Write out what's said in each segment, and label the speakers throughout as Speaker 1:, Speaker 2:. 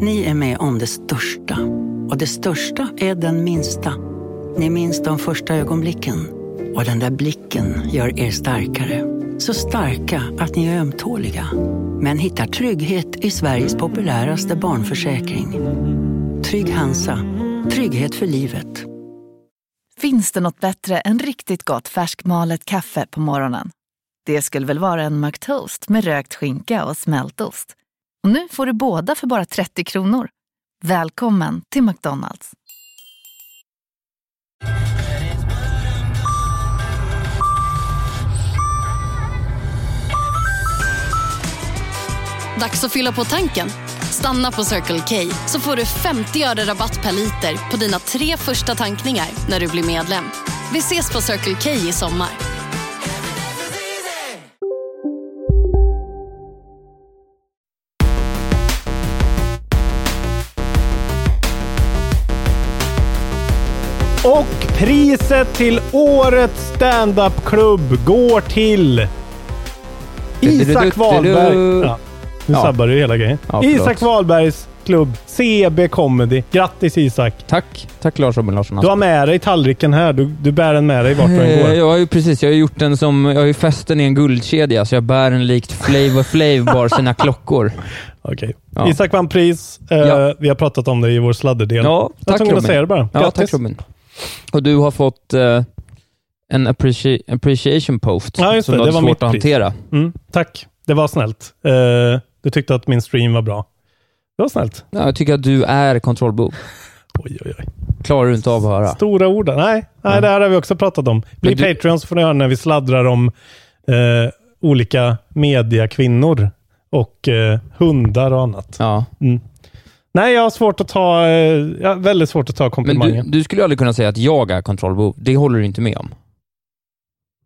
Speaker 1: Ni är med om det största. Och det största är den minsta. Ni minns de första ögonblicken. Och den där blicken gör er starkare. Så starka att ni är ömtåliga. Men hittar trygghet i Sveriges populäraste barnförsäkring. Trygg Hansa. Trygghet för livet.
Speaker 2: Finns det något bättre än riktigt gott färskmalet kaffe på morgonen? Det skulle väl vara en McToast med rökt skinka och smältost? Och nu får du båda för bara 30 kronor. Välkommen till McDonalds.
Speaker 3: Dags att fylla på tanken. Stanna på Circle K så får du 50 öre rabatt per liter på dina tre första tankningar när du blir medlem. Vi ses på Circle K i sommar.
Speaker 4: Och priset till årets standup-klubb går till Isak Wahlberg. Ja, nu
Speaker 5: Ja.
Speaker 4: sabbar du hela grejen.
Speaker 5: Ja, förlåt.
Speaker 4: Isak Wahlbergs klubb CB Comedy. Grattis Isak!
Speaker 5: Tack. Tack Lars Robin Larsson.
Speaker 4: Du har med dig tallriken här. Du, du bär den med dig vart du än
Speaker 5: Eh,
Speaker 4: går.
Speaker 5: Jag har ju precis, jag har gjort den som, jag har ju fäst den i en guldkedja så jag bär den likt Flavor Flav bar sina klockor.
Speaker 4: Okej.
Speaker 5: Ja.
Speaker 4: Isak vann pris. Eh,
Speaker 5: Ja,
Speaker 4: Vi har pratat om det i vår sladderdel.
Speaker 5: ja
Speaker 4: jag var
Speaker 5: tack
Speaker 4: tvungen
Speaker 5: Robin.
Speaker 4: att säga det bara.
Speaker 5: Ja, tack
Speaker 4: Grattis!
Speaker 5: Robin. Och du har fått eh, en appreci appreciation post
Speaker 4: Ja, just
Speaker 5: som
Speaker 4: det.
Speaker 5: du
Speaker 4: Det
Speaker 5: hade
Speaker 4: var
Speaker 5: svårt
Speaker 4: mitt
Speaker 5: att
Speaker 4: pris.
Speaker 5: hantera.
Speaker 4: mm, tack. Det var snällt. Eh, du tyckte att min stream var bra. Det var snällt.
Speaker 5: Ja, jag tycker att du är kontrollbov.
Speaker 4: Oj, oj, oj.
Speaker 5: Klarar du inte av att höra.
Speaker 4: Stora ord. Nej, nej
Speaker 5: Mm.
Speaker 4: det här har vi också pratat om. Bli
Speaker 5: Men du-
Speaker 4: Patreon så får ni höra när vi sladdrar om eh, olika mediakvinnor och eh, hundar och annat.
Speaker 5: Ja.
Speaker 4: Nej, jag har svårt att ta, eh, jag har väldigt svårt att ta
Speaker 5: Men du,
Speaker 4: komplimangen.
Speaker 5: du skulle ju aldrig kunna säga att jag är kontrollbov. Det håller du inte med om.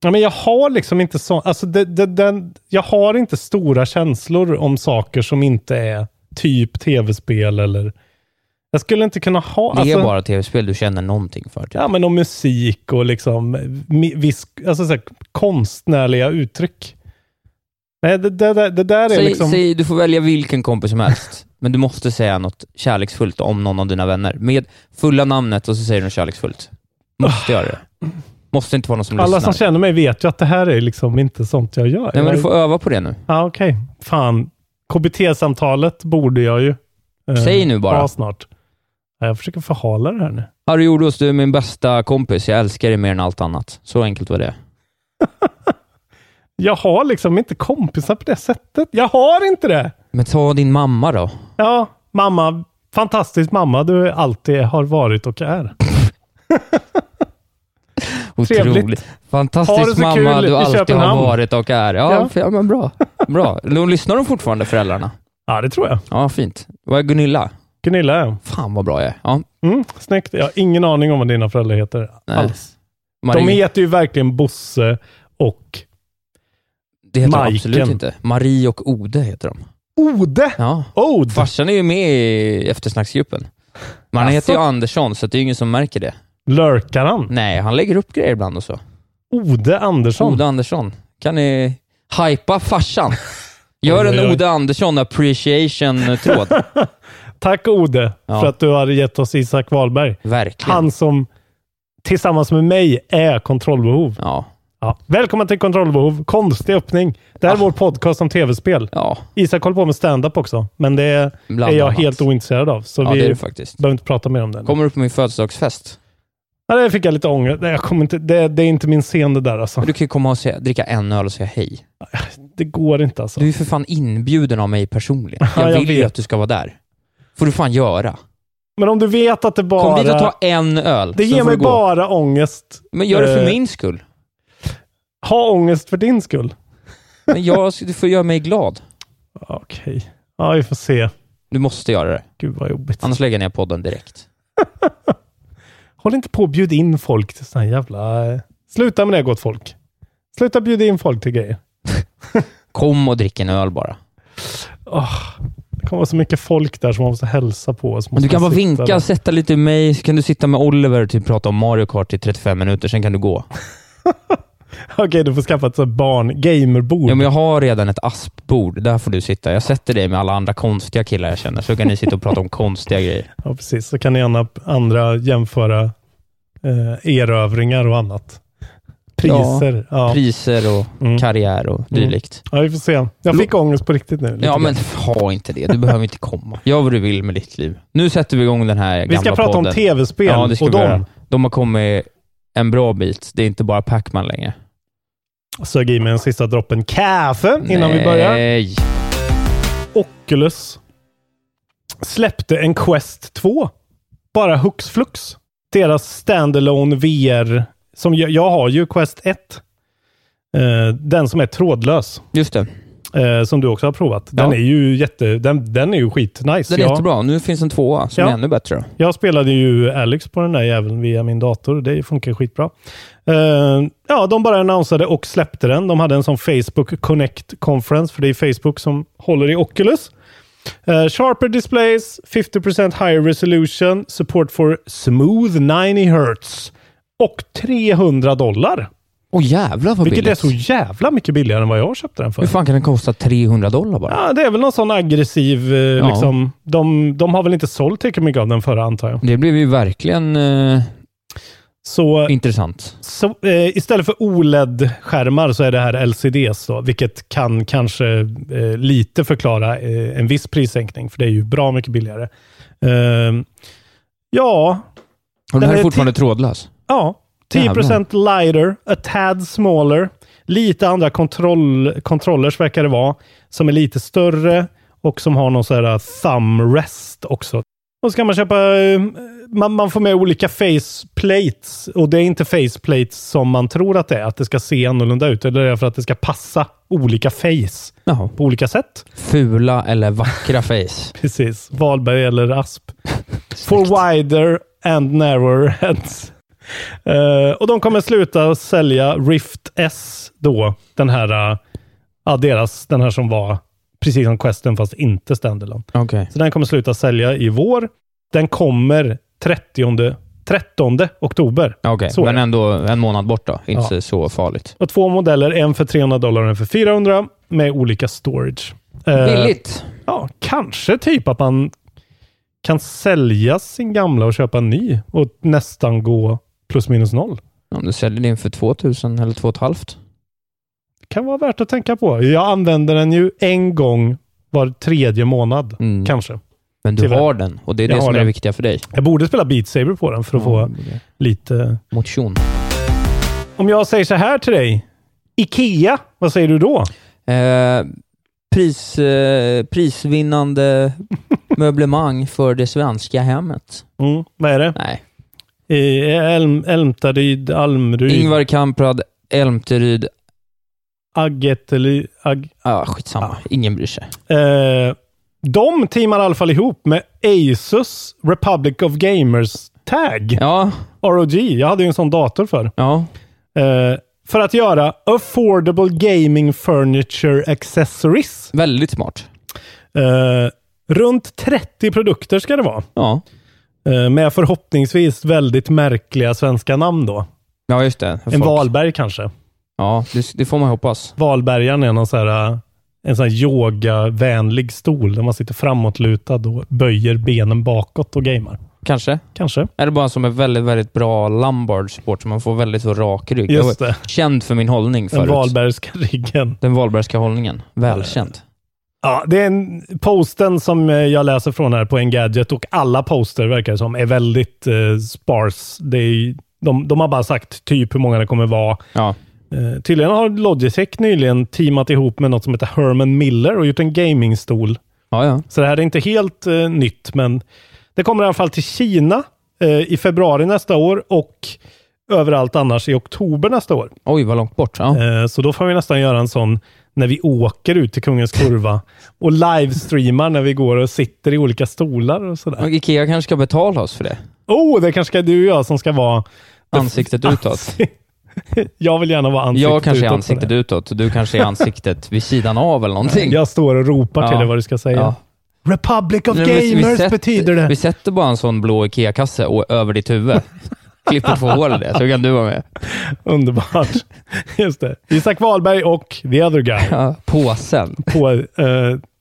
Speaker 4: Ja, men jag har liksom inte så, alltså det, det, den, jag har inte stora känslor om saker som inte är typ tv-spel eller... Jag skulle inte kunna ha...
Speaker 5: Det
Speaker 4: alltså-
Speaker 5: är bara tv-spel du känner någonting för. typ.
Speaker 4: Ja, men om musik och liksom mi- viss, alltså så här, konstnärliga uttryck. Nej, det, det, det, det där är
Speaker 5: Säg,
Speaker 4: liksom...
Speaker 5: säg, du får välja vilken kompis som helst, men du måste säga något kärleksfullt om någon av dina vänner. Med fulla namnet och så säger du något kärleksfullt. Måste göra det. Måste inte vara någon som
Speaker 4: alla som
Speaker 5: lyssnar.
Speaker 4: känner mig vet ju att det här är liksom inte sånt jag gör.
Speaker 5: Nej, men du
Speaker 4: Jag-
Speaker 5: får öva på det nu.
Speaker 4: Ja, okej. Fan. KBT-samtalet borde jag ju... eh,
Speaker 5: Säg nu bara.
Speaker 4: Ha snart. Ja, Jag försöker förhala det här nu.
Speaker 5: Harry Jordås, du är min bästa kompis. Jag älskar dig mer än allt annat. Så enkelt var det.
Speaker 4: Jag har liksom inte kompisar på det sättet. Jag har inte det!
Speaker 5: Men ta din mamma då.
Speaker 4: Ja, mamma. Fantastisk mamma du alltid har varit och är. Trevligt.
Speaker 5: Otroligt.
Speaker 4: Ha det
Speaker 5: Fantastisk
Speaker 4: så
Speaker 5: mamma
Speaker 4: kul
Speaker 5: du
Speaker 4: i
Speaker 5: alltid har
Speaker 4: Köpenhamn.
Speaker 5: varit och är. Ja,
Speaker 4: Ja.
Speaker 5: ja. men bra. Bra. Då lyssnar de fortfarande, föräldrarna?
Speaker 4: Ja, det tror jag.
Speaker 5: Ja, fint. Vad är Gunilla?
Speaker 4: Gunilla är hon.
Speaker 5: Fan vad bra jag är. Ja,
Speaker 4: Mm, snyggt. Jag har ingen aning om vad dina föräldrar heter
Speaker 5: Nej.
Speaker 4: alls.
Speaker 5: Marie.
Speaker 4: De heter ju verkligen Bosse och
Speaker 5: Det heter de
Speaker 4: Majken.
Speaker 5: absolut inte. Marie och Ode heter de.
Speaker 4: Ode.
Speaker 5: Ja.
Speaker 4: Ode.
Speaker 5: Farsan är ju med i eftersnacksgruppen. Men han
Speaker 4: Alltså?
Speaker 5: heter ju Andersson, så det är ju ingen som märker det.
Speaker 4: Lurkar han?
Speaker 5: Nej, han lägger upp grejer ibland och så.
Speaker 4: Ode Andersson.
Speaker 5: Ode Andersson. Kan ni hypa farsan? Gör
Speaker 4: Oj, oj,
Speaker 5: en
Speaker 4: oj.
Speaker 5: Ode Andersson appreciation-tråd.
Speaker 4: Tack Ode
Speaker 5: Ja.
Speaker 4: för att du har gett oss Isak Wahlberg.
Speaker 5: Verkligen.
Speaker 4: Han som tillsammans med mig är kontrollbehov.
Speaker 5: Ja.
Speaker 4: Ja. Välkommen till kontrollbehov. Konstig öppning. Det här är vår podcast om tv-spel.
Speaker 5: Ja,
Speaker 4: Isak håller på med stand-up också, men det
Speaker 5: bland
Speaker 4: är jag
Speaker 5: annat.
Speaker 4: helt ointresserad av. Så
Speaker 5: Ja,
Speaker 4: vi
Speaker 5: det är det faktiskt.
Speaker 4: behöver inte prata mer om det.
Speaker 5: Kommer du på min födelsedagsfest?
Speaker 4: Ja, det fick jag lite ånger. Nej, jag kommer inte, det, det är inte min scen det där alltså.
Speaker 5: Men Du kan ju komma och säga, dricka en öl och säga hej.
Speaker 4: Det går inte alltså.
Speaker 5: Du är ju för fan inbjuden av mig personligen.
Speaker 4: Ja,
Speaker 5: Jag,
Speaker 4: jag
Speaker 5: vill ju
Speaker 4: vet.
Speaker 5: att du ska vara där. får du fan göra.
Speaker 4: Men om du vet att det bara...
Speaker 5: Kom dit och ta en öl.
Speaker 4: det
Speaker 5: sen
Speaker 4: ger
Speaker 5: får
Speaker 4: mig
Speaker 5: du gå.
Speaker 4: bara ångest.
Speaker 5: Men gör det för
Speaker 4: Eh.
Speaker 5: min skull.
Speaker 4: Ha ångest för din skull.
Speaker 5: Men jag, du får göra mig glad.
Speaker 4: Okej. Ja, vi får se.
Speaker 5: Du måste göra det.
Speaker 4: Gud vad jobbigt.
Speaker 5: Annars lägger jag ner podden direkt.
Speaker 4: Håll inte på och bjud in folk till såna här jävla... eh, Sluta med det gott folk. Sluta bjuda in folk till grejer.
Speaker 5: Kom och drick en öl bara.
Speaker 4: Det kommer vara så mycket folk där som man måste hälsa på. som
Speaker 5: Men du
Speaker 4: måste
Speaker 5: kan bara
Speaker 4: sitta
Speaker 5: vinka,
Speaker 4: där.
Speaker 5: sätta lite mig, så kan du sitta med Oliver och typ prata om Mario Kart i 35 minuter, sen kan du gå.
Speaker 4: Okej, du får skaffa ett sånt barn gamerbord.
Speaker 5: Ja, men jag har redan ett aspbord. Där får du sitta. Jag sätter dig med alla andra konstiga killar jag känner, så kan ni sitta och prata om konstiga grejer.
Speaker 4: Ja, precis. Så kan ni gärna andra jämföra eh, erövringar och annat. Priser. Ja, ja.
Speaker 5: Priser och
Speaker 4: Mm.
Speaker 5: karriär och dylikt.
Speaker 4: vi får se. Jag fick ångest på riktigt nu. lite
Speaker 5: Ja,
Speaker 4: grann.
Speaker 5: men ha inte det. Du behöver inte komma. Gör vad du vill med ditt liv. Nu sätter vi igång den här
Speaker 4: vi
Speaker 5: gamla
Speaker 4: ska prata
Speaker 5: podden.
Speaker 4: om tv-spel
Speaker 5: Ja, det ska
Speaker 4: och
Speaker 5: vi göra.
Speaker 4: de
Speaker 5: De har kommit en bra bit. Det är inte bara Pac-Man längre.
Speaker 4: sög i mig den sista droppen kaffe innan vi börjar.
Speaker 5: Nej.
Speaker 4: Oculus släppte en Quest 2. Bara hux flux. Deras standalone VR. Som jag, jag har ju Quest 1. Eh, den som är trådlös.
Speaker 5: Just det.
Speaker 4: Eh, som du också har provat. Den
Speaker 5: Ja.
Speaker 4: är ju jätte... Den, den är ju skitnice.
Speaker 5: Den är
Speaker 4: jag,
Speaker 5: jättebra. Nu finns en tvåa som
Speaker 4: Ja.
Speaker 5: är ännu bättre. då.
Speaker 4: jag spelade ju Alex på den där jäveln via min dator. Det funkar skitbra. Eh, ja, de bara annonsade och släppte den. De hade en sån Facebook Connect Conference, för det är Facebook som håller i Oculus. Eh, sharper displays, 50% higher resolution, support for smooth 90 hertz och 300 dollar.
Speaker 5: Åh jävlar vad
Speaker 4: Vilket är
Speaker 5: billigt.
Speaker 4: så jävla mycket billigare än vad jag köpte den för.
Speaker 5: Hur fan kan den kosta 300 dollar bara?
Speaker 4: Ja, det är väl någon sån aggressiv, eh, liksom. De, de har väl inte sålt lika mycket av den förra antar jag.
Speaker 5: Det blev ju verkligen eh,
Speaker 4: Så, eh,
Speaker 5: intressant.
Speaker 4: så eh, istället för OLED-skärmar så är det här LCDs då, vilket kan kanske eh, lite förklara eh, en viss prissänkning, för det är ju bra mycket billigare. Eh, ja, Den
Speaker 5: Och den här
Speaker 4: är
Speaker 5: är fortfarande trådlös.
Speaker 4: ja, 10 lighter, a tad smaller, lite andra kontroll, controllers verkar det vara, som är lite större och som har någon sån här uh, thumb rest också. Och så kan man köpa, eh, man, man får med olika face plates och det är inte face plates som man tror att det är, att det ska se annorlunda ut, eller det är för att det ska passa olika face
Speaker 5: Jaha.
Speaker 4: på olika sätt.
Speaker 5: Fula eller vackra face.
Speaker 4: Precis, Wahlberg eller Asp. For wider and narrower heads. Eh, och de kommer sluta sälja Rift S då. Den här, eh, ja deras, den här som var precis som Questen fast inte standalone.
Speaker 5: Okej.
Speaker 4: Så den kommer sluta sälja i vår. Den kommer 30, 13 oktober.
Speaker 5: Okej,
Speaker 4: Så är
Speaker 5: men
Speaker 4: det.
Speaker 5: ändå en månad bort då. Inte så farligt.
Speaker 4: Och två modeller, en för 300 dollar och en för 400 med olika storage. Eh,
Speaker 5: Billigt.
Speaker 4: Ja, kanske typ att man kan sälja sin gamla och köpa en ny och nästan gå plus minus noll.
Speaker 5: Om du säljer din för 2000 eller 2,5.
Speaker 4: Det kan vara värt att tänka på. Jag använder den ju en gång var tredje månad,
Speaker 5: Mm.
Speaker 4: kanske.
Speaker 5: Men du
Speaker 4: Tyvärr.
Speaker 5: har den och det är
Speaker 4: Jag
Speaker 5: det som
Speaker 4: har
Speaker 5: är det
Speaker 4: den.
Speaker 5: viktiga för dig.
Speaker 4: Jag borde spela Beat Saber på den för att
Speaker 5: Mm.
Speaker 4: få lite...
Speaker 5: Motion.
Speaker 4: Om jag säger så här till dig. Ikea, vad säger du då?
Speaker 5: Eh, pris, eh, prisvinnande möblemang för det svenska hemmet.
Speaker 4: Mm, vad är det?
Speaker 5: Nej.
Speaker 4: Eh, Elm, Älmtaryd, Almryd, Ingvar...
Speaker 5: Ingvar Kamprad, Elmteryd.
Speaker 4: Aggetely... Ag...
Speaker 5: Ah, skitsamma, ingen bryr sig.
Speaker 4: Eh, de teamar i alla fall ihop med Asus Republic of Gamers Tag,
Speaker 5: Ja,
Speaker 4: ROG. Jag hade ju en sån dator för.
Speaker 5: ja.
Speaker 4: Eh, för att göra Affordable Gaming Furniture Accessories.
Speaker 5: Väldigt smart.
Speaker 4: Eh, runt 30 produkter ska det vara.
Speaker 5: Ja.
Speaker 4: Eh, med förhoppningsvis väldigt märkliga svenska namn då.
Speaker 5: ja, just det.
Speaker 4: En
Speaker 5: Folk-
Speaker 4: Wahlberg kanske.
Speaker 5: Ja, det, det får man hoppas.
Speaker 4: Wahlbergaren är någon så här, eh, en sån här yogavänlig stol där man sitter framåtlutad och böjer benen bakåt och gamer.
Speaker 5: Kanske.
Speaker 4: Kanske.
Speaker 5: Är det bara som en väldigt, väldigt bra Lombard support som man får väldigt så rak rygg.
Speaker 4: Just
Speaker 5: jag
Speaker 4: det.
Speaker 5: var känd för min hållning
Speaker 4: Den
Speaker 5: förut.
Speaker 4: Wahlbergska riggen.
Speaker 5: Den Wahlbergska hållningen. Välkänd.
Speaker 4: Ja, det är en, posten som eh, jag läser från här på Engadget och alla poster verkar det som är väldigt eh, spars. Det är, de, de har bara sagt typ hur många det kommer vara.
Speaker 5: Ja.
Speaker 4: Eh, tydligen har Logitech nyligen teamat ihop med något som heter Herman Miller och gjort en gamingstol.
Speaker 5: Ja, ja.
Speaker 4: Så det här är inte helt eh, nytt, men det kommer i alla fall till Kina eh, i februari nästa år och överallt annars i oktober nästa år.
Speaker 5: Oj, vad långt bort. Ja.
Speaker 4: Eh, Så då får vi nästan göra en sån när vi åker ut till Kungens Kurva och livestreamar när vi går och sitter i olika stolar och sådär.
Speaker 5: Och Ikea kanske ska betala oss för det.
Speaker 4: Oh, det kanske är du och jag som ska vara...
Speaker 5: Ansiktet utåt.
Speaker 4: ansi- jag vill gärna vara ansiktet
Speaker 5: Jag kanske är
Speaker 4: utåt på
Speaker 5: ansiktet
Speaker 4: det.
Speaker 5: utåt och du kanske är ansiktet vid sidan av eller någonting.
Speaker 4: Jag står och ropar till
Speaker 5: Ja.
Speaker 4: dig vad du ska säga.
Speaker 5: Ja.
Speaker 4: Republic of
Speaker 5: Nej, men vi- vi
Speaker 4: Gamers
Speaker 5: sätter-
Speaker 4: betyder det.
Speaker 5: Vi sätter bara en sån blå Ikea-kasse och- över ditt huvud. Klipper två hål i det, så kan du vara med.
Speaker 4: Underbart. Just det. Isak Wahlberg och the other guy.
Speaker 5: Ja, påsen.
Speaker 4: På, eh,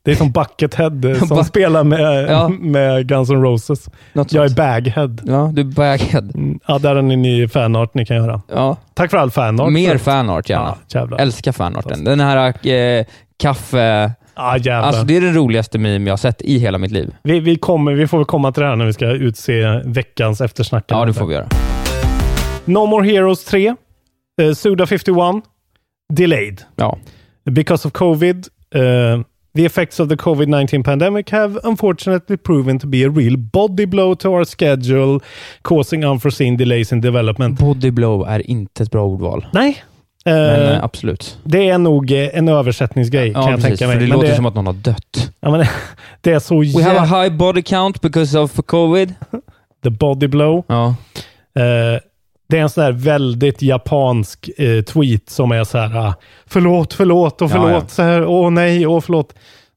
Speaker 4: det är som Buckethead eh, som
Speaker 5: Buck-
Speaker 4: spelar med,
Speaker 5: Ja.
Speaker 4: med Guns N' Roses.
Speaker 5: Något
Speaker 4: Jag är
Speaker 5: sånt.
Speaker 4: Baghead.
Speaker 5: Ja, du är bagged.
Speaker 4: Mm, Ja, där har ni ny fanart ni kan göra.
Speaker 5: Ja.
Speaker 4: Tack för all fanart.
Speaker 5: Mer fanart
Speaker 4: Ja,
Speaker 5: gärna.
Speaker 4: jävlar.
Speaker 5: Älskar fanarten. Den här eh, kaffe...
Speaker 4: Ja, jävlar.
Speaker 5: Alltså det är den roligaste meme jag har sett i hela mitt liv.
Speaker 4: vi, vi, kommer, vi får väl komma till det här när vi ska utse veckans eftersnackare.
Speaker 5: Ja, det får vi göra.
Speaker 4: No More Heroes 3, eh, Suda 51, Delayed.
Speaker 5: Ja.
Speaker 4: Because of COVID, uh, the effects of the COVID 19 pandemic have unfortunately proven to be a real body blow to our schedule, causing unforeseen delays in development.
Speaker 5: Body blow är inte ett bra ordval.
Speaker 4: Nej, eh,
Speaker 5: Men eh, absolut.
Speaker 4: det är nog eh, en översättningsgrej
Speaker 5: Ja,
Speaker 4: kan jag
Speaker 5: precis,
Speaker 4: tänka mig.
Speaker 5: För det
Speaker 4: Men
Speaker 5: låter
Speaker 4: det,
Speaker 5: som att någon har dött.
Speaker 4: ja, men, det är så
Speaker 5: We have
Speaker 4: jävla...
Speaker 5: a high body count because of covid.
Speaker 4: The body blow.
Speaker 5: Ja.
Speaker 4: Eh, det är en sån där väldigt japansk eh, tweet som är så här, ah, förlåt, förlåt och
Speaker 5: Ja,
Speaker 4: förlåt,
Speaker 5: ja.
Speaker 4: så här, åh nej, åh förlåt.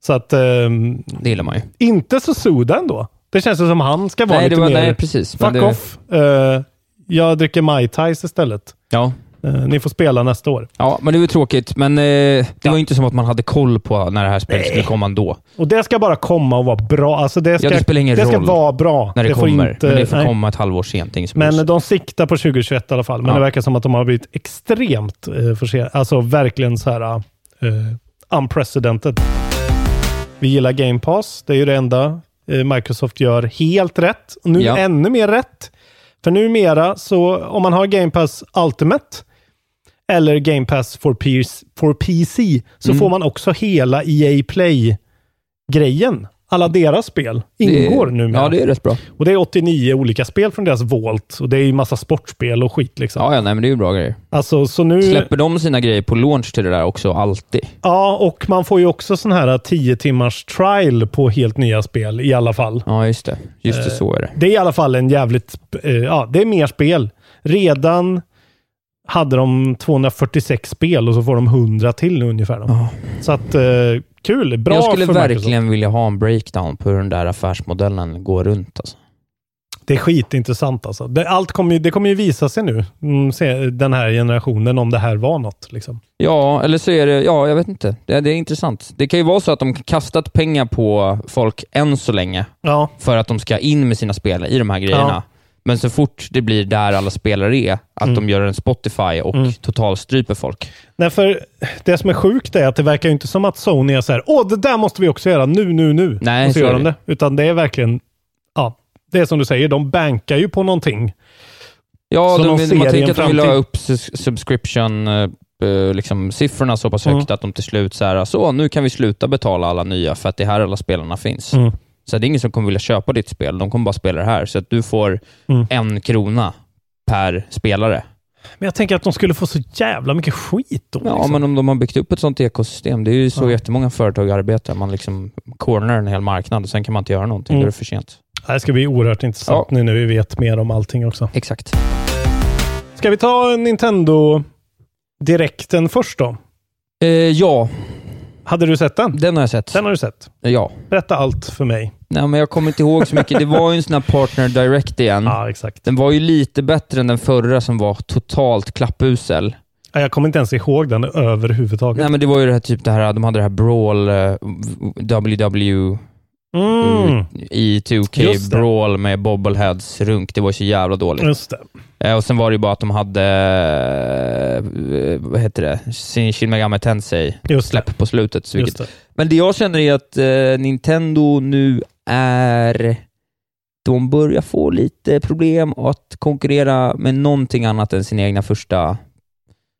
Speaker 4: Så att, ehm,
Speaker 5: Det gillar man ju.
Speaker 4: inte så Suda ändå. Det känns ju som han ska vara
Speaker 5: Nej, det
Speaker 4: lite
Speaker 5: var,
Speaker 4: mer...
Speaker 5: nej, precis. Men
Speaker 4: Fuck
Speaker 5: det,
Speaker 4: off. Eh, jag dricker Mai Tais istället.
Speaker 5: Ja.
Speaker 4: Eh, ni får spela nästa år.
Speaker 5: ja, men det var ju tråkigt. Men eh, det var ju inte som att man hade koll på när det här spelet skulle komma ändå.
Speaker 4: Och det ska bara komma och vara bra. Alltså det, ska,
Speaker 5: Ja, det spelar ingen
Speaker 4: ska
Speaker 5: roll
Speaker 4: vara bra.
Speaker 5: När det,
Speaker 4: får
Speaker 5: kommer.
Speaker 4: inte-
Speaker 5: men det får
Speaker 4: nej.
Speaker 5: komma ett halvår sent. inget som helst.
Speaker 4: Men de siktar på 2021 i alla fall. Men
Speaker 5: Ja.
Speaker 4: det verkar som att de har blivit extremt eh, försenade. Alltså verkligen så här eh, unprecedented. Vi gillar Game Pass. Det är ju det enda eh, Microsoft gör helt rätt. Och nu
Speaker 5: Ja.
Speaker 4: ännu mer rätt. För numera så om man har Game Pass Ultimate eller Game Pass for, PS, for PC så
Speaker 5: Mm.
Speaker 4: får man också hela EA Play-grejen. Alla deras spel ingår
Speaker 5: det,
Speaker 4: numera.
Speaker 5: Ja, det är rätt bra.
Speaker 4: Och det är 89 olika spel från deras Vault. Och det är ju massa sportspel och skit liksom.
Speaker 5: Ja, ja, nej, men det är ju bra grejer.
Speaker 4: Alltså, så nu...
Speaker 5: Släpper de sina grejer på launch till det där också, alltid?
Speaker 4: Ja, och man får ju också sån här 10 timmars trial på helt nya spel i alla fall.
Speaker 5: Ja, just det. Just
Speaker 4: Eh,
Speaker 5: det, så är det.
Speaker 4: Det är i alla fall en jävligt... eh, ja, det är mer spel. Redan hade de 246 spel och så får de 100 till nu ungefär. då.
Speaker 5: Ja.
Speaker 4: Så att, eh, kul. Bra
Speaker 5: jag skulle
Speaker 4: för
Speaker 5: verkligen
Speaker 4: Microsoft.
Speaker 5: vilja ha en breakdown på hur den där affärsmodellen går runt. Alltså.
Speaker 4: Det är skitintressant alltså. Det, allt kommer ju, det kommer ju visa sig nu, mm, se, den här generationen, om det här var något. Liksom.
Speaker 5: Ja, eller så är det... Ja, jag vet inte. Det, det är intressant. Det kan ju vara så att de kastat pengar på folk än så länge
Speaker 4: Ja,
Speaker 5: för att de ska in med sina spelare i de här grejerna.
Speaker 4: Ja.
Speaker 5: Men så fort det blir där alla spelare är, att de gör en Spotify och totalstryper folk.
Speaker 4: Nej, för det som är sjukt är att det verkar ju inte som att Sony är så här, åh, det där måste vi också göra nu, nu, nu.
Speaker 5: Nej,
Speaker 4: och så
Speaker 5: så
Speaker 4: gör
Speaker 5: är
Speaker 4: de det. Utan det är verkligen, ja, det är som du säger, de bankar ju på någonting.
Speaker 5: Ja,
Speaker 4: Så
Speaker 5: de,
Speaker 4: någon
Speaker 5: vill- man
Speaker 4: serie i
Speaker 5: tänker
Speaker 4: en
Speaker 5: att de vill ha
Speaker 4: framtid.
Speaker 5: upp sus- subscription eh, eh, liksom, siffrorna så pass
Speaker 4: Mm.
Speaker 5: högt att de till slut så här, så nu kan vi sluta betala alla nya för att det är här alla spelarna finns.
Speaker 4: Mm.
Speaker 5: Så det är ingen som kommer vilja köpa ditt spel. De kommer bara spela det här. Så att du får
Speaker 4: Mm.
Speaker 5: en krona per spelare.
Speaker 4: Men jag tänker att de skulle få så jävla mycket skit då.
Speaker 5: Ja,
Speaker 4: liksom.
Speaker 5: men om de har byggt upp ett sånt ekosystem. Det är ju så
Speaker 4: Ja.
Speaker 5: jättemånga företag arbetar. Man liksom cornerar en hel marknad och sen kan man inte göra någonting.
Speaker 4: Mm.
Speaker 5: Då är det för sent.
Speaker 4: Det här ska bli oerhört intressant nu när vi vet mer om allting också.
Speaker 5: Exakt.
Speaker 4: Ska vi ta Nintendo-direkten först då?
Speaker 5: Eh, ja,
Speaker 4: Hade du sett den?
Speaker 5: den har jag sett.
Speaker 4: Den har du sett.
Speaker 5: Ja.
Speaker 4: Berätta allt för mig.
Speaker 5: Nej, men jag kommer inte ihåg så mycket. Det var ju en sån här partner direct igen.
Speaker 4: Ja, exakt.
Speaker 5: Den var ju lite bättre än den förra som var totalt klappusel.
Speaker 4: Ja, Jag kommer inte ens ihåg den överhuvudtaget.
Speaker 5: Nej men det var ju det här typ det här, de hade det här Brawl, eh, WW
Speaker 4: Mm,
Speaker 5: i 2K
Speaker 4: Just det. Mm.
Speaker 5: Brawl med bobbleheads runk. Det var ju så jävla dåligt.
Speaker 4: just det.
Speaker 5: Eh, och sen var det ju bara att de hade, eh, vad heter det, sin Shin Megami Tensei
Speaker 4: Just det.
Speaker 5: släpp på slutet. Så vilket
Speaker 4: Just det.
Speaker 5: Men det jag känner är att eh, Nintendo nu är... De börjar få lite problem att konkurrera med någonting annat än sina egna första,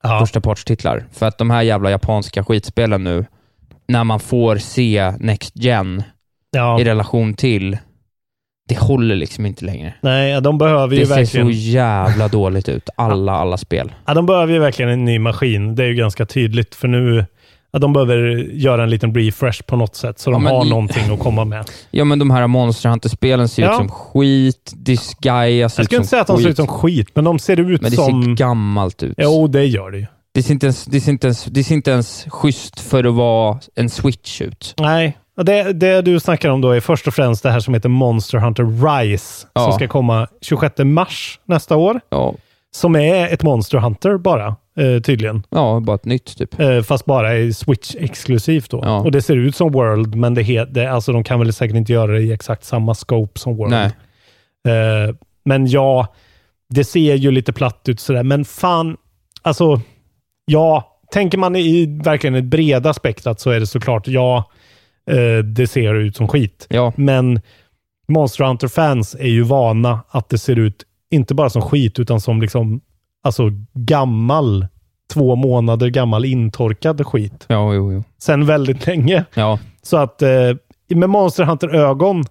Speaker 4: Ja.
Speaker 5: första partstitlar. För att de här jävla japanska skitspelen nu, när man får se Next Gen
Speaker 4: Ja.
Speaker 5: i relation till, det håller liksom inte längre.
Speaker 4: Nej, de behöver ju
Speaker 5: Det ser så
Speaker 4: verkligen...
Speaker 5: jävla dåligt ut. Alla, alla spel.
Speaker 4: Ja, de behöver ju verkligen en ny maskin. Det är ju ganska tydligt, för nu... Ja, de behöver göra en liten refresh på något sätt, så de
Speaker 5: men
Speaker 4: har
Speaker 5: i-
Speaker 4: någonting att komma med.
Speaker 5: Ja men de här Monster Hunter-spelen ser
Speaker 4: Ja.
Speaker 5: ut som skit. Disgaea ser
Speaker 4: Jag
Speaker 5: ut
Speaker 4: skulle
Speaker 5: som
Speaker 4: inte säga att de ser
Speaker 5: liksom skit.
Speaker 4: ut som skit, men de ser ut
Speaker 5: Men det
Speaker 4: som...
Speaker 5: ser gammalt ut.
Speaker 4: Jo, det gör det ju.
Speaker 5: Det ser, inte ens, det, ser inte ens, det ser inte ens schysst för att vara en switch ut.
Speaker 4: Nej, Ja, Det, det du snackar om då är först och främst det här som heter Monster Hunter Rise,
Speaker 5: Ja.
Speaker 4: som ska komma 26 mars nästa år.
Speaker 5: Ja,
Speaker 4: Som är ett Monster Hunter bara, eh, tydligen.
Speaker 5: ja bara ett nytt typ.
Speaker 4: Eh, fast bara är Switch-exklusivt då.
Speaker 5: Ja.
Speaker 4: Och det ser ut som World, men det he- det, alltså, de kan väl säkert inte göra det i exakt samma scope som World.
Speaker 5: Nej.
Speaker 4: Eh, men ja, det ser ju lite platt ut sådär, men fan, alltså, ja, tänker man i verkligen ett breda spektrat så är det såklart, ja, eh, det ser ut som skit.
Speaker 5: Ja,
Speaker 4: Men Monster Hunter-fans är ju vana att det ser ut, inte bara som skit, utan som liksom, alltså gammal, två månader gammal intorkad skit.
Speaker 5: ja, jo, jo.
Speaker 4: Sen väldigt länge.
Speaker 5: Ja,
Speaker 4: Så att eh, med Monster Hunter-ögon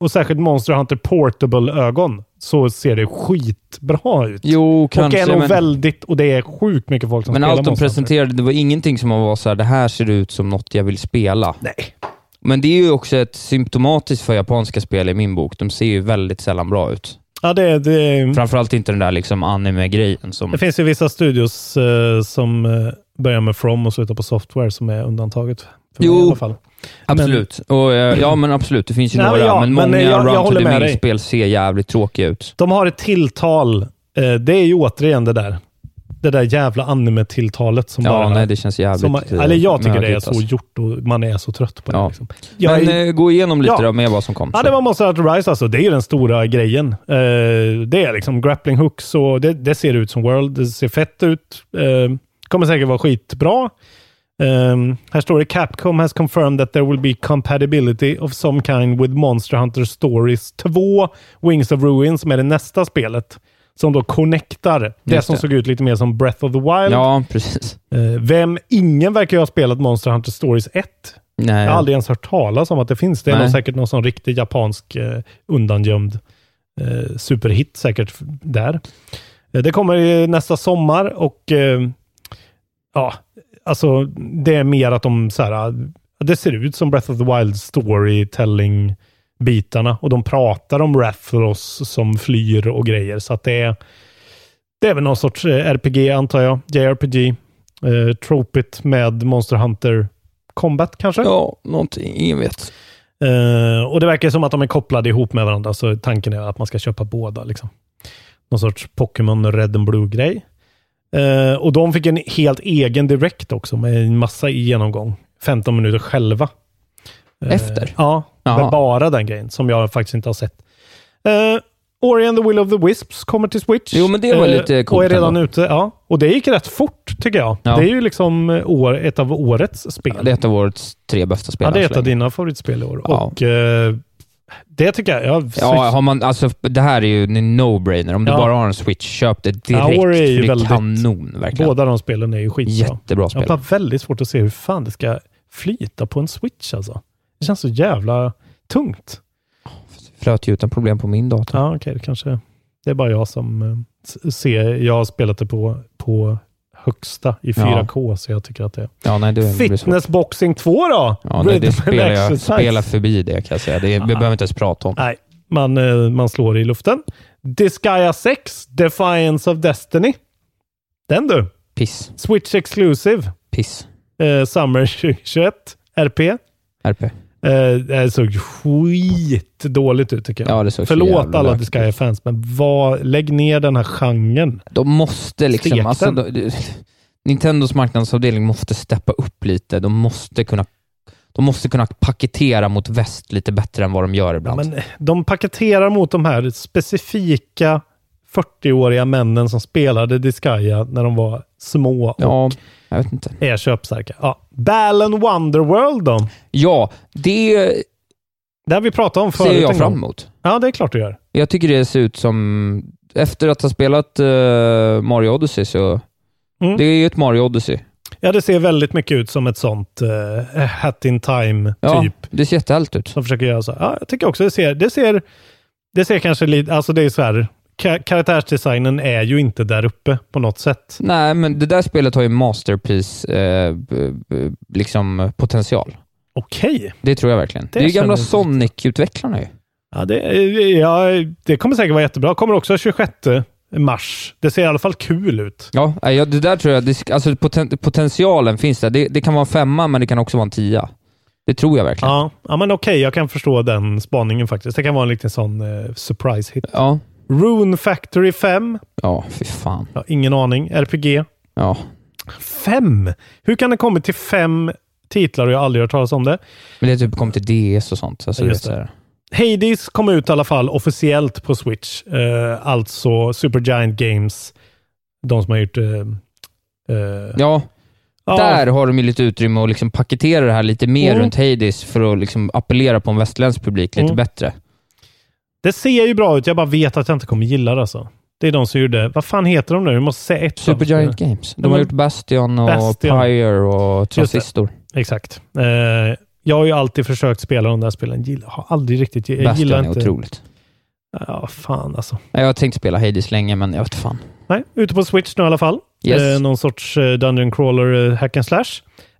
Speaker 4: och särskilt Monster Hunter Portable-ögon så ser det skitbra ut.
Speaker 5: jo
Speaker 4: och är
Speaker 5: kanske.
Speaker 4: nog
Speaker 5: men
Speaker 4: väldigt, och det är sjukt mycket folk som
Speaker 5: men
Speaker 4: spelar
Speaker 5: allt de
Speaker 4: Monster Hunter.
Speaker 5: presenterade, det var ingenting som man var så här, det här ser ut som något jag vill spela.
Speaker 4: Nej.
Speaker 5: Men det är ju också ett symptomatiskt för japanska spel i min bok. De ser ju väldigt sällan bra ut.
Speaker 4: Ja, det, det,
Speaker 5: Framförallt inte den där liksom anime-grejen som...
Speaker 4: Mm. det finns ju vissa studios eh, som eh, börjar med From och slutar på Software som är undantaget. För mig
Speaker 5: Jo,
Speaker 4: i alla fall.
Speaker 5: Absolut. Och, eh, ja, men absolut. Det finns ju
Speaker 4: Nej,
Speaker 5: några,
Speaker 4: ja,
Speaker 5: men
Speaker 4: men,
Speaker 5: många
Speaker 4: eh, jag- jag
Speaker 5: Run to
Speaker 4: håller
Speaker 5: the
Speaker 4: med dig.
Speaker 5: Mill-spel ser jävligt tråkiga ut.
Speaker 4: De har ett tilltal. Eh, det är ju återigen det där. Det där jävla anime-tilltalet som
Speaker 5: Ja,
Speaker 4: bara...
Speaker 5: nej, det känns jävligt...
Speaker 4: som man,
Speaker 5: eh,
Speaker 4: eller jag tycker det är
Speaker 5: mögigt,
Speaker 4: så
Speaker 5: alltså.
Speaker 4: gjort och man är så trött på det.
Speaker 5: Ja.
Speaker 4: Liksom. Jag
Speaker 5: men
Speaker 4: är,
Speaker 5: eh, gå igenom lite
Speaker 4: Ja.
Speaker 5: då med vad som kom.
Speaker 4: ja,
Speaker 5: så.
Speaker 4: det var Monster Hunter Rise alltså. Det är ju den stora grejen. Eh, det är liksom grappling hooks och det, det ser ut som World. Det ser fett ut. Eh, kommer säkert vara skitbra. Ehm, här står det Capcom has confirmed that there will be compatibility of some kind with Monster Hunter Stories 2 Wings of Ruin som är det nästa spelet. Som då connectar det
Speaker 5: Just
Speaker 4: som
Speaker 5: det.
Speaker 4: såg ut lite mer som Breath of the Wild.
Speaker 5: Ja, precis.
Speaker 4: Eh, vem, ingen verkar ju ha spelat Monster Hunter Stories 1.
Speaker 5: Nej.
Speaker 4: Jag har aldrig ens hört talas om att det finns. Det är
Speaker 5: Nej.
Speaker 4: nog säkert någon sån riktig japansk eh, undangömd eh, superhit säkert f- där. Eh, det kommer eh, nästa sommar och eh, ja, alltså det är mer att de så här, eh, det ser ut som Breath of the Wild storytelling bitarna och de pratar om Rathalos som flyr och grejer så att det är det är väl någon sorts eh, RPG antar jag, JRPG, eh, tropigt med Monster Hunter Combat kanske?
Speaker 5: Ja, någonting. Ingen vet.
Speaker 4: Eh, och det verkar som att de är kopplade ihop med varandra, så tanken är att man ska köpa båda. Liksom. Någon sorts Pokémon Red and Blue-grej. Eh, och de fick en helt egen direkt också, med en massa genomgång. 15 minuter själva. Eh,
Speaker 5: Efter?
Speaker 4: Ja,
Speaker 5: Jaha.
Speaker 4: med bara den grejen, som jag faktiskt inte har sett. Eh, Ori and the Will of the Wisps kommer till Switch.
Speaker 5: Jo, men det var
Speaker 4: Eh,
Speaker 5: lite coolt
Speaker 4: Och är redan
Speaker 5: ändå.
Speaker 4: ute. Ja. Och det gick rätt fort, tycker jag.
Speaker 5: Ja.
Speaker 4: Det är ju liksom eh, år, ett av årets spel.
Speaker 5: Det är ett av årets tre bästa spel
Speaker 4: Ja,
Speaker 5: än så
Speaker 4: det är ett
Speaker 5: länge.
Speaker 4: av dina favoritspel i år.
Speaker 5: Ja.
Speaker 4: Och eh, det tycker jag. jag
Speaker 5: Ja, har man, alltså, det här är ju en no-brainer. Om du
Speaker 4: Ja.
Speaker 5: bara har en Switch, köp det direkt.
Speaker 4: Ja, Ori är ju
Speaker 5: för det är
Speaker 4: väldigt-
Speaker 5: kanon, verkligen.
Speaker 4: båda de spelen är ju skitbra.
Speaker 5: Jättebra
Speaker 4: Jag har
Speaker 5: spel.
Speaker 4: bara väldigt svårt att se hur fan det ska flyta på en switch alltså. Det känns så jävla tungt.
Speaker 5: Flöt ju utan problem på min dator.
Speaker 4: Ja, okej, det kanske... Det är bara jag som eh, s- ser... Jag har spelat det på, på högsta i 4K, så jag tycker att det...
Speaker 5: Ja, nej, det blir svårt.
Speaker 4: Fitness Boxing 2 då?
Speaker 5: Ja, nej,
Speaker 4: Rhythm
Speaker 5: det
Speaker 4: and
Speaker 5: spelar jag
Speaker 4: exercise. Ah.
Speaker 5: spelar förbi det kan jag säga. Det, är- vi behöver inte ens prata om.
Speaker 4: Nej, man, eh, man slår i luften. Disgaea 6, Defiance of Destiny. Den du.
Speaker 5: Piss.
Speaker 4: Switch Exclusive,
Speaker 5: Piss.
Speaker 4: eh, Summer 2021, RP.
Speaker 5: RP.
Speaker 4: Eh, det såg skitdåligt ut tycker jag.
Speaker 5: Ja, det såg så
Speaker 4: Förlåt
Speaker 5: jävla
Speaker 4: alla
Speaker 5: lökigt
Speaker 4: Disgaea-fans, men vad, lägg ner den här genren.
Speaker 5: De måste
Speaker 4: Stek
Speaker 5: liksom...
Speaker 4: den.
Speaker 5: Alltså, de, de, Nintendos marknadsavdelning måste steppa upp lite. De måste kunna de måste kunna paketera mot väst lite bättre än vad de gör
Speaker 4: Ja,
Speaker 5: ibland.
Speaker 4: men eh, de paketerar mot de här specifika 40-åriga männen som spelade Disgaea när de var små och
Speaker 5: ja, jag vet inte.
Speaker 4: är köpstarka. Ja. Balan Wonderworld då?
Speaker 5: Ja, det
Speaker 4: Det har vi pratat om förut
Speaker 5: ser jag
Speaker 4: en
Speaker 5: fram
Speaker 4: gång.
Speaker 5: emot.
Speaker 4: Ja, det är klart du gör.
Speaker 5: Jag tycker det ser ut som... Efter att ha spelat eh, Mario Odyssey så...
Speaker 4: Mm.
Speaker 5: Det är ju ett Mario Odyssey.
Speaker 4: Ja, det ser väldigt mycket ut som ett sånt eh, hat in time
Speaker 5: Ja,
Speaker 4: typ.
Speaker 5: det ser jättehärligt ut.
Speaker 4: som försöker göra så. här. Ja, jag tycker också det ser, det ser, det ser kanske lite, alltså det är så här, ka- karaktärsdesignen är ju inte där uppe på något sätt.
Speaker 5: Nej, men det där spelet har ju masterpiece eh, b- b- liksom potential.
Speaker 4: Okej.
Speaker 5: Det tror jag verkligen. Det,
Speaker 4: Det
Speaker 5: är ju gamla
Speaker 4: känner jag
Speaker 5: Sonic-utvecklarna ju.
Speaker 4: Ja, det, ja, det kommer säkert vara jättebra. Kommer också 26 mars. Det ser i alla fall kul ut.
Speaker 5: Ja, nej, ja, det där tror jag, det, sk- alltså poten, potentialen finns där. Det, det kan vara en femma, men det kan också vara en tia. Det tror jag verkligen.
Speaker 4: Ja, ja men okej, jag kan förstå den spaningen faktiskt. Det kan vara en liten sån eh, surprise hit.
Speaker 5: Ja.
Speaker 4: Rune Factory 5.
Speaker 5: Ja, fy fan.
Speaker 4: Ja, ingen aning. RPG.
Speaker 5: Ja.
Speaker 4: Fem? Hur kan det komma till fem titlar och jag aldrig hört talas om det?
Speaker 5: Men det typ kom till DS och sånt. Alltså,
Speaker 4: Ja,
Speaker 5: du
Speaker 4: just
Speaker 5: vet, så här.
Speaker 4: Hades kom ut i alla fall officiellt på Switch. Eh, alltså Supergiant Games. De som har gjort... eh, eh,
Speaker 5: Ja,
Speaker 4: ja,
Speaker 5: där har de ju lite utrymme att liksom paketera det här lite mer
Speaker 4: Mm.
Speaker 5: runt Hades för att liksom appellera på en västerländsk publik lite
Speaker 4: Mm.
Speaker 5: bättre.
Speaker 4: Det ser ju bra ut, jag bara vet att jag inte kommer gilla det alltså. Det är de som gjorde... Vad fan heter de nu? Vi måste säga ett.
Speaker 5: Supergiant Games. De
Speaker 4: Ja,
Speaker 5: har
Speaker 4: men-
Speaker 5: gjort Bastion och
Speaker 4: Bastion.
Speaker 5: Pyre
Speaker 4: det.
Speaker 5: och Transistor.
Speaker 4: Exakt. Eh, jag har ju alltid försökt spela de där spelen. Gillar, har aldrig riktigt... Jag
Speaker 5: Bastion
Speaker 4: gillar
Speaker 5: är
Speaker 4: inte...
Speaker 5: otroligt.
Speaker 4: Ja, fan alltså.
Speaker 5: Nej, Jag har tänkt spela Hades länge, men jag vet fan.
Speaker 4: Nej, ute på Switch nu i alla fall.
Speaker 5: Yes.
Speaker 4: Eh, någon sorts eh, Dungeon Crawler eh, hack and slash.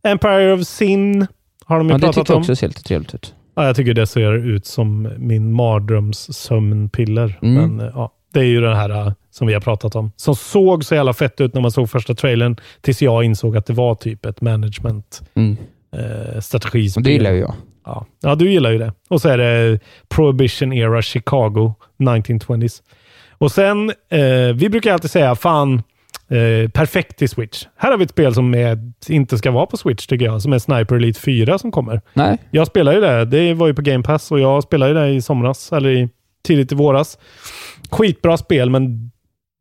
Speaker 4: Empire of Sin har de ju
Speaker 5: Ja, det
Speaker 4: pratat
Speaker 5: tyckte jag
Speaker 4: om.
Speaker 5: också ser lite trevligt ut.
Speaker 4: Ja, jag tycker det ser ut som min mardrömssömnpiller.
Speaker 5: Mm.
Speaker 4: Men eh, ja, det är ju det här eh, som vi har pratat om. Som såg så jävla fett ut när man såg första trailern. Tills jag insåg att det var typ ett management
Speaker 5: Mm.
Speaker 4: eh,
Speaker 5: Och
Speaker 4: strategispel.
Speaker 5: det gillar ju jag.
Speaker 4: Ja. ja, du gillar ju det. Och så är det Prohibition Era Chicago 1920s. Och sen, eh, vi brukar alltid säga fan, eh, perfekt till Switch. Här har vi ett spel som är, inte ska vara på Switch tycker jag, som är Sniper Elite 4 som kommer.
Speaker 5: Nej,
Speaker 4: Jag spelar ju det. Det var ju på Game Pass och jag spelade ju det i somras, eller i, tidigt i våras. Skitbra spel, men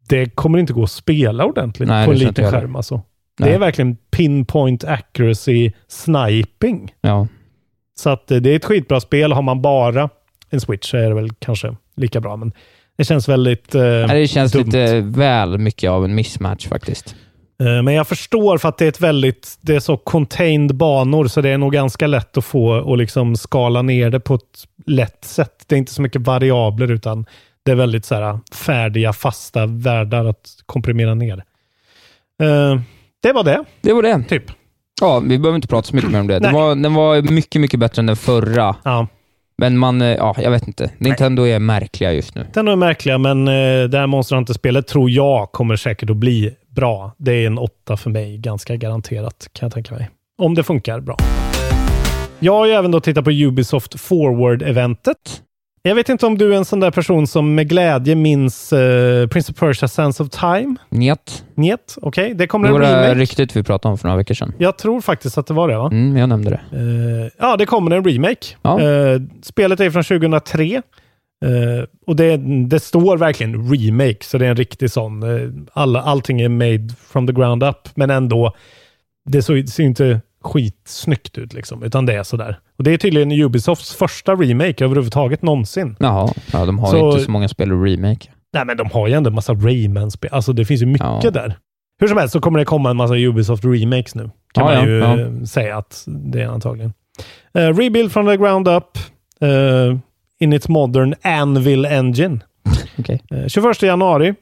Speaker 4: det kommer inte gå att spela ordentligt
Speaker 5: Nej,
Speaker 4: på
Speaker 5: det
Speaker 4: en
Speaker 5: tror inte
Speaker 4: liten
Speaker 5: jag heller.
Speaker 4: skärm. Alltså.
Speaker 5: Nej.
Speaker 4: Det är verkligen pinpoint accuracy sniping.
Speaker 5: ja.
Speaker 4: Så att eh, det är ett skitbra spel. Har man bara en Switch så är det väl kanske lika bra, men det känns väldigt... eh,
Speaker 5: Nej, det känns
Speaker 4: dumt.
Speaker 5: lite väl mycket av en mismatch faktiskt.
Speaker 4: Eh, Men jag förstår för att det är ett väldigt, det är så contained banor så det är nog ganska lätt att få och liksom skala ner det på ett lätt sätt. Det är inte så mycket variabler utan det är väldigt så här eh, färdiga, fasta världar att komprimera ner. Eh, Det var det,
Speaker 5: Det var det.
Speaker 4: typ.
Speaker 5: Ja, vi behöver inte prata så mycket mer om det. Den
Speaker 4: Nej.
Speaker 5: var, den var mycket, mycket bättre än den förra.
Speaker 4: Ja.
Speaker 5: Men man, eh, ja, jag vet inte. Nintendo är märkliga just nu.
Speaker 4: Det är nog märkliga, men eh, det här Monster Hunter-spelet tror jag kommer säkert att bli bra. Det är en åtta för mig, ganska garanterat, kan jag tänka mig. Om det funkar bra. Jag har ju även då tittat på Ubisoft Forward-eventet. Jag vet inte om du är en sån där person som med glädje minns eh, Prince of Persia Sands of Time?
Speaker 5: Njet.
Speaker 4: Njet, okej. Det kommer
Speaker 5: Det
Speaker 4: en
Speaker 5: var
Speaker 4: remake.
Speaker 5: det ryktet vi pratade om för några veckor sedan.
Speaker 4: jag tror faktiskt att det var det, va?
Speaker 5: Mm, jag nämnde det.
Speaker 4: Eh, ja, det kommer en remake.
Speaker 5: Ja.
Speaker 4: Eh, spelet är från 2003. eh, och det, det står verkligen remake, så det är en riktig sån. eh, alla, allting är made from the ground up, men ändå. Det så- ser ju inte skitsnyggt ut, liksom, utan det är sådär. Och det är tydligen Ubisofts första remake överhuvudtaget någonsin.
Speaker 5: Jaha, ja, de har
Speaker 4: Så-
Speaker 5: inte så många spel att remake.
Speaker 4: Nej, men de har ju ändå en massa Rayman-spel. Alltså, det finns ju mycket
Speaker 5: Ja.
Speaker 4: där. Hur som helst så kommer det komma en massa Ubisoft remakes nu. Kan
Speaker 5: Ja,
Speaker 4: man
Speaker 5: ja,
Speaker 4: ju
Speaker 5: ja.
Speaker 4: eh, säga att det är antagligen. Eh, rebuild from the ground up. eh, in its modern Anvil Engine.
Speaker 5: Okej.
Speaker 4: Eh, 21 januari.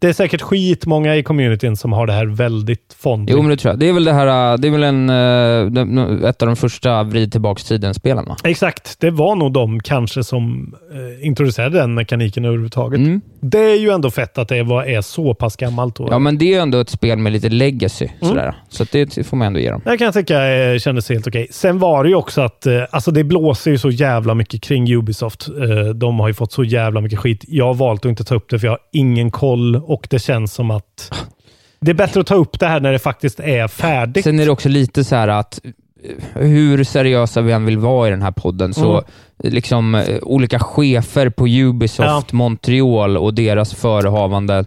Speaker 4: Det är säkert skitmånga i communityn som har det här väldigt fondligt.
Speaker 5: Jo, men det tror jag. Det är väl, det här, eh, det är väl en, eh, de- ett av de första vrid tillbaks tiden-spelen, va?
Speaker 4: Exakt, det var nog de kanske som eh, introducerade den mekaniken överhuvudtaget.
Speaker 5: Mm.
Speaker 4: Det är ju ändå fett att det var, är så pass gammalt. då.
Speaker 5: Ja, men det är ju ändå ett spel med lite legacy,
Speaker 4: Mm.
Speaker 5: sådär. så att det får man ändå ge dem.
Speaker 4: Jag kan tycka eh, kändes helt okej. Sen var det ju också att, eh, alltså det blåser ju så jävla mycket kring Ubisoft. Eh, de har ju fått så jävla mycket skit. Jag har valt att inte ta upp det för jag har ingen koll och det känns som att det är bättre att ta upp det här när det faktiskt är färdigt.
Speaker 5: Sen är det också lite så här att eh, hur seriösa vi än vill vara i den här podden, så
Speaker 4: Mm.
Speaker 5: liksom eh, olika chefer på Ubisoft Montreal och deras förehavanden.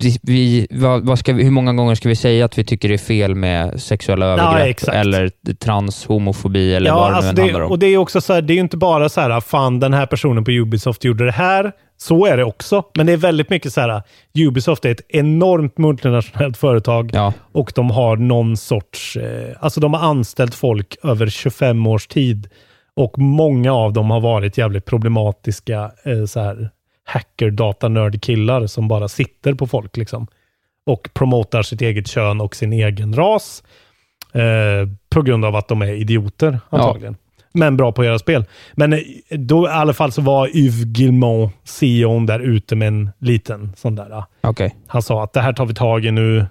Speaker 5: Vi, vi, vad, vad ska vi, hur många gånger ska vi säga att vi tycker det är fel med sexuella övergrepp
Speaker 4: exakt.
Speaker 5: eller trans, homofobi eller vad
Speaker 4: Ja,
Speaker 5: det
Speaker 4: alltså
Speaker 5: nu
Speaker 4: det,
Speaker 5: handlar om?
Speaker 4: och det är också så här, det är ju inte bara så här, fan den här personen på Ubisoft gjorde det här. Så är det också, men det är väldigt mycket så här, Ubisoft är ett enormt multinationellt företag.
Speaker 5: Ja,
Speaker 4: Och de har någon sorts... Eh, alltså de har anställt folk över 25 års tid. Och många av dem har varit jävligt problematiska eh, så här, hacker data nörd killar som bara sitter på folk liksom. Och promotar sitt eget kön och sin egen ras. Eh, på grund av att de är idioter antagligen. men bra på att göra spel. Men eh, då i alla fall så var Yves Guillemot, CEOn, där ute med en liten sån där. ah,
Speaker 5: Okej.
Speaker 4: han sa att det här tar vi tag i nu. Eh,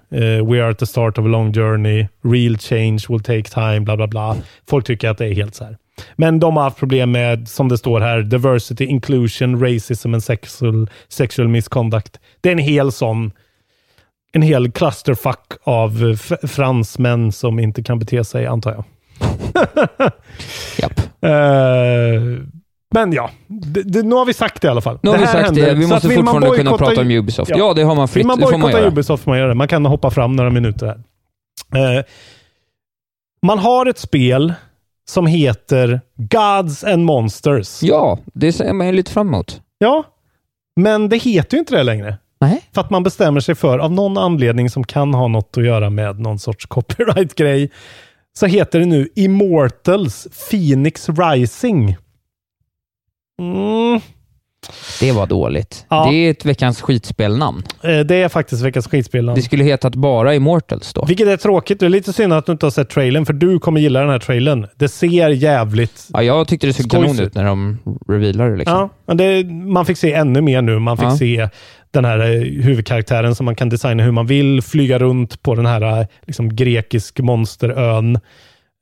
Speaker 4: we are at the start of a long journey. Real change will take time, bla bla bla. Folk tycker att det är helt så här. Men de har haft problem med, som det står här, diversity, inclusion, racism and sexual, sexual misconduct. Det är en hel sån, en hel clusterfuck av eh, f- fransmän som inte kan bete sig, antar jag.
Speaker 5: Japp.
Speaker 4: Eh, men ja, det, det, nu har vi sagt det i alla fall.
Speaker 5: Nu har vi
Speaker 4: här
Speaker 5: sagt det.
Speaker 4: händer.
Speaker 5: Vi
Speaker 4: Så att
Speaker 5: måste
Speaker 4: vill man
Speaker 5: fortfarande kunna
Speaker 4: bojkotta
Speaker 5: prata om Ubisoft. Ja, det har man fritt.
Speaker 4: vill man
Speaker 5: det får man
Speaker 4: bojkotta
Speaker 5: göra.
Speaker 4: Ubisoft får man göra det. Man kan hoppa fram några minuter här. Eh, man har ett spel som heter Gods and Monsters.
Speaker 5: Ja, det ser man ju lite fram emot.
Speaker 4: Ja, men det heter ju inte det längre.
Speaker 5: Nej.
Speaker 4: För att man bestämmer sig för, av någon anledning som kan ha något att göra med någon sorts copyright-grej, så heter det nu Immortals Phoenix Rising. Mm.
Speaker 5: Det var dåligt.
Speaker 4: Ja.
Speaker 5: Det är ett veckans skitspelnamn.
Speaker 4: eh, Det är faktiskt veckans skitspel.
Speaker 5: Det skulle hetat bara Immortals då.
Speaker 4: Vilket är tråkigt. Det är lite synd att du inte har sett trailern, för du kommer gilla den här trailern. Det ser jävligt...
Speaker 5: Ja, jag tyckte det såg
Speaker 4: Skojs
Speaker 5: kanon
Speaker 4: ut.
Speaker 5: ut när de revealade det. Liksom.
Speaker 4: Ja, men det, man fick se ännu mer nu. Man fick
Speaker 5: Ja.
Speaker 4: se den här eh, huvudkaraktären som man kan designa hur man vill, flyga runt på den här eh, liksom, grekisk monsterön.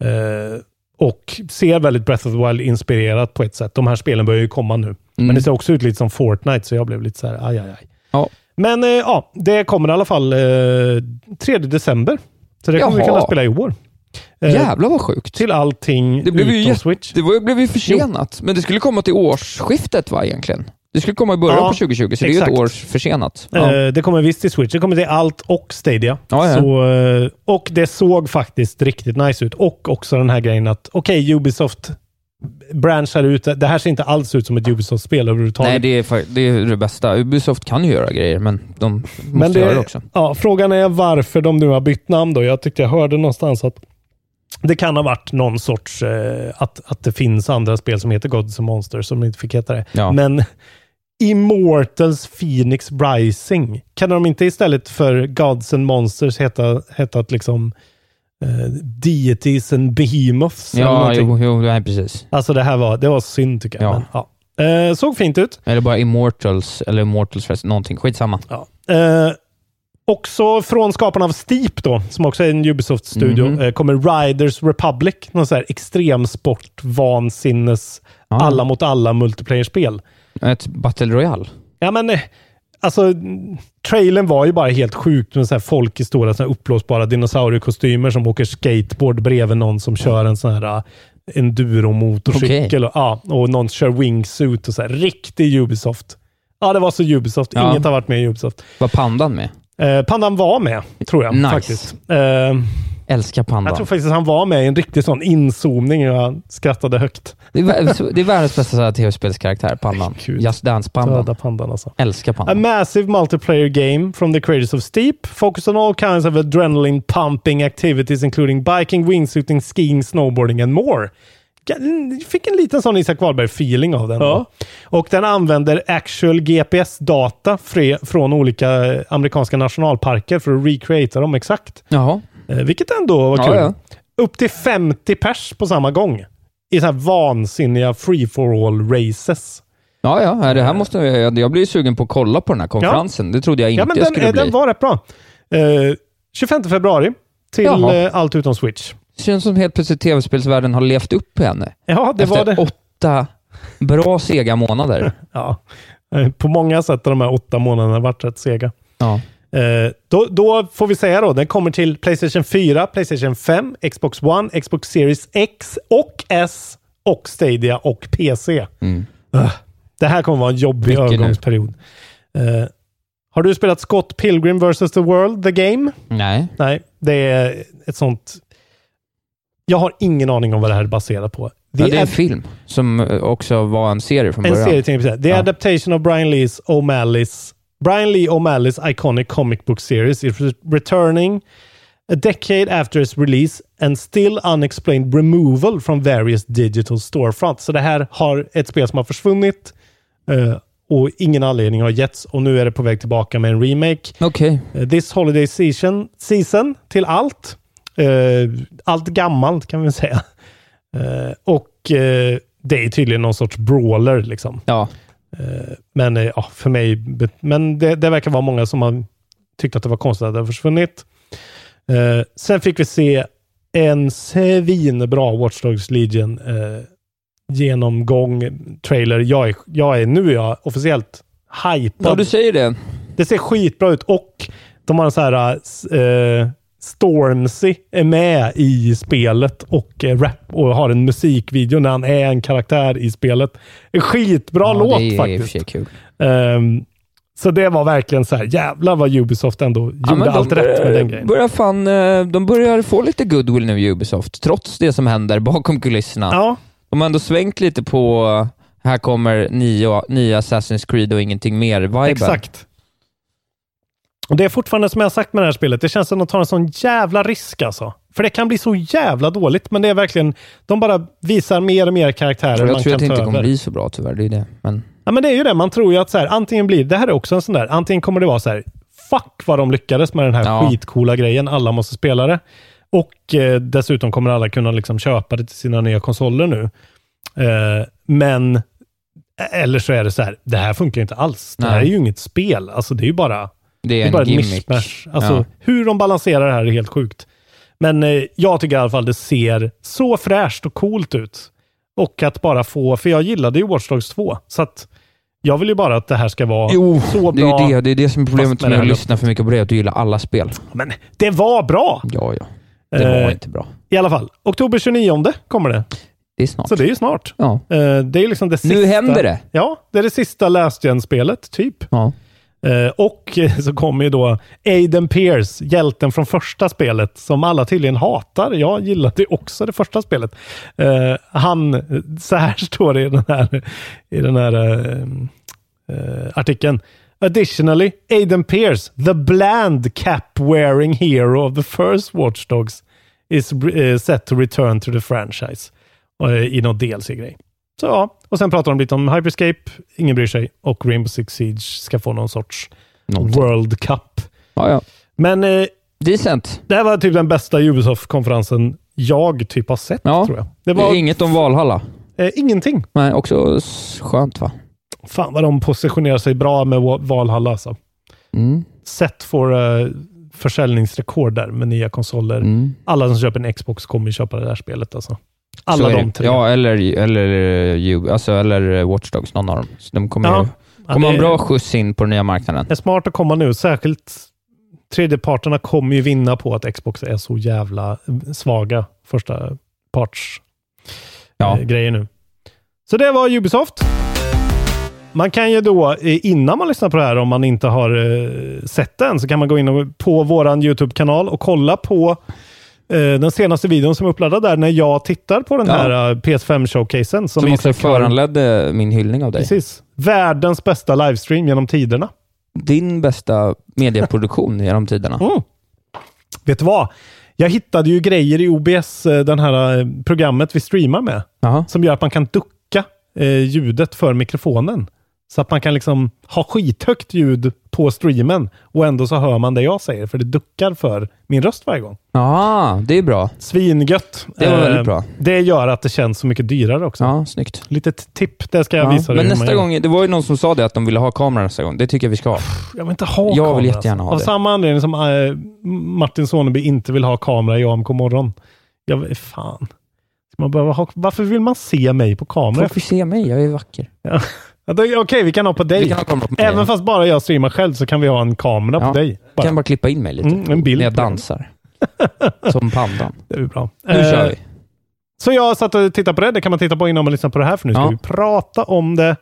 Speaker 4: Eh, och ser väldigt Breath of the Wild-inspirerat på ett sätt. De här spelen börjar ju komma nu.
Speaker 5: Mm.
Speaker 4: Men det ser också ut lite som Fortnite, så jag blev lite så här, aj, aj, aj.
Speaker 5: Ja.
Speaker 4: Men eh, ja, det kommer i alla fall eh, 3 december. Så det kommer vi
Speaker 5: Jaha.
Speaker 4: kunna spela i år. Eh,
Speaker 5: Jävlar vad sjukt.
Speaker 4: till allting
Speaker 5: Det blev ju
Speaker 4: utom
Speaker 5: jätte-
Speaker 4: Switch.
Speaker 5: Det var, blev ju försenat, men det skulle komma till årsskiftet va egentligen? Det skulle komma i början
Speaker 4: Ja,
Speaker 5: på 2020, så det är ju ett
Speaker 4: exakt.
Speaker 5: år försenat. Ja.
Speaker 4: Eh, Det kommer visst till Switch. Det kommer till allt och Stadia.
Speaker 5: Ja, ja.
Speaker 4: Så, eh, och det såg faktiskt riktigt nice ut. Och också den här grejen att, okej, Ubisoft branchar ut. Det här ser inte alls ut som ett Ubisoft-spel överhuvudtaget.
Speaker 5: Nej, det är, fa- det är det bästa. Ubisoft kan ju göra grejer, men de måste
Speaker 4: Men
Speaker 5: göra det också.
Speaker 4: Ja, frågan är varför de nu har bytt namn då. Jag tyckte jag hörde någonstans att det kan ha varit någon sorts, eh, att, att det finns andra spel som heter Gods and Monsters som inte fick heta det.
Speaker 5: Ja.
Speaker 4: Men Immortals Phoenix Rising, kan de inte istället för Gods and Monsters heta, hetat liksom eh, Deities and Behemoths? eller
Speaker 5: Ja,
Speaker 4: någonting?
Speaker 5: jo, jo, nej, precis.
Speaker 4: Alltså det här var, det var synd tycker jag.
Speaker 5: Ja.
Speaker 4: Men, ja. Eh, såg fint ut.
Speaker 5: Eller bara Immortals, eller Immortals förresten, någonting. Skitsamma.
Speaker 4: Ja. Eh, också från skaparna av Steep, då, som också är en Ubisoft-studio,
Speaker 5: Mhm.
Speaker 4: eh, kommer Riders Republic. Någon sån här extremsport, vansinnes,
Speaker 5: Ja.
Speaker 4: alla mot alla multiplayer-spel.
Speaker 5: Ett Battle Royale.
Speaker 4: Ja, men eh, alltså, mm, trailern var ju bara helt sjukt med så här folk i stora så här uppblåsbara dinosauriekostymer som åker skateboard bredvid någon som kör en sån här eh, enduromotorcykel.
Speaker 5: Okej.
Speaker 4: Och, ja, och någon kör wingsuit och så här. Riktig Ubisoft. Ja, det var så Ubisoft.
Speaker 5: Ja.
Speaker 4: Inget har varit med i Ubisoft.
Speaker 5: Var pandan med?
Speaker 4: Eh, Pandan var med, tror jag.
Speaker 5: Nice.
Speaker 4: faktiskt. Eh,
Speaker 5: Älskar
Speaker 4: jag
Speaker 5: pandan.
Speaker 4: tror faktiskt att han var med i en riktig sån inzoomning och jag skrattade högt.
Speaker 5: Det är, vär- det är världens bästa så här tv-spelskaraktär, pandan.
Speaker 4: Gud.
Speaker 5: Just Dance-pandan.
Speaker 4: Döda pandan alltså.
Speaker 5: Älskar
Speaker 4: A
Speaker 5: pandan.
Speaker 4: massive multiplayer game from the creators of Steep. Focus on all kinds of adrenaline pumping activities including biking, wingsuiting, skiing, snowboarding and more. Jag fick en liten sån Isak Wahlberg-feeling av den. Och den använder actual GPS-data fre- från olika eh, amerikanska nationalparker för att recreata dem exakt.
Speaker 5: Jaha.
Speaker 4: Eh, Vilket ändå var
Speaker 5: Ja,
Speaker 4: kul.
Speaker 5: ja.
Speaker 4: Upp till 50 pers på samma gång. I så här vansinniga free for all races.
Speaker 5: Ja, ja. nej, Det här måste jag, jag blir ju sugen på att kolla på den här konferensen. Det trodde jag inte
Speaker 4: Ja, men
Speaker 5: jag
Speaker 4: den,
Speaker 5: skulle
Speaker 4: eh,
Speaker 5: bli.
Speaker 4: den var rätt bra. Eh, 25 februari till
Speaker 5: Jaha.
Speaker 4: eh, allt utom Switch.
Speaker 5: känns som helt plötsligt tv-spelsvärlden har levt upp på henne.
Speaker 4: Ja, det
Speaker 5: efter
Speaker 4: var det.
Speaker 5: åtta bra sega månader.
Speaker 4: Ja. Eh, På många sätt har de här åtta månaderna varit rätt sega.
Speaker 5: Ja.
Speaker 4: Eh, då, då får vi säga då, den kommer till Playstation 4, Playstation 5, Xbox One, Xbox Series X och S och Stadia och PC.
Speaker 5: Mm.
Speaker 4: Ugh. det här kommer vara en jobbig
Speaker 5: Mycket nu.
Speaker 4: övergångsperiod. Eh, har du spelat Scott Pilgrim vs. The World, The Game?
Speaker 5: Nej.
Speaker 4: Nej, det är ett sånt... Jag har ingen aning om vad det här är baserat på. The
Speaker 5: Ja, det är en
Speaker 4: Ad-
Speaker 5: film som eh, också var en serie från
Speaker 4: en
Speaker 5: början.
Speaker 4: serie till exempel. The
Speaker 5: Ja.
Speaker 4: adaptation of Brian Lee's O'Malley's Brian Lee O'Malley's iconic comic book series is re- returning a decade after its release and still unexplained removal from various digital storefronts. Så det här har ett spel som har försvunnit eh, och ingen anledning har getts och nu är det på väg tillbaka med en remake.
Speaker 5: Okej.
Speaker 4: Eh, This holiday season, season till allt. Eh, allt gammalt kan vi säga. Eh, och eh, det är tydligen någon sorts brawler liksom.
Speaker 5: Ja.
Speaker 4: Eh, men eh, ja, för mig, be- men det, det verkar vara många som har tyckt att det var konstigt att det har försvunnit. Eh, sen fick vi se en svinbra Watch Dogs Legion eh, genomgång, trailer. Jag är, jag är, nu är jag officiellt hypad.
Speaker 5: ja, du säger det.
Speaker 4: Det ser skitbra ut och de har en så här... Eh, Stormzy är med i spelet och eh, rap och har en musikvideo när han är en karaktär i spelet. En skitbra
Speaker 5: ja,
Speaker 4: låt
Speaker 5: det är i och för
Speaker 4: faktiskt.
Speaker 5: sig kul.
Speaker 4: Ehm, så det var verkligen så här, jävlar vad Ubisoft ändå
Speaker 5: Ja,
Speaker 4: gjorde
Speaker 5: men de
Speaker 4: allt rätt med den grejen.
Speaker 5: Börjar fan, eh, de börjar få lite goodwill nu i Ubisoft, trots det som händer bakom kulisserna.
Speaker 4: Ja,
Speaker 5: De har ändå svängt lite på eh, här kommer nya, nya Assassin's Creed och ingenting mer-viben.
Speaker 4: exakt. Och det är fortfarande som jag har sagt med det här spelet, det känns som att de tar en sån jävla risk alltså. För det kan bli så jävla dåligt, men det är verkligen, de bara visar mer och mer karaktärer
Speaker 5: Och
Speaker 4: man
Speaker 5: Jag tror
Speaker 4: kan
Speaker 5: att det
Speaker 4: ta
Speaker 5: inte
Speaker 4: över.
Speaker 5: kommer bli så bra tyvärr, det är det. Men
Speaker 4: Ja, men det är ju det. Man tror ju att så här, antingen blir det här är också en sån där, antingen kommer det vara så här, fuck vad de lyckades med den här
Speaker 5: Ja.
Speaker 4: skitcoola grejen, alla måste spela det. Och eh, dessutom kommer alla kunna liksom köpa det till sina nya konsoler nu. Eh, men, eh, eller så är det så här, det här funkar ju inte alls. Det här
Speaker 5: Nej.
Speaker 4: är ju inget spel, alltså det är ju bara,
Speaker 5: det
Speaker 4: det
Speaker 5: är,
Speaker 4: är bara
Speaker 5: en
Speaker 4: ett
Speaker 5: gimmick.
Speaker 4: mishmash. Alltså,
Speaker 5: Ja.
Speaker 4: Hur de balanserar det här är helt sjukt. Men eh, jag tycker i alla fall det ser så fräscht och coolt ut. Och att bara få, för jag gillade ju Watch Dogs 2, så att jag vill ju bara att det här ska vara
Speaker 5: Jo,
Speaker 4: så
Speaker 5: det
Speaker 4: bra.
Speaker 5: är ju det. Det är det som är
Speaker 4: Fast
Speaker 5: problemet
Speaker 4: med det
Speaker 5: med
Speaker 4: här
Speaker 5: att lyssna för mycket på det, att du gillar alla spel.
Speaker 4: Men det var bra
Speaker 5: Ja, ja. Det var
Speaker 4: Eh.
Speaker 5: inte bra.
Speaker 4: i alla fall. Oktober 29 kommer det,
Speaker 5: Det är snart.
Speaker 4: så det är ju snart.
Speaker 5: Ja.
Speaker 4: Eh, det är ju liksom det sista.
Speaker 5: Nu händer det!
Speaker 4: Ja, det är det sista Last Gen-spelet, typ.
Speaker 5: Ja.
Speaker 4: Eh, och eh, så kommer ju då Aiden Pierce, hjälten från första spelet, som alla tydligen hatar. Jag gillade ju också det första spelet. Eh, han, så här står det i den här, i den här eh, eh, artikeln. Additionally, Aiden Pierce, the bland cap-wearing hero of the first Watch Dogs, is eh, set to return to the franchise. Eh, I någon DLC-grej. Så ja, och sen pratar de lite om Hyperscape, ingen bryr sig, och Rainbow Six Siege ska få någon sorts
Speaker 5: Någonting.
Speaker 4: World Cup.
Speaker 5: Ja, ja.
Speaker 4: Men eh,
Speaker 5: Decent.
Speaker 4: det här var typ den bästa Ubisoft-konferensen jag typ har sett,
Speaker 5: Ja.
Speaker 4: tror jag. Det
Speaker 5: Det
Speaker 4: var
Speaker 5: är inget om Valhalla.
Speaker 4: eh, ingenting.
Speaker 5: Nej, också s- skönt va?
Speaker 4: Fan vad de positionerar sig bra med Wa- Valhalla alltså.
Speaker 5: Mm.
Speaker 4: Set for eh, försäljningsrekord där med nya konsoler.
Speaker 5: Mm.
Speaker 4: Alla som köper en Xbox kommer ju köpa det där spelet alltså. Alla
Speaker 5: Så är
Speaker 4: de
Speaker 5: det.
Speaker 4: tre.
Speaker 5: Ja, eller, eller, eh, alltså, eller eh, Watch Dogs, någon av dem. Så de kommer
Speaker 4: Ja.
Speaker 5: ju kommer ha
Speaker 4: det
Speaker 5: en bra skjuts in på den nya marknaden.
Speaker 4: är smart att komma nu, särskilt tredjeparterna kommer ju vinna på att Xbox är så jävla eh, svaga första parts
Speaker 5: Ja.
Speaker 4: eh, grejer nu. Så det var Ubisoft. Man kan ju då, eh, innan man lyssnar på det här, om man inte har eh, sett den, så kan man gå in och, på vår YouTube-kanal och kolla på eh, den senaste videon som är uppladdad där, när jag tittar på den
Speaker 5: Ja.
Speaker 4: här eh, PS5-showcasen. Som,
Speaker 5: Som också
Speaker 4: Isak har-
Speaker 5: föranledde min hyllning av dig.
Speaker 4: Precis. Världens bästa livestream genom tiderna.
Speaker 5: Din bästa medieproduktion genom tiderna.
Speaker 4: Mm. Vet du vad? Jag hittade ju grejer i OBS, eh, den här eh, programmet vi streamar med,
Speaker 5: Jaha.
Speaker 4: som gör att man kan ducka eh, ljudet för mikrofonen. Så att man kan liksom ha skithögt ljud på streamen och ändå så hör man det jag säger, för det duckar för min röst varje gång.
Speaker 5: Ja, det är bra.
Speaker 4: Svingött! Eh,
Speaker 5: Det var väldigt bra.
Speaker 4: Det gör att det känns så mycket dyrare också.
Speaker 5: Ja, snyggt.
Speaker 4: Litet tipp, det ska jag
Speaker 5: Ja.
Speaker 4: visa dig
Speaker 5: Men
Speaker 4: hur man
Speaker 5: nästa
Speaker 4: gör.
Speaker 5: gång, det var ju någon som sa det att de ville ha kamera nästa gång. Det tycker jag vi ska ha.
Speaker 4: Jag vill inte ha
Speaker 5: Jag vill
Speaker 4: kamera.
Speaker 5: jättegärna ha
Speaker 4: Av
Speaker 5: det.
Speaker 4: samma anledning som eh, Martin Soneby inte vill ha kamera i AMK morgon. Jag, fan. Ska Man behöva ha, varför vill man se mig på kamera?
Speaker 5: Folk vill se mig, jag är vacker.
Speaker 4: Ja. Ja, då- Okej, vi kan ha på dig.
Speaker 5: Vi kan ha kamera på mig.
Speaker 4: Även fast bara jag streamar själv så kan vi ha en kamera
Speaker 5: Ja.
Speaker 4: på dig.
Speaker 5: Jag
Speaker 4: Bara.
Speaker 5: kan bara klippa in mig lite.
Speaker 4: Mm, en bild
Speaker 5: När jag
Speaker 4: på dig.
Speaker 5: dansar. Som pandan.
Speaker 4: Det är bra. Eh,
Speaker 5: Nu kör vi.
Speaker 4: Så jag satt och tittade på det. Det kan man titta på innan man lyssnar på det här, för nu ska
Speaker 5: Ja.
Speaker 4: vi prata om det.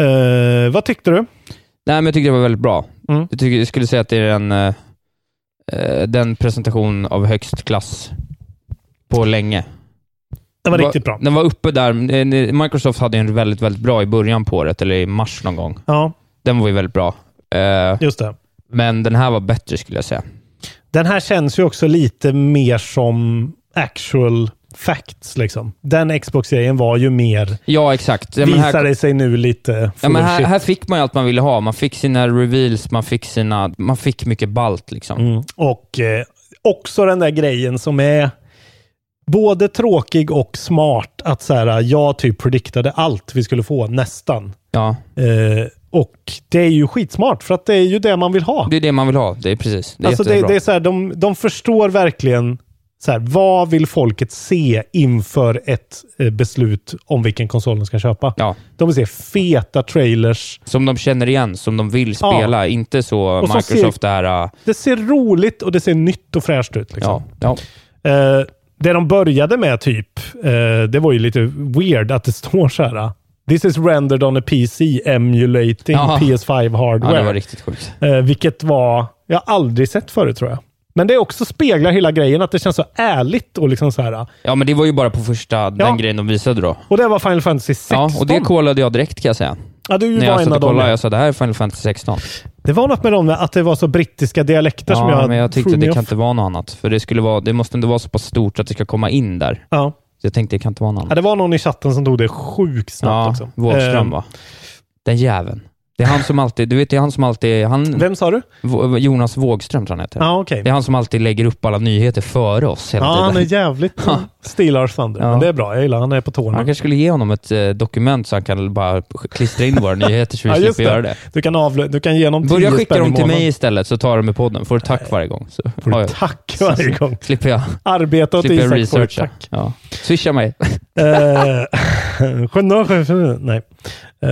Speaker 4: Eh, vad tyckte du?
Speaker 5: Nej, men jag tycker det var väldigt bra.
Speaker 4: Mm.
Speaker 5: Jag, tycker, jag skulle säga att det är den, eh, eh, den presentation av högst klass på länge.
Speaker 4: Det var riktigt bra.
Speaker 5: Den var uppe där. Eh, Microsoft hade en väldigt, väldigt bra i början på året, eller i mars någon gång.
Speaker 4: Ja,
Speaker 5: Den var ju väldigt bra. Eh,
Speaker 4: just det.
Speaker 5: Men den här var bättre skulle jag säga.
Speaker 4: Den här känns ju också lite mer som actual facts. Liksom. Den Xbox-grejen var ju mer,
Speaker 5: Ja, exakt. Ja, men
Speaker 4: visar
Speaker 5: här,
Speaker 4: det sig nu lite.
Speaker 5: ja, men här,
Speaker 4: bullshit.
Speaker 5: här fick man ju allt man ville ha. Man fick sina reveals, man fick sina... Man fick mycket balt liksom.
Speaker 4: Mm. Och eh, också den där grejen som är både tråkig och smart att så här, jag typ prediktade allt vi skulle få, nästan.
Speaker 5: Ja,
Speaker 4: Eh, och det är ju skitsmart, för att det är ju det man vill ha.
Speaker 5: det är det man vill ha. Det är precis. Det är
Speaker 4: alltså det,
Speaker 5: jättebra.
Speaker 4: det är så här, de, de förstår verkligen så här, vad vill folket se inför ett eh, beslut om vilken konsol de ska köpa.
Speaker 5: Ja,
Speaker 4: De vill se feta trailers.
Speaker 5: som de känner igen, som de vill spela. Inte så
Speaker 4: Och så
Speaker 5: Microsoft där... äh,
Speaker 4: Det ser roligt och det ser nytt och fräscht ut. Liksom.
Speaker 5: Ja, ja.
Speaker 4: Eh, det de började med typ, eh, det var ju lite weird att det står så här. This is rendered on a PC emulating
Speaker 5: Ja.
Speaker 4: PS5
Speaker 5: ja,
Speaker 4: hardware.
Speaker 5: det var riktigt sjukt.
Speaker 4: Eh, vilket var, jag har aldrig sett förut tror jag. Men det också speglar hela grejen, att det känns så ärligt och liksom så här.
Speaker 5: Ja, men det var ju bara på första, den grejen de visade då.
Speaker 4: Och det var Final Fantasy 16.
Speaker 5: Ja, och det kollade jag direkt kan jag säga.
Speaker 4: Ja, du
Speaker 5: När
Speaker 4: var
Speaker 5: jag
Speaker 4: en
Speaker 5: satt
Speaker 4: av
Speaker 5: och
Speaker 4: dem.
Speaker 5: kollade,
Speaker 4: ja.
Speaker 5: jag sa det här är Final Fantasy 16.
Speaker 4: Det var något med dem, att det var så brittiska dialekter som
Speaker 5: Ja,
Speaker 4: jag...
Speaker 5: men jag tyckte
Speaker 4: threw
Speaker 5: det
Speaker 4: me
Speaker 5: kan
Speaker 4: off.
Speaker 5: inte vara något annat. För det, skulle vara, det måste inte vara så pass stort att det ska komma in där.
Speaker 4: Ja.
Speaker 5: Så jag tänkte det kan inte vara något
Speaker 4: ja,
Speaker 5: annat.
Speaker 4: det var någon i chatten som tog det sjukt snabbt
Speaker 5: Ja,
Speaker 4: också.
Speaker 5: Wåhlström
Speaker 4: Eh,
Speaker 5: va? Den jäveln. Det är han som alltid, du vet det är han som alltid, han,
Speaker 4: Vem sa du?
Speaker 5: Vå- Jonas Wågström tror jag han heter.
Speaker 4: Ja, okej.
Speaker 5: Det är han som alltid lägger upp alla nyheter före oss hela
Speaker 4: Ja, han är
Speaker 5: tiden.
Speaker 4: jävligt Steel Arch Thunder.
Speaker 5: Ja.
Speaker 4: Men det är bra, jag gillar han är på
Speaker 5: Man
Speaker 4: tårna.
Speaker 5: kanske skulle ge honom ett eh, dokument så han kan bara klistra in våra nyheter så vi
Speaker 4: Ja, just
Speaker 5: slipper göra
Speaker 4: det.
Speaker 5: det.
Speaker 4: Du kan, avlö- du kan ge dem 10
Speaker 5: Börja skicka
Speaker 4: spänn i
Speaker 5: dem till mig
Speaker 4: månaden.
Speaker 5: istället så tar de i podden. Får du tack varje gång. Så
Speaker 4: Får
Speaker 5: har
Speaker 4: du
Speaker 5: jag-
Speaker 4: tack varje gång.
Speaker 5: slipper jag,
Speaker 4: Arbeta åt
Speaker 5: slipper jag
Speaker 4: Isak får du
Speaker 5: researcha.
Speaker 4: tack.
Speaker 5: Ja. Swisha mig.
Speaker 4: Eh, Genör- Nej. Eh,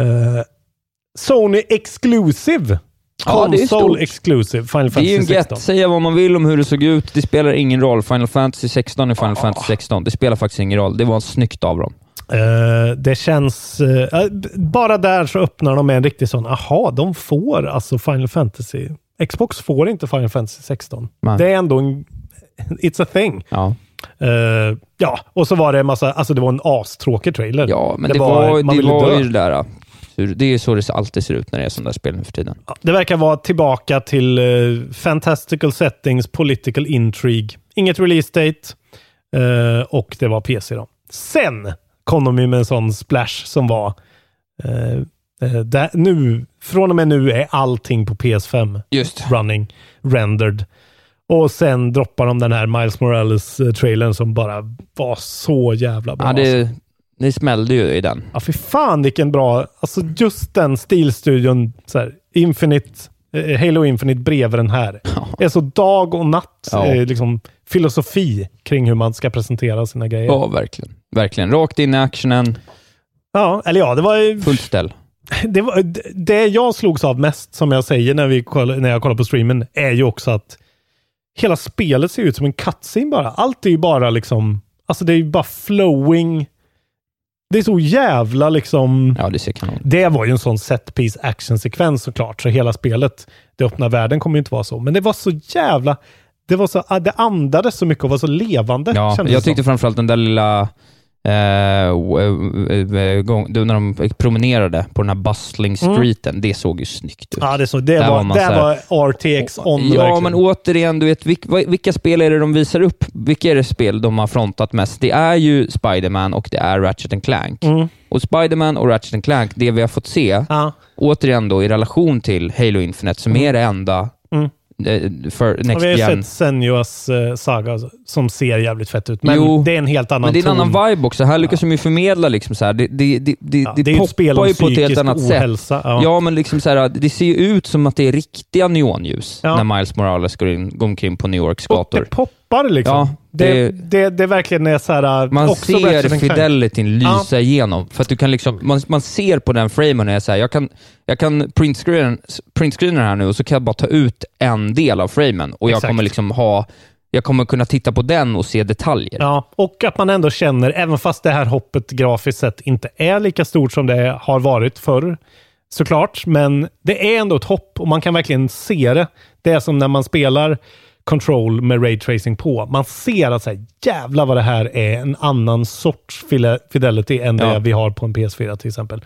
Speaker 4: Sony Exclusive.
Speaker 5: Ja, det är stort.
Speaker 4: Console Exclusive. Final
Speaker 5: Det är
Speaker 4: Fantasy
Speaker 5: ju en
Speaker 4: 16.
Speaker 5: gett. Säga vad man vill om hur det såg ut. Det spelar ingen roll. Final Fantasy 16 är Final Fantasy 16. Det spelar faktiskt ingen roll. Det var snyggt av dem.
Speaker 4: Eh, det känns... eh, eh, b- bara där så öppnar de med en riktig sån, aha, de får alltså Final Fantasy. Xbox får inte Final Fantasy 16.
Speaker 5: Nej.
Speaker 4: Det är ändå en... It's a thing.
Speaker 5: Ja.
Speaker 4: Eh, ja, och så var det en massa... Alltså det var en astråkig trailer.
Speaker 5: Ja, men det, var,
Speaker 4: man
Speaker 5: det
Speaker 4: ville
Speaker 5: var
Speaker 4: dö.
Speaker 5: ju det där. ja. Hur- Det är ju så det alltid ser ut när det är sådana där spel nu för tiden.
Speaker 4: Ja, Det verkar vara tillbaka till eh, fantastical settings, political intrigue. Inget release date eh, och det var PC då. Sen kom de ju med en sån splash som var eh, eh, där, nu, från och med nu är allting på PS5
Speaker 5: Just.
Speaker 4: running, rendered. Och sen droppar de den här Miles Morales-trailern som bara var så jävla bra.
Speaker 5: Ja,
Speaker 4: alltså.
Speaker 5: det, det smällde ju i den.
Speaker 4: Ja, fy fan vilken bra... Alltså just den stilstudion, så här, Infinite, eh, Halo Infinite bredvid den här. Det är så dag och natt
Speaker 5: Ja.
Speaker 4: eh, liksom, filosofi kring hur man ska presentera sina grejer. Ja,
Speaker 5: Ja, verkligen. Verkligen. Rakt in i actionen,
Speaker 4: eller ja, det var, ju-
Speaker 5: fullt ställ.
Speaker 4: det var d- det jag slogs av mest, som jag säger när, vi koll, när jag kollar på streamen, är ju också att hela spelet ser ut som en cutscene bara. Allt är ju bara liksom, alltså det är ju bara flowing. Det är så jävla liksom...
Speaker 5: Ja, det ser kanon ut.
Speaker 4: Det var ju en sån set piece actionsekvens såklart, så hela spelet, det öppna världen kommer ju inte vara så. Men det var så jävla... Det, var så, ah, det andades så mycket och var så levande.
Speaker 5: Ja,
Speaker 4: kändes
Speaker 5: jag
Speaker 4: det som.
Speaker 5: tyckte framförallt den där lilla... Eh, w- w- w- eh, gång, då när de promenerade på den här bustling
Speaker 4: Mm.
Speaker 5: streeten. Det såg ju snyggt ut.
Speaker 4: Ja, det, så, det
Speaker 5: Där var
Speaker 4: var,
Speaker 5: man
Speaker 4: det
Speaker 5: så här-
Speaker 4: var RTX on
Speaker 5: ja,
Speaker 4: verkligen.
Speaker 5: men återigen, du vet, vilk, vad- vilka spel är det de visar upp? Vilka är det spel de har frontat mest? Det är ju Spider-Man och det är Ratchet and Clank.
Speaker 4: Mm.
Speaker 5: Och Spider-Man och Ratchet and Clank, det vi har fått se,
Speaker 4: Ja.
Speaker 5: återigen då i relation till Halo Infinite, som är det enda eh, för
Speaker 4: Mm. Ja,
Speaker 5: Next
Speaker 4: vi har ju
Speaker 5: Gen.
Speaker 4: sett Senuas eh, saga som ser jävligt fett ut, men
Speaker 5: Jo,
Speaker 4: det är en helt annan
Speaker 5: Men det är en
Speaker 4: ton.
Speaker 5: annan vibe också. Här lyckas de ju förmedla liksom så här, det, det, det, det,
Speaker 4: Ja,
Speaker 5: det,
Speaker 4: det är ju ett spel
Speaker 5: poppar
Speaker 4: om
Speaker 5: ju på ett helt
Speaker 4: psykisk
Speaker 5: annat
Speaker 4: ohälsa,
Speaker 5: sätt.
Speaker 4: ja.
Speaker 5: Ja. men liksom så här, det ser ju ut som att det är riktiga neonljus
Speaker 4: Ja.
Speaker 5: när Miles Morales går, in, går omkring på New Yorks
Speaker 4: och
Speaker 5: gator.
Speaker 4: det poppar liksom.
Speaker 5: Ja,
Speaker 4: det,
Speaker 5: det-
Speaker 4: det, det verkligen är så här... eh,
Speaker 5: Man
Speaker 4: också Ratchet
Speaker 5: ser
Speaker 4: and Clank.
Speaker 5: fidelityn lysa
Speaker 4: Ja.
Speaker 5: igenom. För att du kan liksom, man, man ser på den framen och jag säger jag kan, jag kan printscreen, printscreena här nu och så kan jag bara ta ut en del av framen och jag
Speaker 4: Exakt.
Speaker 5: kommer liksom ha jag kommer kunna titta på den och se detaljer.
Speaker 4: Ja, och att man ändå känner, även fast det här hoppet grafiskt sett inte är lika stort som det har varit förr, såklart, men det är ändå ett hopp och man kan verkligen se det. Det är som när man spelar Control med Ray Tracing på. Man ser att så här, jävlar vad det här är en annan sorts file- fidelity än det
Speaker 5: Ja.
Speaker 4: vi har på en PS4 till exempel.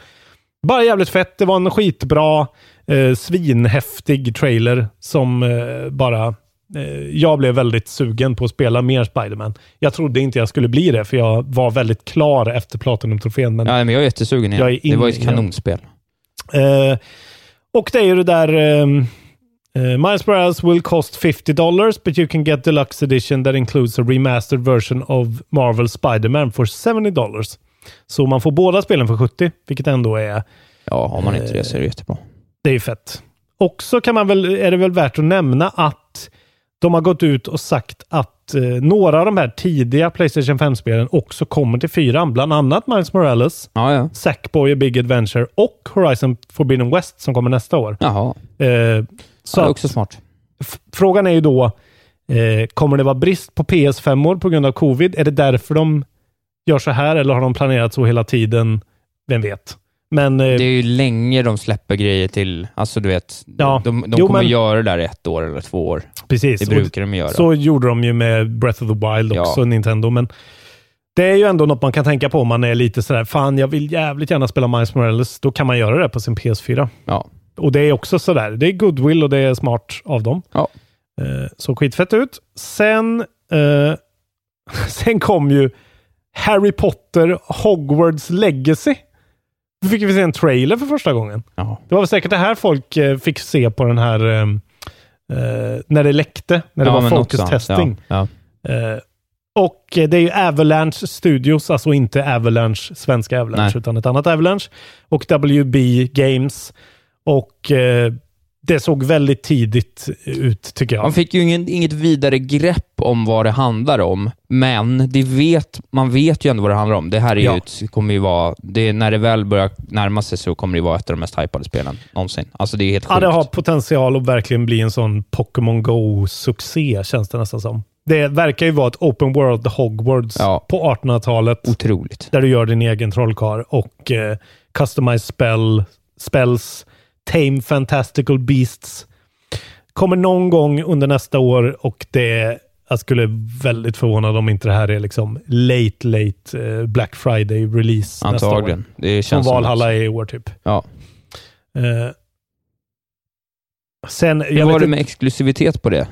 Speaker 4: Bara jävligt fett. Det var en skitbra, eh, svinhäftig trailer som eh, bara... Eh, jag blev väldigt sugen på att spela mer Spider-Man. Jag trodde inte jag skulle bli det, för jag var väldigt klar efter Platinum-trofén. Men,
Speaker 5: Ja, men jag är jättesugen igen.
Speaker 4: Jag är
Speaker 5: det var ju
Speaker 4: inne
Speaker 5: ett
Speaker 4: i det.
Speaker 5: kanonspel.
Speaker 4: eh, och det är ju det där... Eh, Uh, Miles Morales will cost $50, but you can get deluxe edition that includes a remastered version of Marvel Spider-Man for $70. Så man får båda spelen för 70, vilket ändå är,
Speaker 5: Ja, har man inte det
Speaker 4: Eh.
Speaker 5: så är det jättebra.
Speaker 4: det är ju fett. Också kan man väl, är det väl värt att nämna att de har gått ut och sagt att eh, några av de här tidiga Playstation 5-spelen också kommer till fyran, bland annat Miles Morales,
Speaker 5: Ja, ja.
Speaker 4: Sackboy A Big Adventure och Horizon Forbidden West som kommer nästa år.
Speaker 5: Jaha.
Speaker 4: Eh, så
Speaker 5: Så det är
Speaker 4: att-
Speaker 5: också smart.
Speaker 4: F- frågan är ju då, eh, kommer det vara brist på PS5-or på grund av covid? Är det därför de gör så här eller har de planerat så hela tiden? Vem vet? Men eh,
Speaker 5: Det är ju länge de släpper grejer till, alltså du vet,
Speaker 4: Ja.
Speaker 5: de, de
Speaker 4: Jo,
Speaker 5: kommer
Speaker 4: men-
Speaker 5: göra det där i ett år eller två år.
Speaker 4: precis,
Speaker 5: Det
Speaker 4: Och
Speaker 5: brukar de göra.
Speaker 4: så gjorde de ju med Breath of the Wild
Speaker 5: Ja.
Speaker 4: också, Nintendo. Men det är ju ändå något man kan tänka på om man är lite sådär, fan jag vill jävligt gärna spela Miles Morales. Då kan man göra det på sin PS4.
Speaker 5: Ja.
Speaker 4: Och det är också sådär, det är goodwill och det är smart av dem.
Speaker 5: Ja.
Speaker 4: Eh, Så skitfett ut. Sen, eh, sen kom ju Harry Potter Hogwarts Legacy. Då fick vi se en trailer för första gången.
Speaker 5: Ja.
Speaker 4: Det var väl säkert det här folk eh, fick se på den här eh, eh, när det läckte, när det
Speaker 5: ja,
Speaker 4: var
Speaker 5: men något sånt.
Speaker 4: fokustesting.
Speaker 5: Ja,
Speaker 4: Eh, och eh, det är ju Avalanche Studios, alltså inte Avalanche, svenska Avalanche,
Speaker 5: Nej.
Speaker 4: utan ett annat Avalanche. Och WB Games. Och eh, det såg väldigt tidigt ut, tycker
Speaker 5: ja.
Speaker 4: jag.
Speaker 5: Man fick ju ingen, inget vidare grepp om vad det handlar om, men det vet, man vet ju ändå vad det handlar om. Det här är
Speaker 4: Ja.
Speaker 5: ju, ett- kommer ju vara, det, när det väl börjar närma sig så kommer det vara ett av de mest hypade spelen någonsin. Alltså det är helt
Speaker 4: Ja,
Speaker 5: sjukt.
Speaker 4: det har potential att verkligen bli en sån Pokémon Go-succé, känns det nästan som. Det verkar ju vara ett open world Hogwarts
Speaker 5: Ja.
Speaker 4: på 1800-talet,
Speaker 5: Otroligt.
Speaker 4: där du gör din egen trollkarl och eh, customized spell, spells, tame fantastical beasts. Kommer någon gång under nästa år och det jag skulle väldigt förvånad om inte det här är liksom late, late eh, Black Friday-release nästa år.
Speaker 5: Antagligen. Det
Speaker 4: Som
Speaker 5: känns som
Speaker 4: Valhalla är i år typ.
Speaker 5: Ja.
Speaker 4: Eh, sen,
Speaker 5: Hur
Speaker 4: jag
Speaker 5: var
Speaker 4: vet
Speaker 5: det
Speaker 4: inte-
Speaker 5: med exklusivitet på det?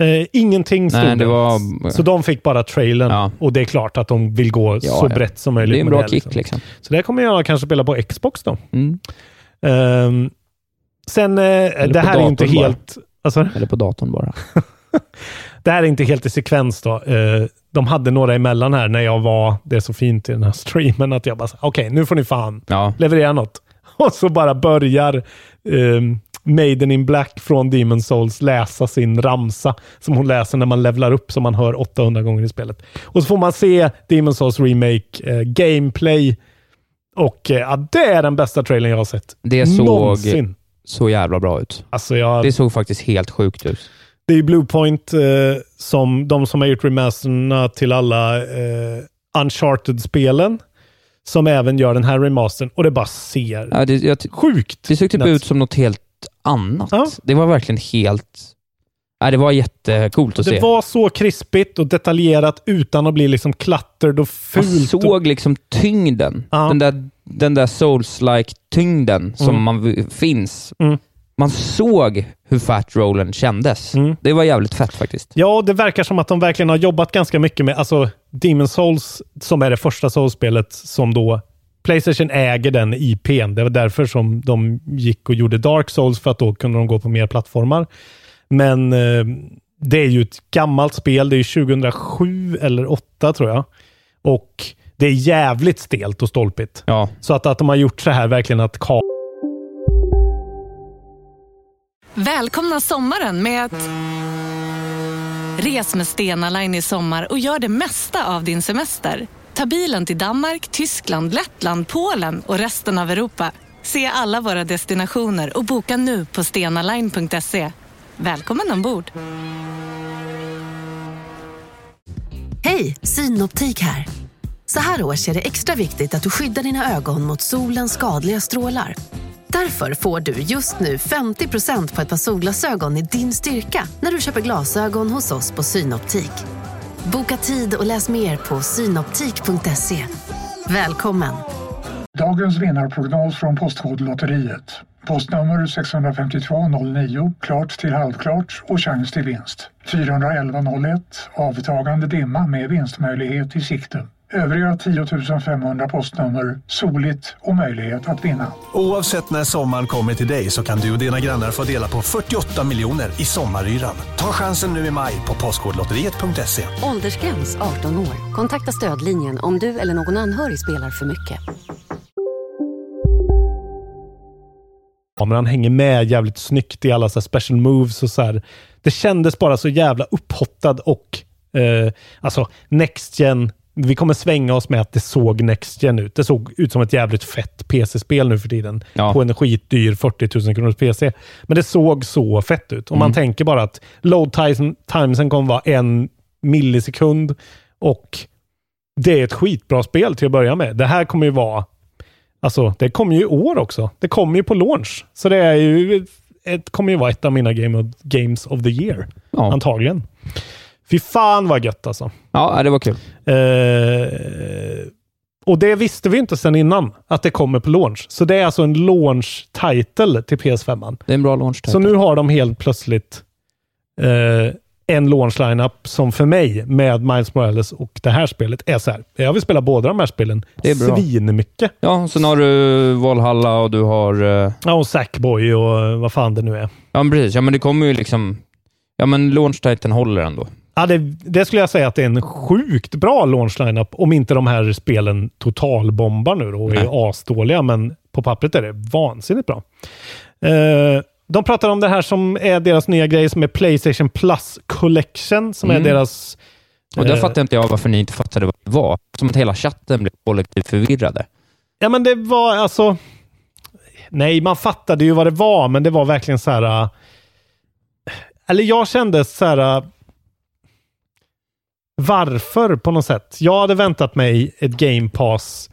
Speaker 4: Eh, ingenting stod
Speaker 5: Nej, det
Speaker 4: där.
Speaker 5: var-
Speaker 4: Så de fick bara trailern
Speaker 5: Ja.
Speaker 4: och det är klart att de vill gå
Speaker 5: Ja,
Speaker 4: så
Speaker 5: ja.
Speaker 4: brett som möjligt.
Speaker 5: Det är en
Speaker 4: med
Speaker 5: bra
Speaker 4: här,
Speaker 5: kick liksom.
Speaker 4: Så det kommer jag kanske spela på Xbox då.
Speaker 5: Mm.
Speaker 4: Ehm, sen, eh, det
Speaker 5: på
Speaker 4: här är ju inte
Speaker 5: datorn bara.
Speaker 4: helt... Alltså,
Speaker 5: Eller på datorn bara.
Speaker 4: det här är inte helt i sekvens då. Eh, de hade några emellan här när jag var, det är så fint i den här streamen, att jag bara, så här, okej, nu får ni fan
Speaker 5: Ja.
Speaker 4: leverera något. Och så bara börjar ehm, Maiden in Black från Demon Souls läsa sin ramsa som hon läser när man levlar upp som man hör 800 gånger i spelet. Och så får man se Demon Souls Remake eh, Gameplay och eh, ja, det är den bästa trailern jag har sett.
Speaker 5: Det såg
Speaker 4: Någonsin.
Speaker 5: så jävla bra ut.
Speaker 4: Alltså jag,
Speaker 5: Det såg faktiskt helt sjukt ut.
Speaker 4: det är ju Bluepoint, eh, som, de som har gjort remasterna till alla eh, Uncharted-spelen, som även gör den här remastern. Och det bara ser
Speaker 5: Ja, det, jag, ty-
Speaker 4: sjukt
Speaker 5: det såg typ
Speaker 4: nuts.
Speaker 5: ut som något helt annat.
Speaker 4: Ja.
Speaker 5: Det var verkligen helt... Ja, det var jättecoolt att
Speaker 4: Det
Speaker 5: se.
Speaker 4: var så krispigt och detaljerat utan att bli liksom klattered och
Speaker 5: Man
Speaker 4: fult. och,
Speaker 5: såg liksom tyngden.
Speaker 4: Ja.
Speaker 5: Den där, den där souls-like tyngden som man v- finns.
Speaker 4: Mm.
Speaker 5: Man såg hur fat rollen kändes.
Speaker 4: Mm.
Speaker 5: Det var jävligt fett faktiskt.
Speaker 4: ja, och det verkar som att de verkligen har jobbat ganska mycket med alltså Demon Souls, som är det första Souls-spelet som då Playstation äger den IPn. Det var därför som de gick och gjorde Dark Souls, för att då kunde de gå på mer plattformar. Men eh, det är ju ett gammalt spel. Det är ju 2007 eller 2008 tror jag. Och det är jävligt stelt och stolpigt.
Speaker 5: Ja.
Speaker 4: Så att, att de har gjort så här verkligen att ka-
Speaker 6: Välkomna sommaren med att... Res med Stena Line i sommar och gör det mesta av din semester. Ta bilen till Danmark, Tyskland, Lettland, Polen och resten av Europa. Se alla våra destinationer och boka nu på stenaline.se. Välkommen ombord!
Speaker 7: Hej, Synoptik här. Så här års är det extra viktigt att du skyddar dina ögon mot solens skadliga strålar. Därför får du just nu 50% på ett par solglasögon i din styrka när du köper glasögon hos oss på Synoptik. Boka tid och läs mer på synoptik.se. Välkommen!
Speaker 8: Dagens vinnarprognos från Postkodlotteriet. Postnummer 65209, klart till halvklart och chans till vinst. 41101, avtagande dimma med vinstmöjlighet i sikte. Övriga 10 500 postnummer soligt och möjlighet att vinna.
Speaker 9: Oavsett när sommaren kommer till dig så kan du och dina grannar få dela på 48 miljoner i sommaryran. Ta chansen nu i maj på Postkodlotteriet.se.
Speaker 10: Åldersgräns 18 år. Kontakta stödlinjen om du eller någon anhörig spelar för mycket.
Speaker 4: Ja, men han hänger med jävligt snyggt i alla så här special moves och så här. Det kändes bara så jävla upphottad och eh, alltså next gen. Vi kommer svänga oss med att det såg next gen ut. Det såg ut som ett jävligt fett PC-spel nu för tiden.
Speaker 5: Ja.
Speaker 4: På en skitdyr 40 000 kronors PC. Men det såg så fett ut. Om man tänker bara att load time- timesen kommer vara en millisekund och det är ett skitbra spel till att börja med. Det här kommer ju vara Alltså, det kommer ju i år också. Det kommer ju på launch. Så det är ju, ett, kommer ju vara ett av mina game of, Games of the Year.
Speaker 5: Ja.
Speaker 4: Antagligen. Fy fan vad gött alltså.
Speaker 5: Ja, det var kul.
Speaker 4: Eh, och det visste vi inte sedan innan, att det kommer på launch. Så det är alltså en launch-title till PS5. -an.
Speaker 5: Det är en bra launch typ.
Speaker 4: Så nu har de helt plötsligt eh, en launch lineup som för mig, med Miles Morales och det här spelet, är så här. Jag vill spela båda de här spelen
Speaker 5: Det är bra.
Speaker 4: svinmycket.
Speaker 5: Ja, sen har du Valhalla och du har... eh,
Speaker 4: Ja, och Sackboy och eh, vad fan det nu är.
Speaker 5: Ja, men precis. Ja, men det kommer ju liksom... Ja, men launch-titeln håller ändå.
Speaker 4: Ja, det, det skulle jag säga att det är en sjukt bra launch lineup om inte de här spelen totalbombar nu då och
Speaker 5: Nej.
Speaker 4: är asdåliga, men på pappret är det vansinnigt bra. Eh, de pratar om det här som är deras nya grej som är Playstation Plus Collection, som
Speaker 5: Mm.
Speaker 4: är deras...
Speaker 5: Och där
Speaker 4: eh,
Speaker 5: fattar inte jag varför ni inte fattade vad det var. Som att hela chatten blev kollektivt förvirrade.
Speaker 4: Ja, men det var alltså... Nej, man fattade ju vad det var, men det var verkligen så här... äh, Eller jag kände så här... äh, Varför på något sätt? Jag hade väntat mig ett Game Pass...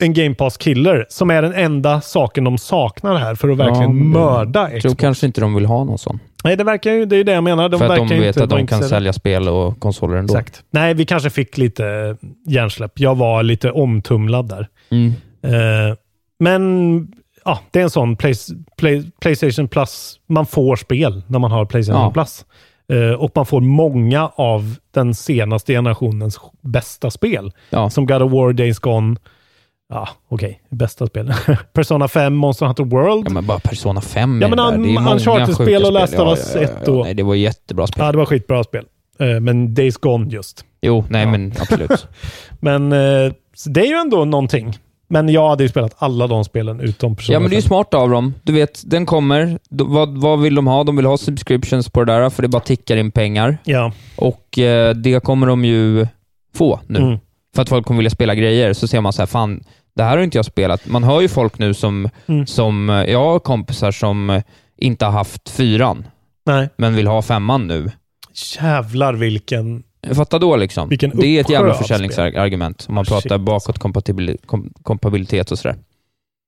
Speaker 4: En Game Pass-killer, som är den enda saken de saknar här för att verkligen
Speaker 5: Ja, men det-
Speaker 4: mörda
Speaker 5: Jag tror
Speaker 4: Xbox.
Speaker 5: kanske inte de vill ha någon sån.
Speaker 4: Nej, det verkar ju... Det är ju det jag menar. De
Speaker 5: för
Speaker 4: verkar
Speaker 5: att de
Speaker 4: ju
Speaker 5: vet
Speaker 4: inte
Speaker 5: att
Speaker 4: vara
Speaker 5: de kan
Speaker 4: intresserade.
Speaker 5: sälja spel och konsoler ändå.
Speaker 4: Exakt. Nej, vi kanske fick lite hjärnsläpp. Jag var lite omtumlad där.
Speaker 5: Mm.
Speaker 4: Eh, men ja, det är en sån Plays- Play, Playstation Plus. Man får spel när man har Playstation
Speaker 5: Ja.
Speaker 4: Plus. Eh, och man får många av den senaste generationens bästa spel.
Speaker 5: Ja.
Speaker 4: Som God of War, Days Gone. Ja, okej. Bästa spel. Persona 5, Monster Hunter World.
Speaker 5: Ja, men bara Persona 5
Speaker 4: Ja,
Speaker 5: är
Speaker 4: men
Speaker 5: det där.
Speaker 4: un-
Speaker 5: Det är många
Speaker 4: Uncharted-spel
Speaker 5: sjuka
Speaker 4: och
Speaker 5: spel.
Speaker 4: Last of
Speaker 5: Ja,
Speaker 4: Us
Speaker 5: ja, ja,
Speaker 4: ett
Speaker 5: ja.
Speaker 4: och-
Speaker 5: Nej, det var jättebra spel.
Speaker 4: Ja, det var skitbra spel. Eh, men Days Gone just.
Speaker 5: Jo, nej men absolut.
Speaker 4: Men eh, så det är ju ändå någonting. Men jag hade ju spelat alla de spelen utom Persona
Speaker 5: Ja, men det är ju
Speaker 4: 5.
Speaker 5: smart av dem. Du vet, den kommer. D- vad, vad vill de ha? De vill ha subscriptions på det där, för det bara tickar in pengar.
Speaker 4: Ja.
Speaker 5: Och eh, det kommer de ju få nu.
Speaker 4: Mm.
Speaker 5: För att folk kommer vilja spela grejer. Så ser man så här, fan, det här har inte jag spelat. Man hör ju folk nu som...
Speaker 4: Mm.
Speaker 5: som eh, jag har kompisar som eh, inte har haft fyran,
Speaker 4: Nej.
Speaker 5: men vill ha femman nu.
Speaker 4: Jävlar vilken...
Speaker 5: Fatta då liksom.
Speaker 4: Vilken
Speaker 5: det är ett
Speaker 4: uppsjö
Speaker 5: jävla
Speaker 4: av spel.
Speaker 5: försäljningsargument. Om man
Speaker 4: Ah, shit,
Speaker 5: pratar bakåt kompatibili- kom- kompabilitet och sådär.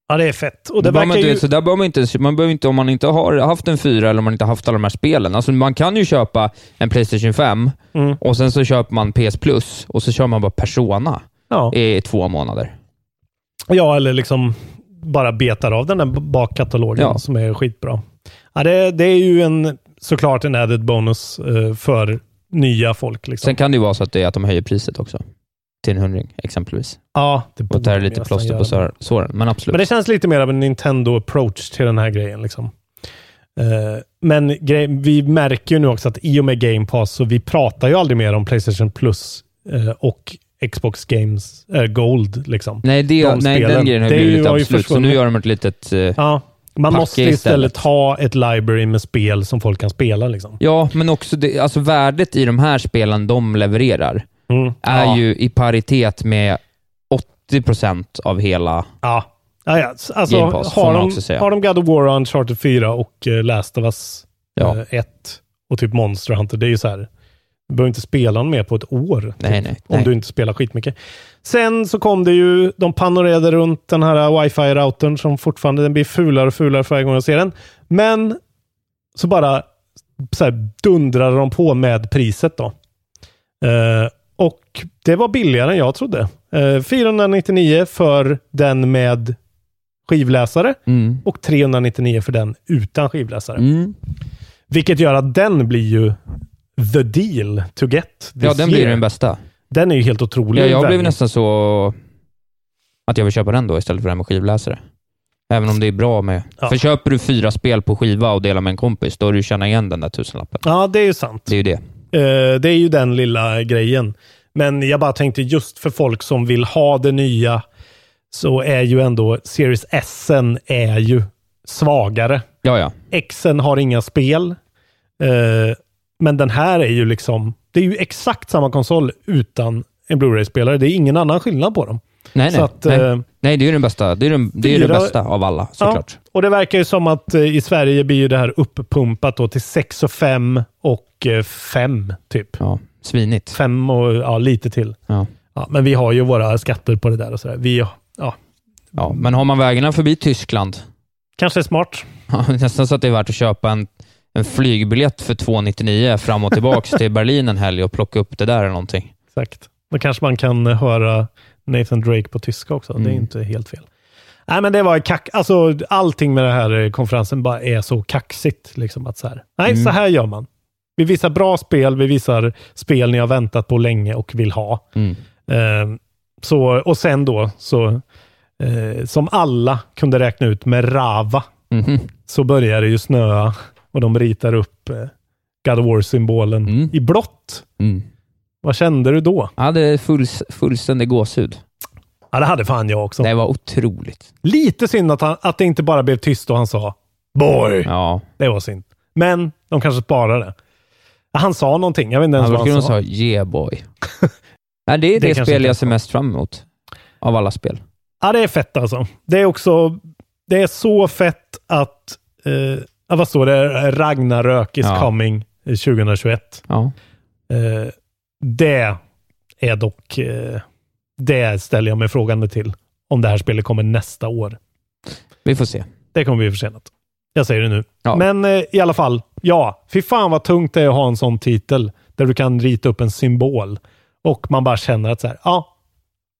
Speaker 4: Ja, det är fett. Och
Speaker 5: Det
Speaker 4: det
Speaker 5: behöver
Speaker 4: verkar
Speaker 5: man,
Speaker 4: ju...
Speaker 5: inte, så där behöver man, inte, ens- man behöver inte, om man inte har haft en fyra eller om man inte haft alla de här spelen. Alltså man kan ju köpa en Playstation 5
Speaker 4: Mm.
Speaker 5: och sen så köper man PS Plus och så kör man bara Persona
Speaker 4: Ja.
Speaker 5: i två månader.
Speaker 4: ja, eller liksom bara betar av den där bakkatalogen
Speaker 5: Ja.
Speaker 4: som är skitbra. Ja, det, det är ju en, såklart en added bonus eh, för nya folk. Liksom.
Speaker 5: Sen kan det ju vara så att, det är att de höjer priset också. Till en hundring exempelvis.
Speaker 4: ja, det
Speaker 5: Och
Speaker 4: borde
Speaker 5: det här är
Speaker 4: de
Speaker 5: lite
Speaker 4: nästan
Speaker 5: plåster på
Speaker 4: göra.
Speaker 5: sår- såren, men absolut.
Speaker 4: Men det känns lite mer av en Nintendo-approach till den här grejen. Liksom. Eh, men grej, vi märker ju nu också att i och med Game Pass, så vi pratar ju aldrig mer om Playstation Plus eh, och Xbox Games eh, Gold. Liksom.
Speaker 5: nej, det,
Speaker 4: de
Speaker 5: nej, den
Speaker 4: spelen.
Speaker 5: grejen har
Speaker 4: Det är
Speaker 5: ju
Speaker 4: ju-
Speaker 5: blivit
Speaker 4: har ju
Speaker 5: absolut. Så nu
Speaker 4: försvunnit.
Speaker 5: gör de ett litet... eh,
Speaker 4: Ja, man
Speaker 5: Packa
Speaker 4: måste istället,
Speaker 5: istället.
Speaker 4: ha ett library med spel som folk kan spela. Liksom.
Speaker 5: Ja, men också det, alltså värdet i de här spelen de levererar
Speaker 4: Mm.
Speaker 5: är
Speaker 4: ja.
Speaker 5: ju i paritet med 80% av hela
Speaker 4: Ja. Ja, ja. S- Alltså,
Speaker 5: Game Pass, får
Speaker 4: har,
Speaker 5: man
Speaker 4: de,
Speaker 5: också säga.
Speaker 4: har de God of War, Uncharted 4 och eh, Last of Us
Speaker 5: Ja.
Speaker 4: eh, 1 och typ Monster Hunter, det är ju så här. Du behöver inte spela mer på ett år.
Speaker 5: Nej,
Speaker 4: typ,
Speaker 5: nej,
Speaker 4: om
Speaker 5: nej.
Speaker 4: du inte spelar skitmycket. Sen så kom det ju, de panorerade runt den här wifi-routern som fortfarande den blir fulare och fulare för varje gång jag ser den. Men så bara så här, dundrade de på med priset då. Eh, och det var billigare än jag trodde. Eh, 499 för den med skivläsare
Speaker 5: Mm.
Speaker 4: och 399 för den utan skivläsare.
Speaker 5: Mm.
Speaker 4: Vilket gör att den blir ju the deal to get.
Speaker 5: Ja,
Speaker 4: this
Speaker 5: den blir
Speaker 4: year.
Speaker 5: den bästa.
Speaker 4: Den är ju helt otrolig.
Speaker 5: Ja, jag blev
Speaker 4: Väldigt-
Speaker 5: nästan så att jag vill köpa den då istället för den med skivläsare. Även om det är bra med...
Speaker 4: Ja.
Speaker 5: För köper du fyra spel på skiva och delar med en kompis, då har du ju tjänat igen den där tusenlappen.
Speaker 4: Ja, det är ju sant.
Speaker 5: Det är ju det.
Speaker 4: Eh, det är ju den lilla grejen. Men jag bara tänkte just för folk som vill ha det nya så är ju ändå Series S är ju svagare.
Speaker 5: Ja, ja.
Speaker 4: Xen har inga spel. Eh, men den här är ju liksom, det är ju exakt samma konsol utan en Blu-ray-spelare. Det är ingen annan skillnad på dem.
Speaker 5: Nej,
Speaker 4: Så
Speaker 5: nej.
Speaker 4: att, eh,
Speaker 5: nej. nej, det är ju den bästa. Det är, den, det, är det
Speaker 4: fyra-
Speaker 5: bästa av alla, såklart.
Speaker 4: Ja, och det verkar ju som att eh, i Sverige blir ju det här uppumpat då till 6 och 5 och 5 typ.
Speaker 5: Ja. Svinigt.
Speaker 4: fem och ja, lite till.
Speaker 5: Ja.
Speaker 4: Ja, men vi har ju våra skatter på det där och sådär. Vi, ja,
Speaker 5: Ja, men har man vägarna förbi Tyskland,
Speaker 4: kanske är smart.
Speaker 5: ja, nästan så att det är värt att köpa en, en flygbiljett för 299 fram och tillbaks till Berlin en helg och plocka upp det där eller någonting.
Speaker 4: Exakt. Då kanske man kan höra Nathan Drake på tyska också. Det är
Speaker 5: Mm.
Speaker 4: inte helt fel. Nej, men det var kack. Alltså, allting med den här eh, konferensen bara är så kaxigt. Liksom, att så här. Nej,
Speaker 5: Mm.
Speaker 4: så här gör man. Vi visar bra spel, vi visar spel ni har väntat på länge och vill ha.
Speaker 5: Mm.
Speaker 4: Eh, så, och sen då, så, eh, som alla kunde räkna ut med Rava,
Speaker 5: Mhm.
Speaker 4: så börjar det ju snöa och de ritar upp eh, God of War-symbolen
Speaker 5: Mm.
Speaker 4: i blått.
Speaker 5: Mm.
Speaker 4: Vad kände du då?
Speaker 5: Jag hade full, fullständig gåshud.
Speaker 4: Ja, det hade fan jag också.
Speaker 5: Det var otroligt.
Speaker 4: Lite synd att, han, att det inte bara blev tyst och han sa “Boy”.
Speaker 5: Ja.
Speaker 4: Det var synd. Men de kanske sparar det. Han sa någonting. Jag vet inte ens
Speaker 5: Han
Speaker 4: vad
Speaker 5: skulle
Speaker 4: han
Speaker 5: nog
Speaker 4: sa.
Speaker 5: säga yeah boy. Nej, det är
Speaker 4: Det
Speaker 5: det,
Speaker 4: kanske
Speaker 5: spel
Speaker 4: inte
Speaker 5: jag
Speaker 4: ens
Speaker 5: ser mest fram emot av alla spel.
Speaker 4: Ja, det är fett alltså. Det är också... Det är så fett att... Eh, ja, vad står det? Ragnarök is
Speaker 5: Ja.
Speaker 4: coming eh, 2021.
Speaker 5: Ja.
Speaker 4: Eh, det är dock... Eh, det ställer jag mig frågande till. Om det här spelet kommer nästa år.
Speaker 5: Vi får se.
Speaker 4: Det kommer bli försenat. Jag säger det nu.
Speaker 5: Ja.
Speaker 4: Men eh, i alla fall, ja. Fy fan vad tungt det är att ha en sån titel. Där du kan rita upp en symbol. Och man bara känner att så här, ja,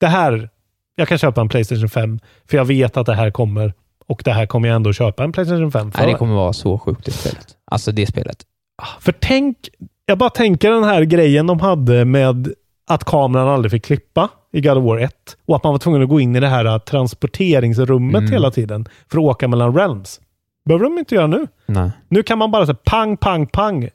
Speaker 4: det här... Jag kan köpa en Playstation 5. För jag vet att det här kommer. Och det här kommer jag ändå köpa en Playstation 5 för.
Speaker 5: Nej, det kommer vara så sjukt det spelet. Alltså det spelet.
Speaker 4: För tänk, jag bara tänker den här grejen de hade med att kameran aldrig fick klippa i God of War 1 och att man var tvungen att gå in i det här eh, transporteringsrummet
Speaker 5: Mm.
Speaker 4: hela tiden för att åka mellan realms. behöver de inte göra nu.
Speaker 5: Nej.
Speaker 4: Nu kan man bara säga pang, pang, pang.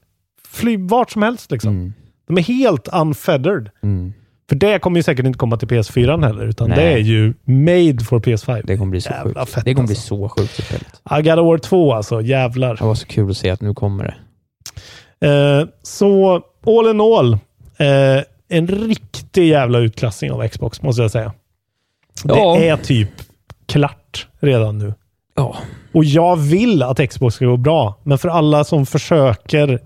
Speaker 4: Fly vart som helst liksom.
Speaker 5: Mm.
Speaker 4: De är helt unfeathered.
Speaker 5: Mm.
Speaker 4: För det kommer ju säkert inte komma till PS4 heller, utan
Speaker 5: Nej.
Speaker 4: det är ju made for PS5.
Speaker 5: Det kommer bli så
Speaker 4: Jävla
Speaker 5: sjukt.
Speaker 4: fett,
Speaker 5: det kommer bli
Speaker 4: alltså.
Speaker 5: så sjukt det spelet.
Speaker 4: Ah, God of War 2 alltså, jävlar.
Speaker 5: Det var så kul att se att nu kommer det.
Speaker 4: Eh, så all in all, eh, en riktig jävla utklassning av Xbox måste jag säga.
Speaker 5: Ja.
Speaker 4: Det är typ klart redan nu.
Speaker 5: Ja.
Speaker 4: Och jag vill att Xbox ska gå bra, men för alla som försöker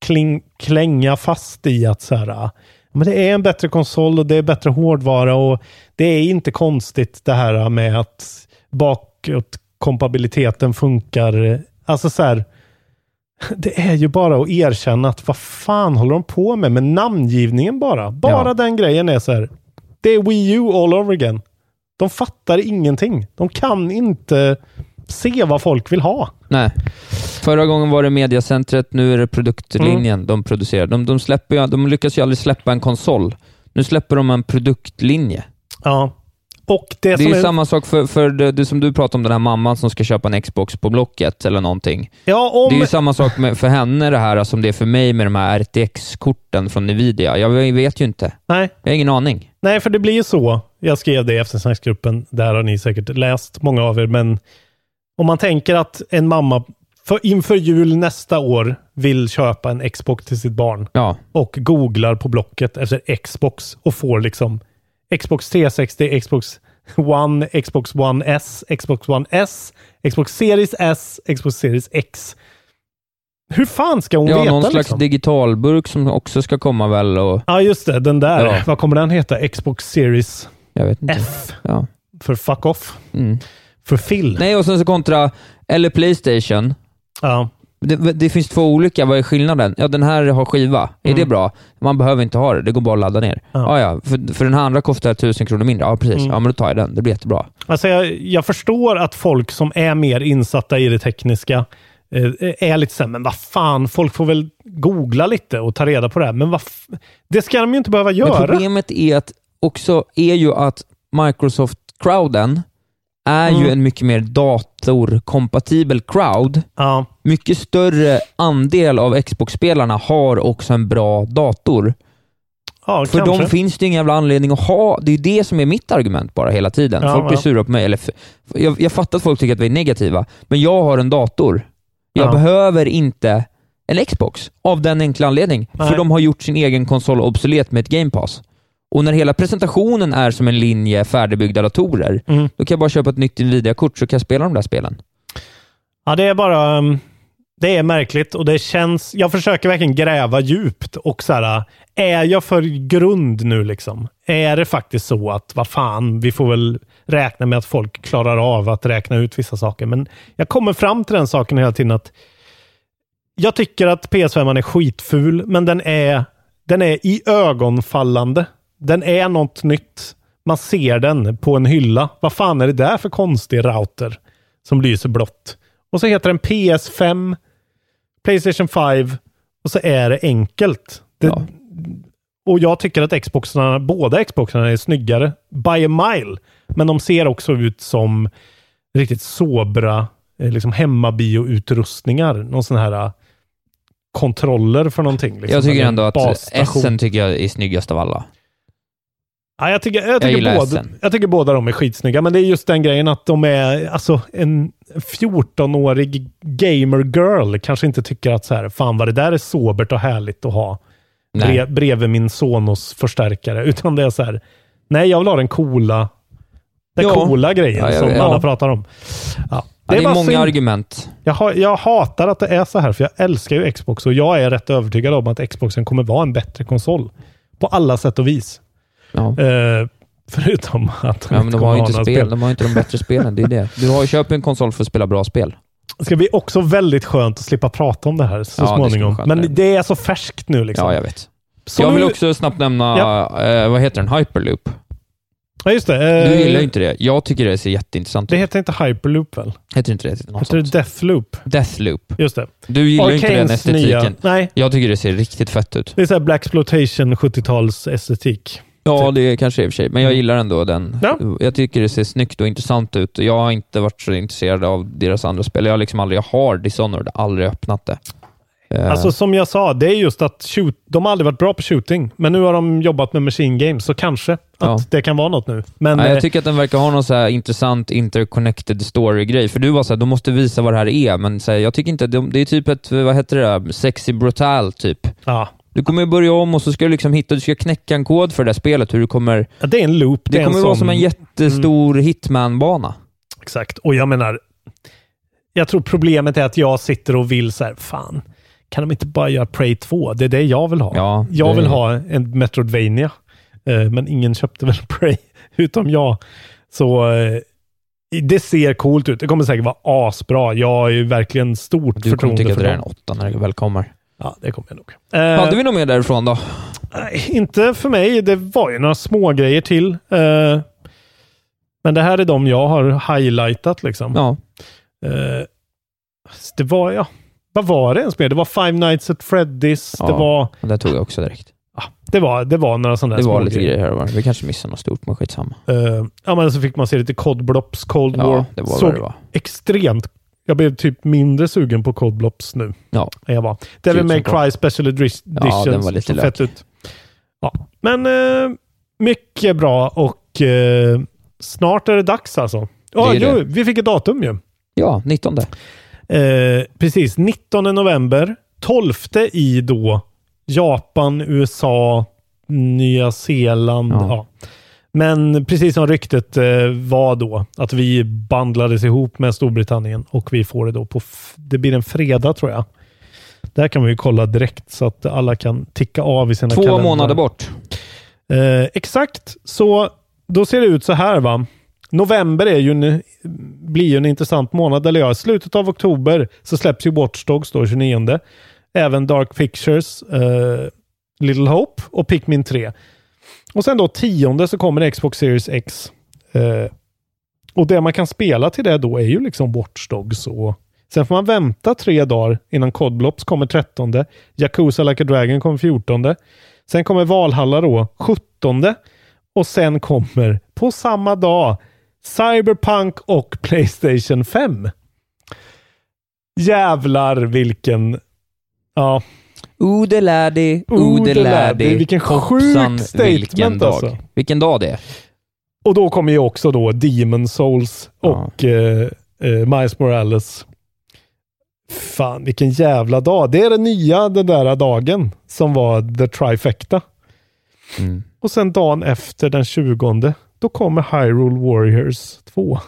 Speaker 4: kling, klänga fast i att så här, ah, men det är en bättre konsol och det är bättre hårdvara och det är inte konstigt det här med att bakåtkompabiliteten funkar. Alltså så här, det är ju bara att erkänna att vad fan håller de på med med namngivningen bara? Bara
Speaker 5: Ja.
Speaker 4: den grejen är så här. Det är Wii U all over again. De fattar ingenting. De kan inte se vad folk vill ha.
Speaker 5: Nej. Förra gången var det mediacentret, nu är det produktlinjen
Speaker 4: Mm.
Speaker 5: de producerar. De, de, släpper ju, de lyckas ju aldrig släppa en konsol. Nu släpper de en produktlinje.
Speaker 4: Ja. Och det,
Speaker 5: Det
Speaker 4: som
Speaker 5: är ju
Speaker 4: är...
Speaker 5: samma sak för, för det, det som du pratade om, den här mamman som ska köpa en Xbox på Blocket eller någonting.
Speaker 4: Ja,
Speaker 5: Det är
Speaker 4: om...
Speaker 5: ju samma sak med, för henne det här som det är för mig med de här RTX-korten från Nvidia. Jag vet ju inte.
Speaker 4: Nej.
Speaker 5: Jag har ingen aning.
Speaker 4: Nej, för det blir ju så. Jag skrev det i eftersnacksgruppen. Där har ni säkert läst, många av er. Men om man tänker att en mamma för, inför jul nästa år vill köpa en Xbox till sitt barn.
Speaker 5: Ja,
Speaker 4: och googlar på Blocket efter Xbox och får liksom Xbox 360, Xbox One, Xbox One S, Xbox One S, Xbox Series S, Xbox Series X. Hur fan ska hon
Speaker 5: ja
Speaker 4: veta?
Speaker 5: någon slags
Speaker 4: liksom?
Speaker 5: digitalburk som också ska komma väl och...
Speaker 4: ja, just det. Den där.
Speaker 5: Ja.
Speaker 4: Vad kommer den heta? Xbox Series
Speaker 5: Jag vet inte.
Speaker 4: F.
Speaker 5: Ja.
Speaker 4: För fuck off.
Speaker 5: Mm.
Speaker 4: För Phil.
Speaker 5: Nej, och sen så kontra, eller Playstation.
Speaker 4: Ja.
Speaker 5: Det, det finns två olika. Vad är skillnaden? Ja, den här har skiva. Är det bra? Man behöver inte ha det. Det går bara att ladda ner.
Speaker 4: Mm. Ja. Mm.
Speaker 5: Ja, ja. För, för den här andra kostar 1000 kronor mindre. Ja, precis. Ja, men då tar jag den. Det blir jättebra.
Speaker 4: Alltså jag, jag förstår att folk som är mer insatta i det tekniska eh, är lite så här, men vad fan, folk får väl googla lite och ta reda på det här. Men vad f- det ska de ju inte behöva
Speaker 5: Men
Speaker 4: göra.
Speaker 5: problemet är, att också, är ju att Microsoft-crowden är ju
Speaker 4: Mm.
Speaker 5: en mycket mer datorkompatibel crowd.
Speaker 4: Ja,
Speaker 5: Mycket större andel av Xbox-spelarna har också en bra dator.
Speaker 4: ja
Speaker 5: För
Speaker 4: kanske.
Speaker 5: dem finns det ingen jävla anledning att ha. Det är ju det som är mitt argument bara hela tiden.
Speaker 4: Ja,
Speaker 5: folk blir
Speaker 4: ja.
Speaker 5: sura på mig. Eller f- jag, jag fattar att folk tycker att vi är negativa, men jag har en dator. Jag
Speaker 4: Ja.
Speaker 5: behöver inte en Xbox av den enkla anledningen.
Speaker 4: Nej.
Speaker 5: För de har gjort sin egen konsol obsolet med ett Game Pass. Och när hela presentationen är som en linje färdigbyggda datorer,
Speaker 4: Mm.
Speaker 5: då kan jag bara köpa ett nytt Nvidia-kort så kan jag spela de där spelen.
Speaker 4: Ja, det är bara... um, Det är märkligt och det känns... Jag försöker verkligen gräva djupt och så här, uh, är jag för grund nu liksom? Är det faktiskt så att, vad fan, vi får väl räkna med att folk klarar av att räkna ut vissa saker. Men jag kommer fram till den saken hela tiden att jag tycker att PS5 är skitful, men den är, den är i ögonfallande. Den är något nytt. Man ser den på en hylla. Vad fan är det där för konstig router som lyser blått? Och så heter den PS5, Playstation 5 och så är det enkelt. Det, liksom
Speaker 5: Ja.
Speaker 4: Och jag tycker att Xboxarna, båda Xboxarna är snyggare by a mile. Men de ser också ut som riktigt sobra eh, liksom hemmabioutrustningar. Någon sån här eh, kontroller för någonting. Liksom.
Speaker 5: jag tycker
Speaker 4: En
Speaker 5: ändå att eh,
Speaker 4: basstation.
Speaker 5: S tycker jag är snyggast av alla.
Speaker 4: Ja, jag, tycker, jag,
Speaker 5: Jag
Speaker 4: tycker
Speaker 5: gillar
Speaker 4: båda,
Speaker 5: Essen.
Speaker 4: jag tycker båda de är skitsnygga, men det är just den grejen att de är, alltså en 14-årig gamer girl kanske inte tycker att så här, fan vad det där är sobert och härligt att ha
Speaker 5: Nej.
Speaker 4: bre, bredvid min Sonos förstärkare, utan det är så här, nej jag vill ha den coola, den
Speaker 5: Ja.
Speaker 4: coola grejen
Speaker 5: Ja, jag
Speaker 4: som
Speaker 5: vet.
Speaker 4: alla
Speaker 5: Ja.
Speaker 4: pratar om. Ja.
Speaker 5: Det är,
Speaker 4: bara
Speaker 5: många
Speaker 4: synd.
Speaker 5: argument.
Speaker 4: Jag, ha, jag hatar att det är så här, för jag älskar ju Xbox och jag är rätt övertygad om att Xboxen kommer vara en bättre konsol. På alla sätt och vis.
Speaker 5: Ja.
Speaker 4: Eh, förutom att
Speaker 5: Ja, men de
Speaker 4: kommer
Speaker 5: har ju
Speaker 4: ha
Speaker 5: inte
Speaker 4: några
Speaker 5: spel. De har ju inte de bättre spelen. Det är det. Du har ju köpt en konsol för att spela bra spel.
Speaker 4: Det ska bli också väldigt skönt att slippa prata om det här så
Speaker 5: Ja, det ska bli
Speaker 4: småningom.
Speaker 5: skönt.
Speaker 4: men det är så färskt nu liksom.
Speaker 5: Ja, jag vet.
Speaker 4: Så
Speaker 5: jag
Speaker 4: nu,
Speaker 5: vill också snabbt nämna, eh, vad heter den? Hyperloop.
Speaker 4: Ja, just det.
Speaker 5: Du
Speaker 4: eh,
Speaker 5: gillar ju inte det. Jag tycker det ser jätteintressant
Speaker 4: det
Speaker 5: ut.
Speaker 4: heter inte Hyperloop väl?
Speaker 5: Heter inte det? Heter något
Speaker 4: Heter det
Speaker 5: sånt?
Speaker 4: Deathloop?
Speaker 5: Deathloop.
Speaker 4: Just det.
Speaker 5: Du gillar ju inte den
Speaker 4: Arcanes
Speaker 5: estetiken.
Speaker 4: Nej,
Speaker 5: Jag tycker det ser riktigt fett ut.
Speaker 4: det är så här Black Exploitation 70-tals estetik.
Speaker 5: Ja, det är kanske i och för sig, men jag gillar ändå den.
Speaker 4: Ja.
Speaker 5: Jag tycker det ser snyggt och intressant ut. Jag har inte varit så intresserad av deras andra spel. Jag har liksom aldrig, jag har Dishonored, aldrig öppnat det. Eh,
Speaker 4: Alltså som jag sa, det är just att shoot, de har aldrig varit bra på shooting, men nu har de jobbat med machine games, så kanske att
Speaker 5: Ja.
Speaker 4: det kan vara något nu. Men
Speaker 5: Nej,
Speaker 4: eh,
Speaker 5: jag tycker att den verkar ha någon så här intressant interconnected story-grej. För du var såhär, de måste visa vad det här är, men så här, jag tycker inte... De, det är typ ett, vad heter det, där? sexy brutal typ.
Speaker 4: ja,
Speaker 5: Du kommer ju börja om och så ska du liksom hitta, du ska knäcka en kod för det där spelet, hur du kommer...
Speaker 4: det är en loop.
Speaker 5: Det,
Speaker 4: är
Speaker 5: kommer
Speaker 4: en
Speaker 5: vara
Speaker 4: sån- Mm.
Speaker 5: som en jättestor hitman-bana.
Speaker 4: Exakt, och jag menar, jag tror problemet är att jag sitter och vill så här, fan, kan de inte bara göra Prey 2? Det är det jag vill ha.
Speaker 5: Ja,
Speaker 4: jag
Speaker 5: det-
Speaker 4: vill ha en Metroidvania, Eh, men ingen köpte väl Prey, utom jag. Så eh, det ser coolt ut. Det kommer säkert vara asbra. Jag är ju verkligen stort
Speaker 5: Du kommer
Speaker 4: förtroende
Speaker 5: tycka att
Speaker 4: för
Speaker 5: det där är
Speaker 4: dem.
Speaker 5: en åtta när det väl kommer.
Speaker 4: Ja, det kommer jag nog. Eh, Mm.
Speaker 5: Hade vi något mer därifrån då?
Speaker 4: Nej, inte för mig. Det var ju några små grejer till. Eh, men det här är de jag har highlightat liksom.
Speaker 5: Ja.
Speaker 4: Eh, så det var, ja. Vad var det ens mer? Det var Five Nights at Freddy's.
Speaker 5: Ja.
Speaker 4: Det, var,
Speaker 5: Det tog jag också direkt.
Speaker 4: ja, det, var, det var några sådana där
Speaker 5: Det var
Speaker 4: små
Speaker 5: lite grejer här och var. Vi kanske missade något stort, men skitsamma.
Speaker 4: Eh, ja, men så fick man se lite Cod Blops Cold War.
Speaker 5: Ja, det var
Speaker 4: Såg
Speaker 5: vad det var.
Speaker 4: extremt... Jag blev typ mindre sugen på Cod Blops nu
Speaker 5: Ja.
Speaker 4: än jag var. Devil
Speaker 5: Typ som
Speaker 4: May
Speaker 5: fan.
Speaker 4: Cry Special Edition.
Speaker 5: Ja, den var lite
Speaker 4: såg
Speaker 5: lök.
Speaker 4: fett ut. Ja. Men eh, mycket bra och eh, snart är det dags alltså. Ja,
Speaker 5: Det är
Speaker 4: jo, vi fick ett datum ju.
Speaker 5: Ja, 19.
Speaker 4: Eh, precis, 19 november. 12 i då Japan, USA, Nya Zeeland. Ja.
Speaker 5: Ja.
Speaker 4: Men precis som ryktet eh, var då, att vi bandlades ihop med Storbritannien och vi får det då på, f- det blir en fredag tror jag. Där kan vi ju kolla direkt så att alla kan ticka av i sina
Speaker 5: Två
Speaker 4: kalendrar.
Speaker 5: månader bort.
Speaker 4: Eh, exakt, så då ser det ut så här va. November är ju en, blir ju en intressant månad, eller ja, i slutet av oktober så släpps ju Watch Dogs då, 29. Även Dark Pictures, eh, Little Hope och Pikmin 3. Och sen då tionde så kommer Xbox Series X. Eh, och det man kan spela till det då är ju liksom Watch Dogs och Sen får man vänta tre dagar innan Codblops kommer 13. Yakuza Like a Dragon kommer 14. Sen kommer Valhalla då 17. Och sen kommer på samma dag Cyberpunk och Playstation 5. Jävlar vilken... Ja,
Speaker 5: Odeladi,
Speaker 4: Odeladi.
Speaker 5: odeladi.
Speaker 4: Vilken
Speaker 5: Hoppsan,
Speaker 4: sjukt statement
Speaker 5: vilken dag.
Speaker 4: alltså.
Speaker 5: Vilken dag det är.
Speaker 4: Och då kommer ju också då Demon Souls
Speaker 5: Ja.
Speaker 4: och eh, eh, Miles Morales. Fan, vilken jävla dag. Det är den nya den där dagen som var the trifecta.
Speaker 5: Mm.
Speaker 4: Och sen dagen efter den 20, då kommer Hyrule Warriors 2.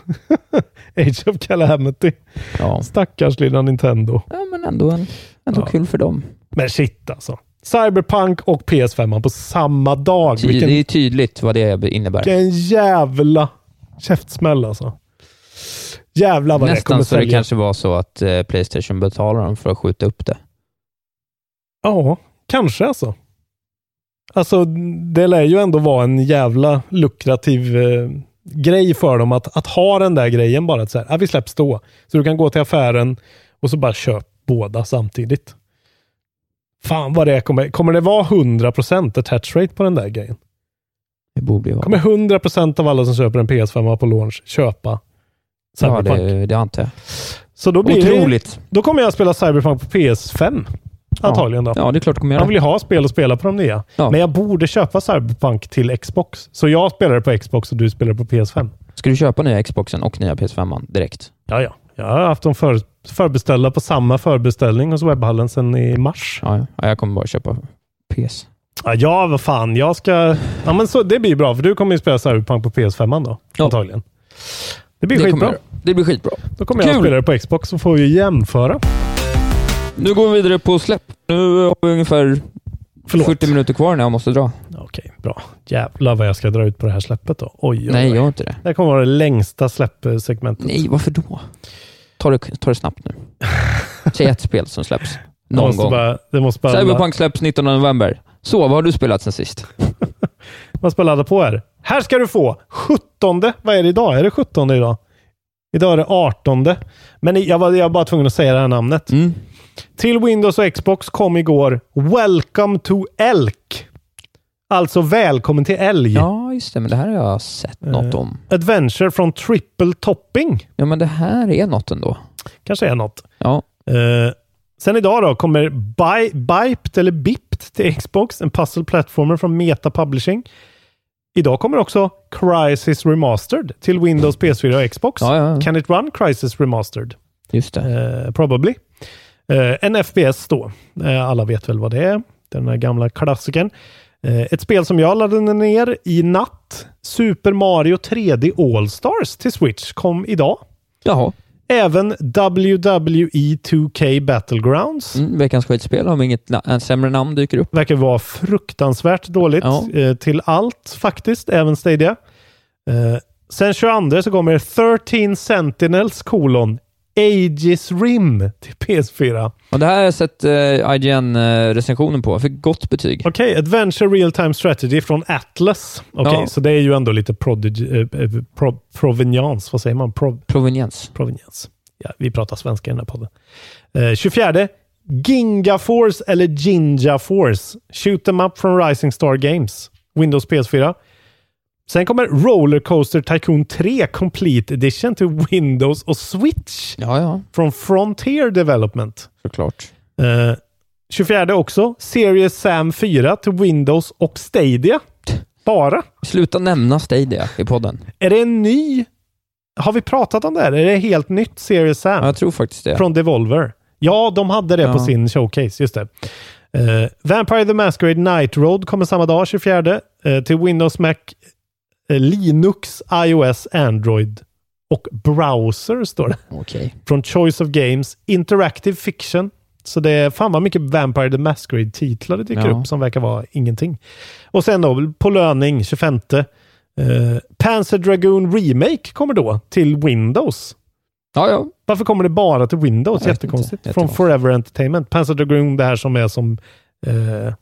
Speaker 4: Age of Calamity.
Speaker 5: Ja.
Speaker 4: Stackars lilla Nintendo.
Speaker 5: ja, men ändå, en, ändå
Speaker 4: Ja.
Speaker 5: kul för dem.
Speaker 4: Men shit alltså. Cyberpunk och PS5 på samma dag.
Speaker 5: Ty-
Speaker 4: Vilken
Speaker 5: Det är tydligt vad det innebär.
Speaker 4: Vilken jävla käftsmäll alltså. Jävlar vad det kommer
Speaker 5: Nästan så det
Speaker 4: sälja.
Speaker 5: kanske var så att eh, Playstation betalade dem för att skjuta upp det.
Speaker 4: Ja, kanske alltså. Alltså, det lär ju ändå vara en jävla lukrativ eh, grej för dem att, att ha den där grejen bara. Att så här, ah, vi släpps då. Så du kan gå till affären och så bara köp båda samtidigt. Fan vad det är. kommer. Kommer det vara 100% attach rate på den där grejen?
Speaker 5: Det borde ju
Speaker 4: Kommer
Speaker 5: vara.
Speaker 4: 100% av alla som köper en PS5 på launch köpa
Speaker 5: Ja,
Speaker 4: Cyberpunk?
Speaker 5: det, det antar jag.
Speaker 4: Så då blir det,
Speaker 5: Otroligt.
Speaker 4: Då kommer jag spela Cyberpunk på PS5. Antagligen då.
Speaker 5: Ja, det är klart du kommer
Speaker 4: Jag
Speaker 5: göra.
Speaker 4: vill ju ha spel att spela på de nya.
Speaker 5: Ja.
Speaker 4: Men jag borde köpa Cyberpunk till Xbox. Så jag spelar det på Xbox och du spelar på PS5.
Speaker 5: Ska du köpa nya Xboxen och nya PS5 direkt?
Speaker 4: Ja, ja. Jag har haft dem för, förbeställda på samma förbeställning hos webbhallen sedan i mars.
Speaker 5: Ja, ja. ja, jag kommer bara köpa PS.
Speaker 4: Ja, ja vad fan. Jag ska... Ja, men så, det blir bra, för du kommer ju spela Cyberpunk på PS5 då.
Speaker 5: Ja.
Speaker 4: Antagligen. Det blir
Speaker 5: Det kommer,
Speaker 4: skitbra.
Speaker 5: jag göra. det blir skitbra.
Speaker 4: Då kommer jag
Speaker 5: Kul.
Speaker 4: att spela det på Xbox så får vi jämföra.
Speaker 5: Nu går vi vidare på släpp. Nu har vi ungefär
Speaker 4: Förlåt.
Speaker 5: 40 minuter kvar när jag måste dra.
Speaker 4: Okej, bra. Jävlar vad jag ska dra ut på det här släppet då. Oj, oj,
Speaker 5: Nej,
Speaker 4: oj.
Speaker 5: gör inte det.
Speaker 4: Det här kommer vara det längsta släppsegmentet.
Speaker 5: Nej, varför då? Ta det, ta det snabbt nu. Säg ett spel som släpps.
Speaker 4: Det
Speaker 5: Någon
Speaker 4: måste
Speaker 5: gång.
Speaker 4: Bara, det måste bara
Speaker 5: Cyberpunk släpps 19 november. Så, vad har du spelat sen sist?
Speaker 4: Man ska ladda på här. Här ska du få 17. Vad är det idag? Är det 17 idag? Idag är det 18. Men jag var, jag var bara tvungen att säga det här namnet.
Speaker 5: Mm.
Speaker 4: Till Windows och Xbox kom igår Welcome to Elk. Alltså välkommen till älg.
Speaker 5: Ja, just det. Men det här har jag sett
Speaker 4: Eh.
Speaker 5: något om.
Speaker 4: Adventure från Triple Topping.
Speaker 5: Ja, men det här är något ändå.
Speaker 4: Kanske är något.
Speaker 5: Ja,
Speaker 4: Eh, sen idag då kommer Bi- Biped eller Bipt till Xbox, en puzzle platformer från Meta Publishing. Idag kommer också Crisis Remastered till Windows, PS4 och Xbox.
Speaker 5: Ja, ja, ja.
Speaker 4: Can it run Crisis Remastered?
Speaker 5: just det.
Speaker 4: Eh, probably. Eh, en FPS då. Eh, alla vet väl vad det är. Den där gamla klassikern. Eh, ett spel som jag laddade ner i natt. Super Mario 3D All-Stars till Switch kom idag.
Speaker 5: Jaha.
Speaker 4: Även WWE 2K Battlegrounds.
Speaker 5: Mm, veckans skitspel om inget na- en sämre namn dyker upp.
Speaker 4: Verkar vara fruktansvärt dåligt
Speaker 5: Ja.
Speaker 4: eh, till allt faktiskt, även Stadia. Eh, sen 22 så kommer 13 Sentinels kolon Aegis Rim till PS4.
Speaker 5: Och det här har jag sett eh, IGN-recensionen på. Jag fick gott betyg.
Speaker 4: Okej, Adventure Real Time Strategy från Atlas. Okej,
Speaker 5: Ja.
Speaker 4: så det är ju ändå lite prodig, eh, eh, pro, provenience. Vad säger man? Pro,
Speaker 5: Proveniens.
Speaker 4: provenience. Ja, vi pratar svenska i den här podden. Eh, 24. Ginga Force eller Ginja Force. Shoot them up från Rising Star Games. Windows PS4. Sen kommer Rollercoaster Tycoon 3 Complete Edition till Windows och Switch
Speaker 5: Ja, ja.
Speaker 4: från Frontier Development.
Speaker 5: Såklart.
Speaker 4: Eh, 24 också. Serious Sam 4 till Windows och Stadia. Bara.
Speaker 5: Sluta nämna Stadia i podden.
Speaker 4: Är det en ny? Har vi pratat om det här? Är det helt nytt Serious Sam?
Speaker 5: Ja, jag tror faktiskt det.
Speaker 4: Från Devolver. Ja, de hade det på
Speaker 5: Ja.
Speaker 4: sin showcase. Just det. Eh, Vampire the Masquerade Night Road kommer samma dag, 24. eh, till Windows, Mac, eh, Linux, iOS, Android och browser står det.
Speaker 5: Okej.
Speaker 4: Från Choice of Games, Interactive Fiction. Så det är fan vad mycket Vampire the Masquerade-titlar det dyker
Speaker 5: Ja.
Speaker 4: upp som verkar vara ingenting. Och sen då, på löning, 25. Eh, Panzer Dragoon Remake kommer då till Windows.
Speaker 5: Ja, ja.
Speaker 4: Varför kommer det bara till Windows?
Speaker 5: Jag vet
Speaker 4: Jättekonstigt.
Speaker 5: inte.
Speaker 4: Från
Speaker 5: Jättekonstigt.
Speaker 4: Forever Entertainment. Panzer Dragoon, det här som är som, eh,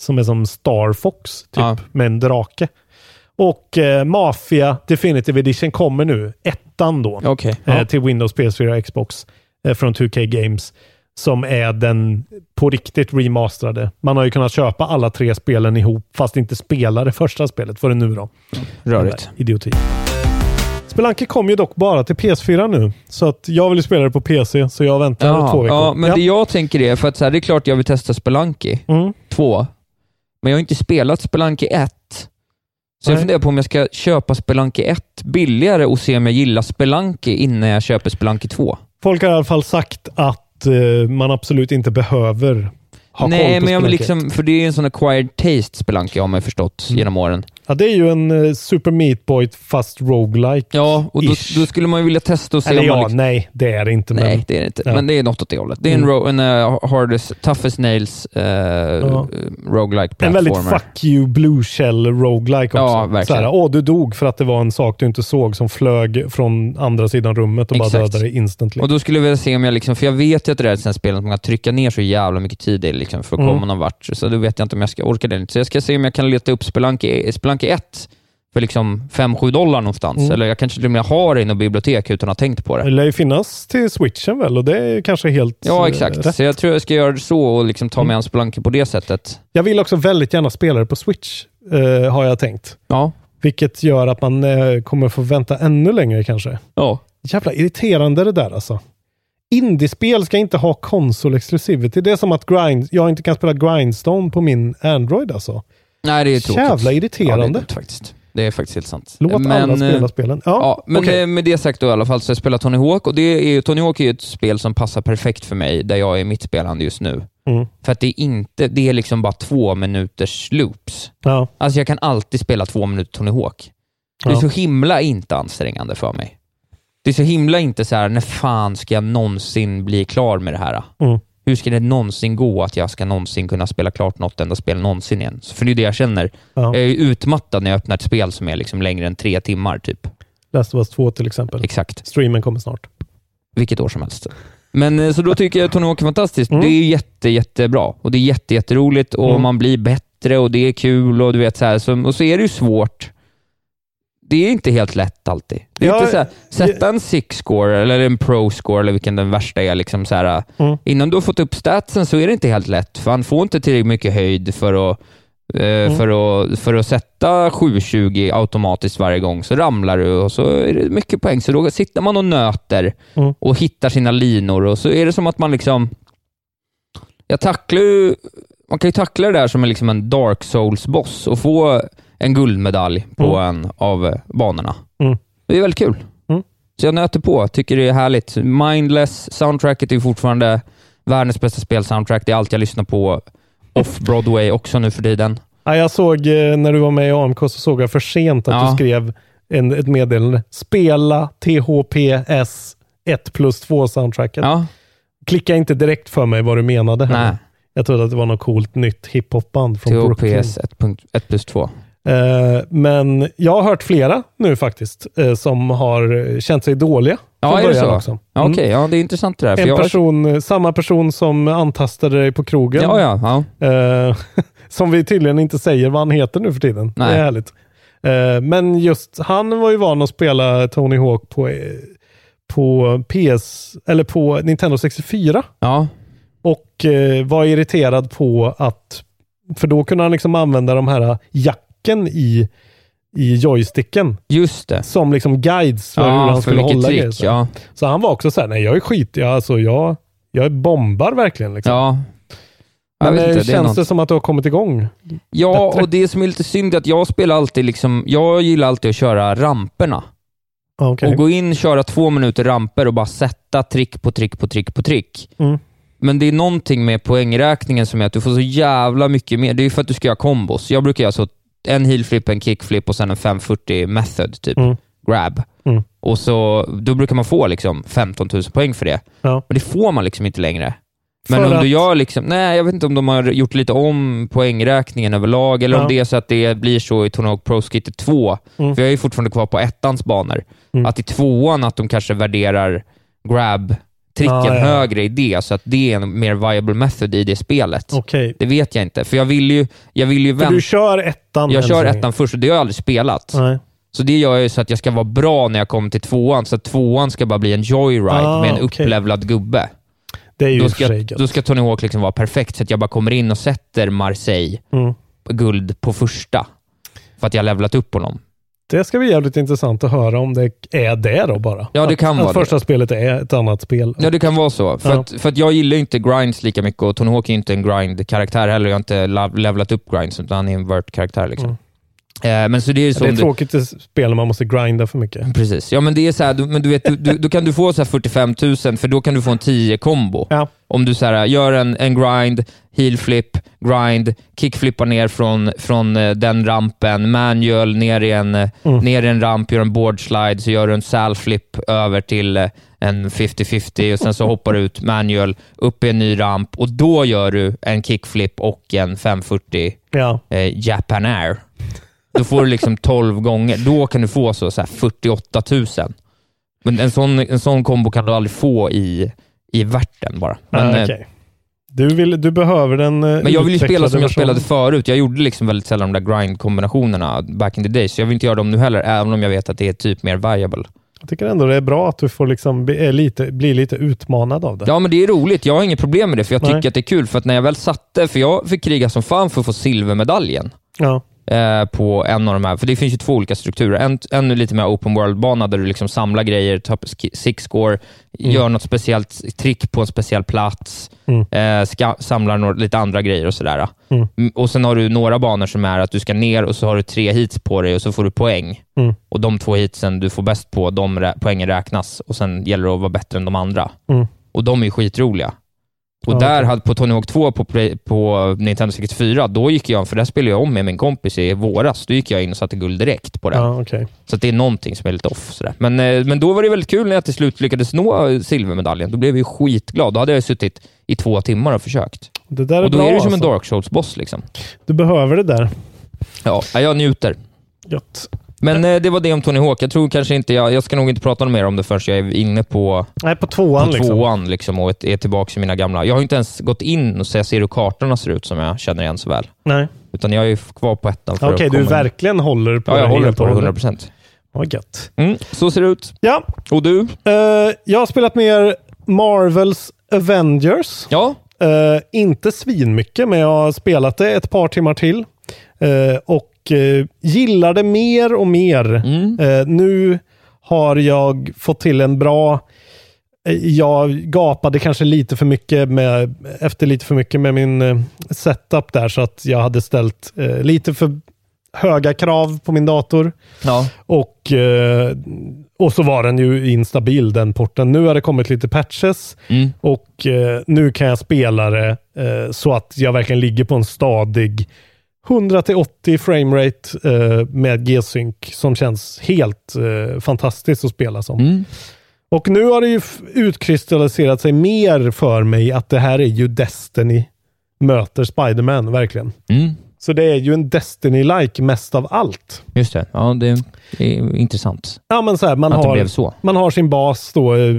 Speaker 4: som, är som Star Fox, typ,
Speaker 5: Ja.
Speaker 4: med en drake. Och eh, Mafia Definitive Edition kommer nu, ettan då,
Speaker 5: Okej.
Speaker 4: eh,
Speaker 5: Ja.
Speaker 4: till Windows, PS4 och Xbox. eh, från 2K Games som är den på riktigt remasterade. Man har ju kunnat köpa alla tre spelen ihop fast inte spela det första spelet förrän nu då.
Speaker 5: Rörigt.
Speaker 4: Idioti. Spelanke kom ju dock bara till PS4 nu, så att jag vill ju spela det på PC, så jag väntar
Speaker 5: Jaha,
Speaker 4: två veckor.
Speaker 5: ja, men
Speaker 4: Ja.
Speaker 5: det jag tänker är, för att så här, det är klart jag vill testa Spelanki
Speaker 4: Mm.
Speaker 5: 2, men jag har inte spelat Spelanki 1. Så jag
Speaker 4: Nej.
Speaker 5: funderar på om jag ska köpa Spelanki 1 billigare och se om jag gillar Spelanki innan jag köper Spelanki 2.
Speaker 4: Folk har i alla fall sagt att eh, man absolut inte behöver ha koll
Speaker 5: Nej,
Speaker 4: på
Speaker 5: men jag vill
Speaker 4: Spelunky.
Speaker 5: liksom, för det är en sån acquired taste Spelanki har man ju förstått genom åren.
Speaker 4: Ja, det är ju en eh, Super Meat Boy fast roguelike.
Speaker 5: Ja, och då,
Speaker 4: Ish.
Speaker 5: då skulle man ju vilja testa och se
Speaker 4: Eller
Speaker 5: om man
Speaker 4: ja,
Speaker 5: liksom,
Speaker 4: nej, det är det inte.
Speaker 5: Nej,
Speaker 4: Men,
Speaker 5: det är det inte.
Speaker 4: Ja.
Speaker 5: Men det är något åt det hållet. Det är en,
Speaker 4: Mm.
Speaker 5: ro, en eh, hardest, toughest nails uh, roguelike
Speaker 4: en
Speaker 5: platformer.
Speaker 4: väldigt fuck you blue shell roguelike också.
Speaker 5: Ja, verkligen.
Speaker 4: Så här, åh, du dog för att det var en sak du inte såg som flög från andra sidan rummet och bara
Speaker 5: Exakt.
Speaker 4: dödade dig instantly.
Speaker 5: Och då skulle jag vilja se om jag liksom, för jag vet ju att det där är ett sånt här spel som man kan trycka ner så jävla mycket tid i liksom för att
Speaker 4: Mm.
Speaker 5: komma någon vart. Så då vet jag inte om jag ska orka det. eller inte. Så jag ska se om jag kan leta upp Spelunky, Spelunky 1 för liksom 5-7 dollar någonstans.
Speaker 4: Mm.
Speaker 5: Eller jag kanske till och med har det i något bibliotek utan att ha tänkt på det.
Speaker 4: Det lär ju finnas till switchen väl och det är ju kanske helt
Speaker 5: Ja,
Speaker 4: eh,
Speaker 5: exakt.
Speaker 4: rätt. Mm.
Speaker 5: Så jag tror jag ska göra så och liksom ta mig an Spelunky på det sättet.
Speaker 4: Jag vill också väldigt gärna spela det på switch, eh, har jag tänkt.
Speaker 5: Ja.
Speaker 4: Vilket gör att man eh, kommer få vänta ännu längre kanske.
Speaker 5: Ja.
Speaker 4: Jävla irriterande det där alltså. Indiespel ska inte ha konsolexklusivitet. Det är som att grind, jag inte kan spela Grindstone på min Android alltså.
Speaker 5: Nej, det är tråkigt.
Speaker 4: Jävla
Speaker 5: Ja, det är
Speaker 4: irriterande.
Speaker 5: dumt faktiskt. Det är faktiskt helt sant.
Speaker 4: Låt alla
Speaker 5: eh,
Speaker 4: spela spelen. Ja,
Speaker 5: Ja, men
Speaker 4: okej.
Speaker 5: eh, med det sagt då i alla fall så jag spelar Tony Hawk och det är, ju- Tony Hawk är ju ett spel som passar perfekt för mig där jag är mitt spelande just nu.
Speaker 4: Mm.
Speaker 5: För att det är inte, det är liksom bara två minuters loops.
Speaker 4: ja.
Speaker 5: Alltså jag kan alltid spela två minuter Tony Hawk. Det är
Speaker 4: Ja.
Speaker 5: så himla inte ansträngande för mig. Det är så himla inte så här, när fan ska jag någonsin bli klar med det här?
Speaker 4: Mm.
Speaker 5: Hur ska det någonsin gå att jag ska någonsin kunna spela klart något enda spel någonsin igen? För det är det jag känner.
Speaker 4: Ja.
Speaker 5: Jag är ju utmattad när jag öppnar ett spel som är liksom längre än tre timmar, typ.
Speaker 4: Last of Us 2 till exempel.
Speaker 5: Exakt.
Speaker 4: Streamen kommer snart.
Speaker 5: vilket år som helst. Mm. Men eh, så då tycker jag att Tony Hawk är fantastiskt. Det är jätte, jättebra och det är jätte, jätteroligt och
Speaker 4: Mm.
Speaker 5: man blir bättre och det är kul och du vet så här. Så, och så är det ju svårt. Det är inte helt lätt alltid. Det är
Speaker 4: Ja,
Speaker 5: inte så här, sätta en six score eller en pro score eller vilken den värsta är. Liksom så här,
Speaker 4: Mm.
Speaker 5: Innan du har fått upp statsen så är det inte helt lätt för han får inte tillräckligt mycket höjd för att eh,
Speaker 4: Mm.
Speaker 5: För, att, för att sätta 720 automatiskt varje gång så ramlar du och så är det mycket poäng. Så då sitter man och nöter
Speaker 4: Mm.
Speaker 5: och hittar sina linor och så är det som att man liksom... Jag tacklar ju... Man kan ju tackla det där som en, liksom en dark souls-boss och få en guldmedalj på en av eh, banorna.
Speaker 4: Mm.
Speaker 5: Det är väldigt kul.
Speaker 4: Mm.
Speaker 5: Så jag nöter på. Tycker det är härligt. Mindless. Soundtracket är ju fortfarande världens bästa spelsoundtrack. Det är allt jag lyssnar på off-Broadway också nu för tiden.
Speaker 4: Ja, jag såg eh, när du var med i AMK så såg jag för sent att
Speaker 5: Ja.
Speaker 4: du skrev en, ett meddelande. Spela THPS 1 plus 2 soundtracket.
Speaker 5: Ja,
Speaker 4: Klicka inte direkt för mig vad du menade. Här.
Speaker 5: nej.
Speaker 4: Jag trodde att det var något coolt nytt hiphopband från Brooklyn.
Speaker 5: THPS 1.1 plus 2.
Speaker 4: Eh, men jag har hört flera nu faktiskt eh, som har eh, känt sig dåliga
Speaker 5: Ja,
Speaker 4: från
Speaker 5: är det
Speaker 4: början
Speaker 5: så?
Speaker 4: också.
Speaker 5: Ja,
Speaker 4: Mm.
Speaker 5: Okej, ja, det är intressant det där. för
Speaker 4: En
Speaker 5: jag-
Speaker 4: person, eh, samma person som antastade dig på krogen.
Speaker 5: Ja, ja, ja.
Speaker 4: Eh, som vi tydligen inte säger vad han heter nu för tiden.
Speaker 5: Nej.
Speaker 4: Det är härligt. Eh, men just han var ju van att spela Tony Hawk på, eh, på, PS, eller på Nintendo 64
Speaker 5: ja.
Speaker 4: och eh, var irriterad på att, för då kunde han liksom använda de här jacken i, i joysticken
Speaker 5: Just det.
Speaker 4: som liksom guides för
Speaker 5: Ah,
Speaker 4: hur han skulle hålla grejer. Så.
Speaker 5: Ja.
Speaker 4: så han var också så här, nej jag är skit, jag, alltså, jag, jag bombar verkligen. Liksom.
Speaker 5: ja.
Speaker 4: Men
Speaker 5: Jag vet
Speaker 4: eh,
Speaker 5: inte, det är
Speaker 4: känns det
Speaker 5: något.
Speaker 4: som att du har kommit igång?
Speaker 5: Ja,
Speaker 4: bättre?
Speaker 5: och det som är lite synd är att jag spelar alltid liksom, jag gillar alltid att köra ramperna.
Speaker 4: Ja, okej.
Speaker 5: Och gå in, köra två minuter ramper och bara sätta trick på trick på trick på trick.
Speaker 4: Mm.
Speaker 5: Men det är någonting med poängräkningen som är att du får så jävla mycket mer. Det är ju för att du ska göra kombos. Jag brukar göra så en heelflip, en kickflip och sen en 540 method, typ.
Speaker 4: Mm.
Speaker 5: Grab.
Speaker 4: Mm.
Speaker 5: Och så, då brukar man få liksom 15 000 poäng för det.
Speaker 4: Ja.
Speaker 5: Men det får man liksom inte längre. Men
Speaker 4: För
Speaker 5: om
Speaker 4: att-
Speaker 5: du gör liksom, nej jag vet inte om de har gjort lite om poängräkningen överlag, eller om
Speaker 4: Ja.
Speaker 5: det är så att det blir så i Tony Hawk Pro Skater 2.
Speaker 4: Mm.
Speaker 5: För jag är ju fortfarande kvar på ettans banor.
Speaker 4: Mm.
Speaker 5: Att i tvåan att de kanske värderar grab-tricken
Speaker 4: Ja, ja, ja.
Speaker 5: högre i det, så att det är en mer viable method i det spelet.
Speaker 4: Okej.
Speaker 5: Det vet jag inte, för jag vill ju, jag vill ju
Speaker 4: För du
Speaker 5: vänta.
Speaker 4: kör ettan?
Speaker 5: Jag
Speaker 4: än
Speaker 5: kör
Speaker 4: så länge.
Speaker 5: ettan först och det har jag aldrig spelat.
Speaker 4: Nej.
Speaker 5: Så det gör jag ju så att jag ska vara bra när jag kommer till tvåan, så att tvåan ska bara bli en joyride
Speaker 4: Ah,
Speaker 5: med en
Speaker 4: okej.
Speaker 5: upplevlad gubbe.
Speaker 4: Det är ju
Speaker 5: Då
Speaker 4: i och för
Speaker 5: ska,
Speaker 4: sig
Speaker 5: jag-
Speaker 4: gött.
Speaker 5: då ska Tony Hawk liksom vara perfekt, så att jag bara kommer in och sätter Marseille
Speaker 4: Mm.
Speaker 5: guld på första. För att jag har levlat upp honom.
Speaker 4: Det ska bli jävligt intressant att höra om det är det då bara.
Speaker 5: Ja, det
Speaker 4: Att-
Speaker 5: kan
Speaker 4: att
Speaker 5: vara det.
Speaker 4: första spelet är ett annat spel.
Speaker 5: Ja, det kan vara så. För,
Speaker 4: Ja.
Speaker 5: att, för att jag gillar ju inte grinds lika mycket och Tony Hawk är ju inte en grind-karaktär heller. Jag har inte la- levlat upp grinds, utan han är en vert-karaktär. Liksom. Eh, men så det är ju
Speaker 4: Mm. det
Speaker 5: som
Speaker 4: är
Speaker 5: du,
Speaker 4: tråkigt att spela man måste grinda för mycket.
Speaker 5: Precis. Ja, men det är så här, du, men du vet, du, du, då kan du få så här 45 000, för då kan du få en 10-kombo.
Speaker 4: Ja.
Speaker 5: Om du så här, gör en, en grind, heel flip, grind, kickflippar ner från, från eh, den rampen, manual, ner i, en, eh, ner i en ramp, gör en board slide, så gör du en sal flip över till eh, en 50-50 och sen så hoppar du ut manual, upp i en ny ramp och då gör du en kickflip och en 540
Speaker 4: Ja.
Speaker 5: eh, Japan Air. Då får du liksom 12 gånger. Då kan du få så, så här 48 000. Men en sån, en sån kombo kan du aldrig få i, i värten bara. Men,
Speaker 4: Men,
Speaker 5: eh,
Speaker 4: du, vill, du behöver den eh,
Speaker 5: men jag vill ju spela
Speaker 4: utvecklade
Speaker 5: som jag
Speaker 4: versionen.
Speaker 5: spelade förut. Jag gjorde liksom väldigt sällan de där grind-kombinationerna back in the days. så jag vill inte göra dem nu heller, även om jag vet att det är typ mer viable.
Speaker 4: Jag tycker ändå det är bra att du får liksom bli, är lite, bli lite utmanad av det.
Speaker 5: Ja, men det är roligt. Jag har inget problem med det, för jag tycker
Speaker 4: Nej.
Speaker 5: att det är kul. För att när jag väl satte, för jag fick kriga som fan för att få silvermedaljen.
Speaker 4: Ja.
Speaker 5: eh, på en av de här, för det finns ju två olika strukturer. En, en är lite mer open world-bana där du liksom samlar grejer, tar på sk- six score, gör något speciellt trick på en speciell plats,
Speaker 4: Mm.
Speaker 5: eh, ska, samlar några, lite andra grejer och sådär.
Speaker 4: Mm.
Speaker 5: Mm, Och Sen har du några banor som är att du ska ner och så har du tre hits på dig och så får du poäng.
Speaker 4: Mm.
Speaker 5: Och De två hitsen du får bäst på, de rä- poängen räknas och sen gäller det att vara bättre än de andra.
Speaker 4: Mm.
Speaker 5: Och De är ju skitroliga. Och
Speaker 4: Ja,
Speaker 5: där
Speaker 4: okej.
Speaker 5: hade på Tony Hawk 2 på, Play- på Nintendo 64, då gick jag, för där spelade jag om med min kompis i våras, då gick jag in och satte guld direkt på den.
Speaker 4: Ja, okej.
Speaker 5: Så att det är någonting som är lite off. Sådär. Men, eh, men då var det väldigt kul när jag till slut lyckades nå eh, silvermedaljen. Då blev jag ju skitglad. Då hade jag ju suttit i två timmar och försökt.
Speaker 4: Det där är
Speaker 5: Och då
Speaker 4: bra
Speaker 5: är det som en
Speaker 4: alltså.
Speaker 5: Dark Souls-boss. Liksom.
Speaker 4: Du behöver det där.
Speaker 5: Ja, ja, jag njuter.
Speaker 4: Gött.
Speaker 5: Men eh, det var det om Tony Hawk. Jag tror kanske inte, jag, jag ska nog inte prata mer om det förrän jag är inne på,
Speaker 4: Nej, på tvåan
Speaker 5: på
Speaker 4: liksom.
Speaker 5: tvåan liksom, och är tillbaka i mina gamla. Jag har inte ens gått in och så jag ser hur kartorna ser ut som jag känner igen så väl.
Speaker 4: Nej.
Speaker 5: Utan jag är ju kvar på ettan för
Speaker 4: Okej,
Speaker 5: att
Speaker 4: du
Speaker 5: komma in.
Speaker 4: verkligen håller på
Speaker 5: Ja, jag
Speaker 4: det
Speaker 5: håller
Speaker 4: helt
Speaker 5: på
Speaker 4: och
Speaker 5: det
Speaker 4: hållet.
Speaker 5: 100%.
Speaker 4: Vad gött.
Speaker 5: Mm, så ser det ut.
Speaker 4: Ja,
Speaker 5: Och du?
Speaker 4: eh, jag har spelat mer Marvels Avengers.
Speaker 5: Ja,
Speaker 4: Eh, inte svinmycket, men jag har spelat det ett par timmar till. Eh, och eh, gillar det mer och mer.
Speaker 5: Mm.
Speaker 4: Eh, nu har jag fått till en bra... eh, Jag gapade kanske lite för mycket med, efter lite för mycket med min eh, setup där, så att jag hade ställt eh, lite för höga krav på min dator.
Speaker 5: ja.
Speaker 4: Och, eh, och så var den ju instabil den porten. Nu har det kommit lite patches
Speaker 5: Mm.
Speaker 4: och eh, nu kan jag spela det eh, så att jag verkligen ligger på en stadig 100-80 framerate eh, med G-Sync som känns helt eh, fantastiskt att spela som.
Speaker 5: Mm.
Speaker 4: Och nu har det ju f- utkristalliserat sig mer för mig att det här är ju Destiny möter Spider-Man, verkligen.
Speaker 5: Mm.
Speaker 4: Så det är ju en Destiny-like mest av allt.
Speaker 5: Just det. Ja, det är intressant
Speaker 4: Ja, men så här, man
Speaker 5: att det
Speaker 4: har...
Speaker 5: blev så.
Speaker 4: Man har sin bas då, eh,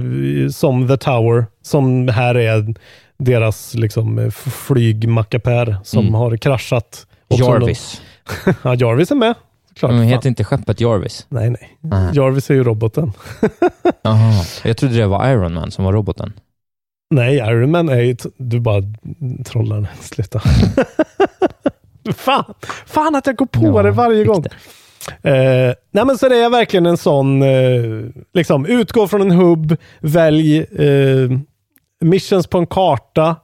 Speaker 4: som The Tower, som här är deras liksom, eh, f- flygmackapär som
Speaker 5: Mm.
Speaker 4: har kraschat. Och som
Speaker 5: Jarvis. Mm,
Speaker 4: De, ja, Jarvis är med. Klart,
Speaker 5: Men
Speaker 4: fan.
Speaker 5: heter inte skeppet Jarvis?
Speaker 4: Nej, nej.
Speaker 5: Nej.
Speaker 4: Jarvis är ju roboten.
Speaker 5: Aha. Jag trodde det var Iron Man som var roboten.
Speaker 4: Nej, Iron Man är ju... t- Du bara trollar. Sluta. fan, fan att jag går på
Speaker 5: Ja,
Speaker 4: det varje
Speaker 5: fick
Speaker 4: gång.
Speaker 5: det.
Speaker 4: Eh, nej men så det är verkligen en sån, eh, liksom utgå från en hubb, välj eh, missions på en karta.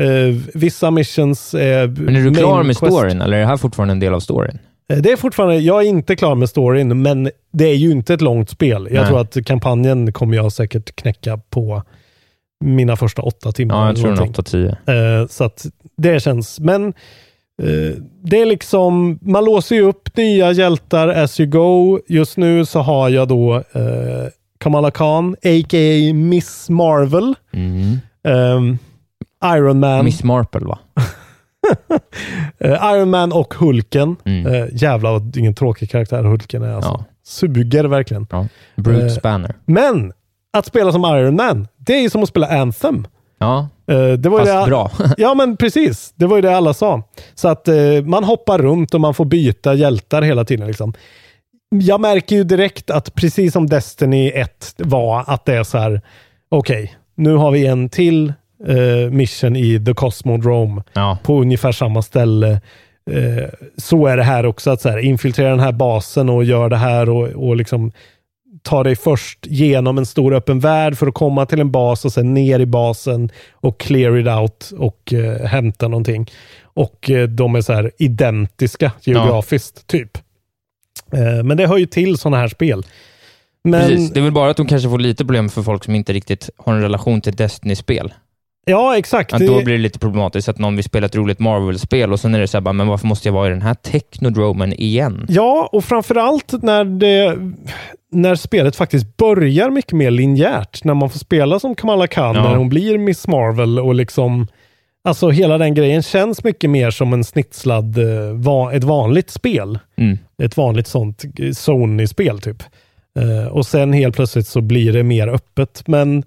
Speaker 4: Eh, vissa missions är...
Speaker 5: Men är du klar
Speaker 4: main
Speaker 5: med
Speaker 4: quest.
Speaker 5: storyn, eller är det här fortfarande en del av storyn?
Speaker 4: Eh, Det är fortfarande, jag är inte klar med storyn, men det är ju inte ett långt spel. Jag
Speaker 5: Nej.
Speaker 4: tror att kampanjen kommer jag säkert knäcka på mina första åtta timmar.
Speaker 5: Ja, jag
Speaker 4: eller
Speaker 5: tror den
Speaker 4: någonting.
Speaker 5: 8-10.
Speaker 4: Eh, så att det känns, men eh, det är liksom, man låser ju upp nya hjältar as you go. Just nu så har jag då eh, Kamala Khan, a.k.a. Miss Marvel,
Speaker 5: Mm.
Speaker 4: ehm, Iron Man,
Speaker 5: Miss Marple, va?
Speaker 4: eh, Iron Man och Hulken.
Speaker 5: Mm.
Speaker 4: Eh, jävlar vad ingen tråkig karaktär Hulken är alltså.
Speaker 5: Ja.
Speaker 4: Suger verkligen.
Speaker 5: ja. Brute
Speaker 4: Eh.
Speaker 5: Spanner.
Speaker 4: Men att spela som Iron Man, det är ju som att spela Anthem.
Speaker 5: Ja,
Speaker 4: Eh, det var ju det,
Speaker 5: fast bra.
Speaker 4: Ja, men precis. Det var ju det alla sa. Så att eh, man hoppar runt och man får byta hjältar hela tiden. Liksom. jag märker ju direkt att precis som Destiny 1 var, att det är så här, okej, nu har vi en till eh, mission i The Cosmodrome
Speaker 5: Ja.
Speaker 4: på ungefär samma ställe. Eh, så är det här också, att så här, infiltrera den här basen och gör det här och, och liksom ta dig först genom en stor öppen värld för att komma till en bas och sen ner i basen och clear it out och eh, hämta någonting. Och eh, de är så här identiska geografiskt, typ. Eh, men det hör ju till sådana här spel. Men,
Speaker 5: Precis. Det är väl bara att de kanske får lite problem för folk som inte riktigt har en relation till Destiny-spel.
Speaker 4: Ja, exakt.
Speaker 5: Att
Speaker 4: Det-
Speaker 5: då blir det lite problematiskt att någon vill spela ett roligt Marvel-spel och sen är det såhär, men varför måste jag vara i den här Technodromen igen?
Speaker 4: Ja, och framförallt när, det, när spelet faktiskt börjar mycket mer linjärt. När man får spela som Kamala Khan,
Speaker 5: Ja.
Speaker 4: när hon blir Miss Marvel och liksom... Alltså hela den grejen känns mycket mer som en snitslad, eh, va, ett vanligt spel.
Speaker 5: Mm.
Speaker 4: Ett vanligt sånt eh, Sony-spel typ. Eh, och sen helt plötsligt så blir det mer öppet. Men,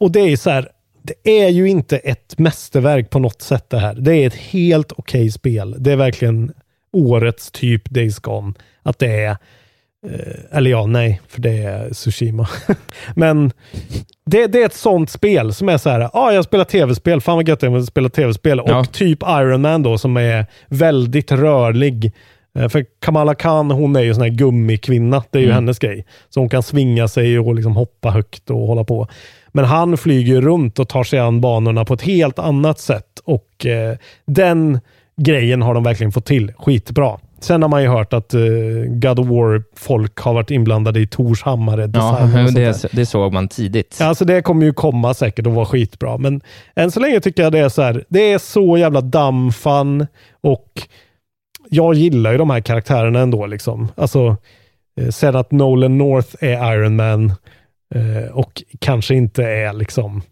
Speaker 4: och det är ju så här, det är ju inte ett mästerverk på något sätt det här. Det är ett helt okej spel. Det är verkligen årets typ Days Gone. Att det är, eh, eller ja, nej, för det är Tsushima. Men det, det är ett sånt spel som är så här, ja, ah, jag spelar tv-spel, fan vad gött det är att spela tv-spel.
Speaker 5: Ja.
Speaker 4: Och typ Iron Man då, som är väldigt rörlig. Eh, För Kamala Khan, hon är ju sån här gummikvinna. Det är ju
Speaker 5: Mm.
Speaker 4: hennes grej. Så hon kan svinga sig och liksom hoppa högt och hålla på. Men han flyger ju runt och tar sig an banorna på ett helt annat sätt. Och eh, den grejen har de verkligen fått till skitbra. Sen har man ju hört att eh, God of War-folk har varit inblandade i Tors hammare.
Speaker 5: Ja,
Speaker 4: design och sånt där.
Speaker 5: det, det såg man tidigt.
Speaker 4: Ja, Alltså det kommer ju komma säkert och vara skitbra, men än så länge tycker jag det är så här. Det är så jävla dammfan och jag gillar ju de här karaktärerna ändå. Liksom. Alltså, eh, sen att Nolan North är Iron Man eh, och kanske inte är liksom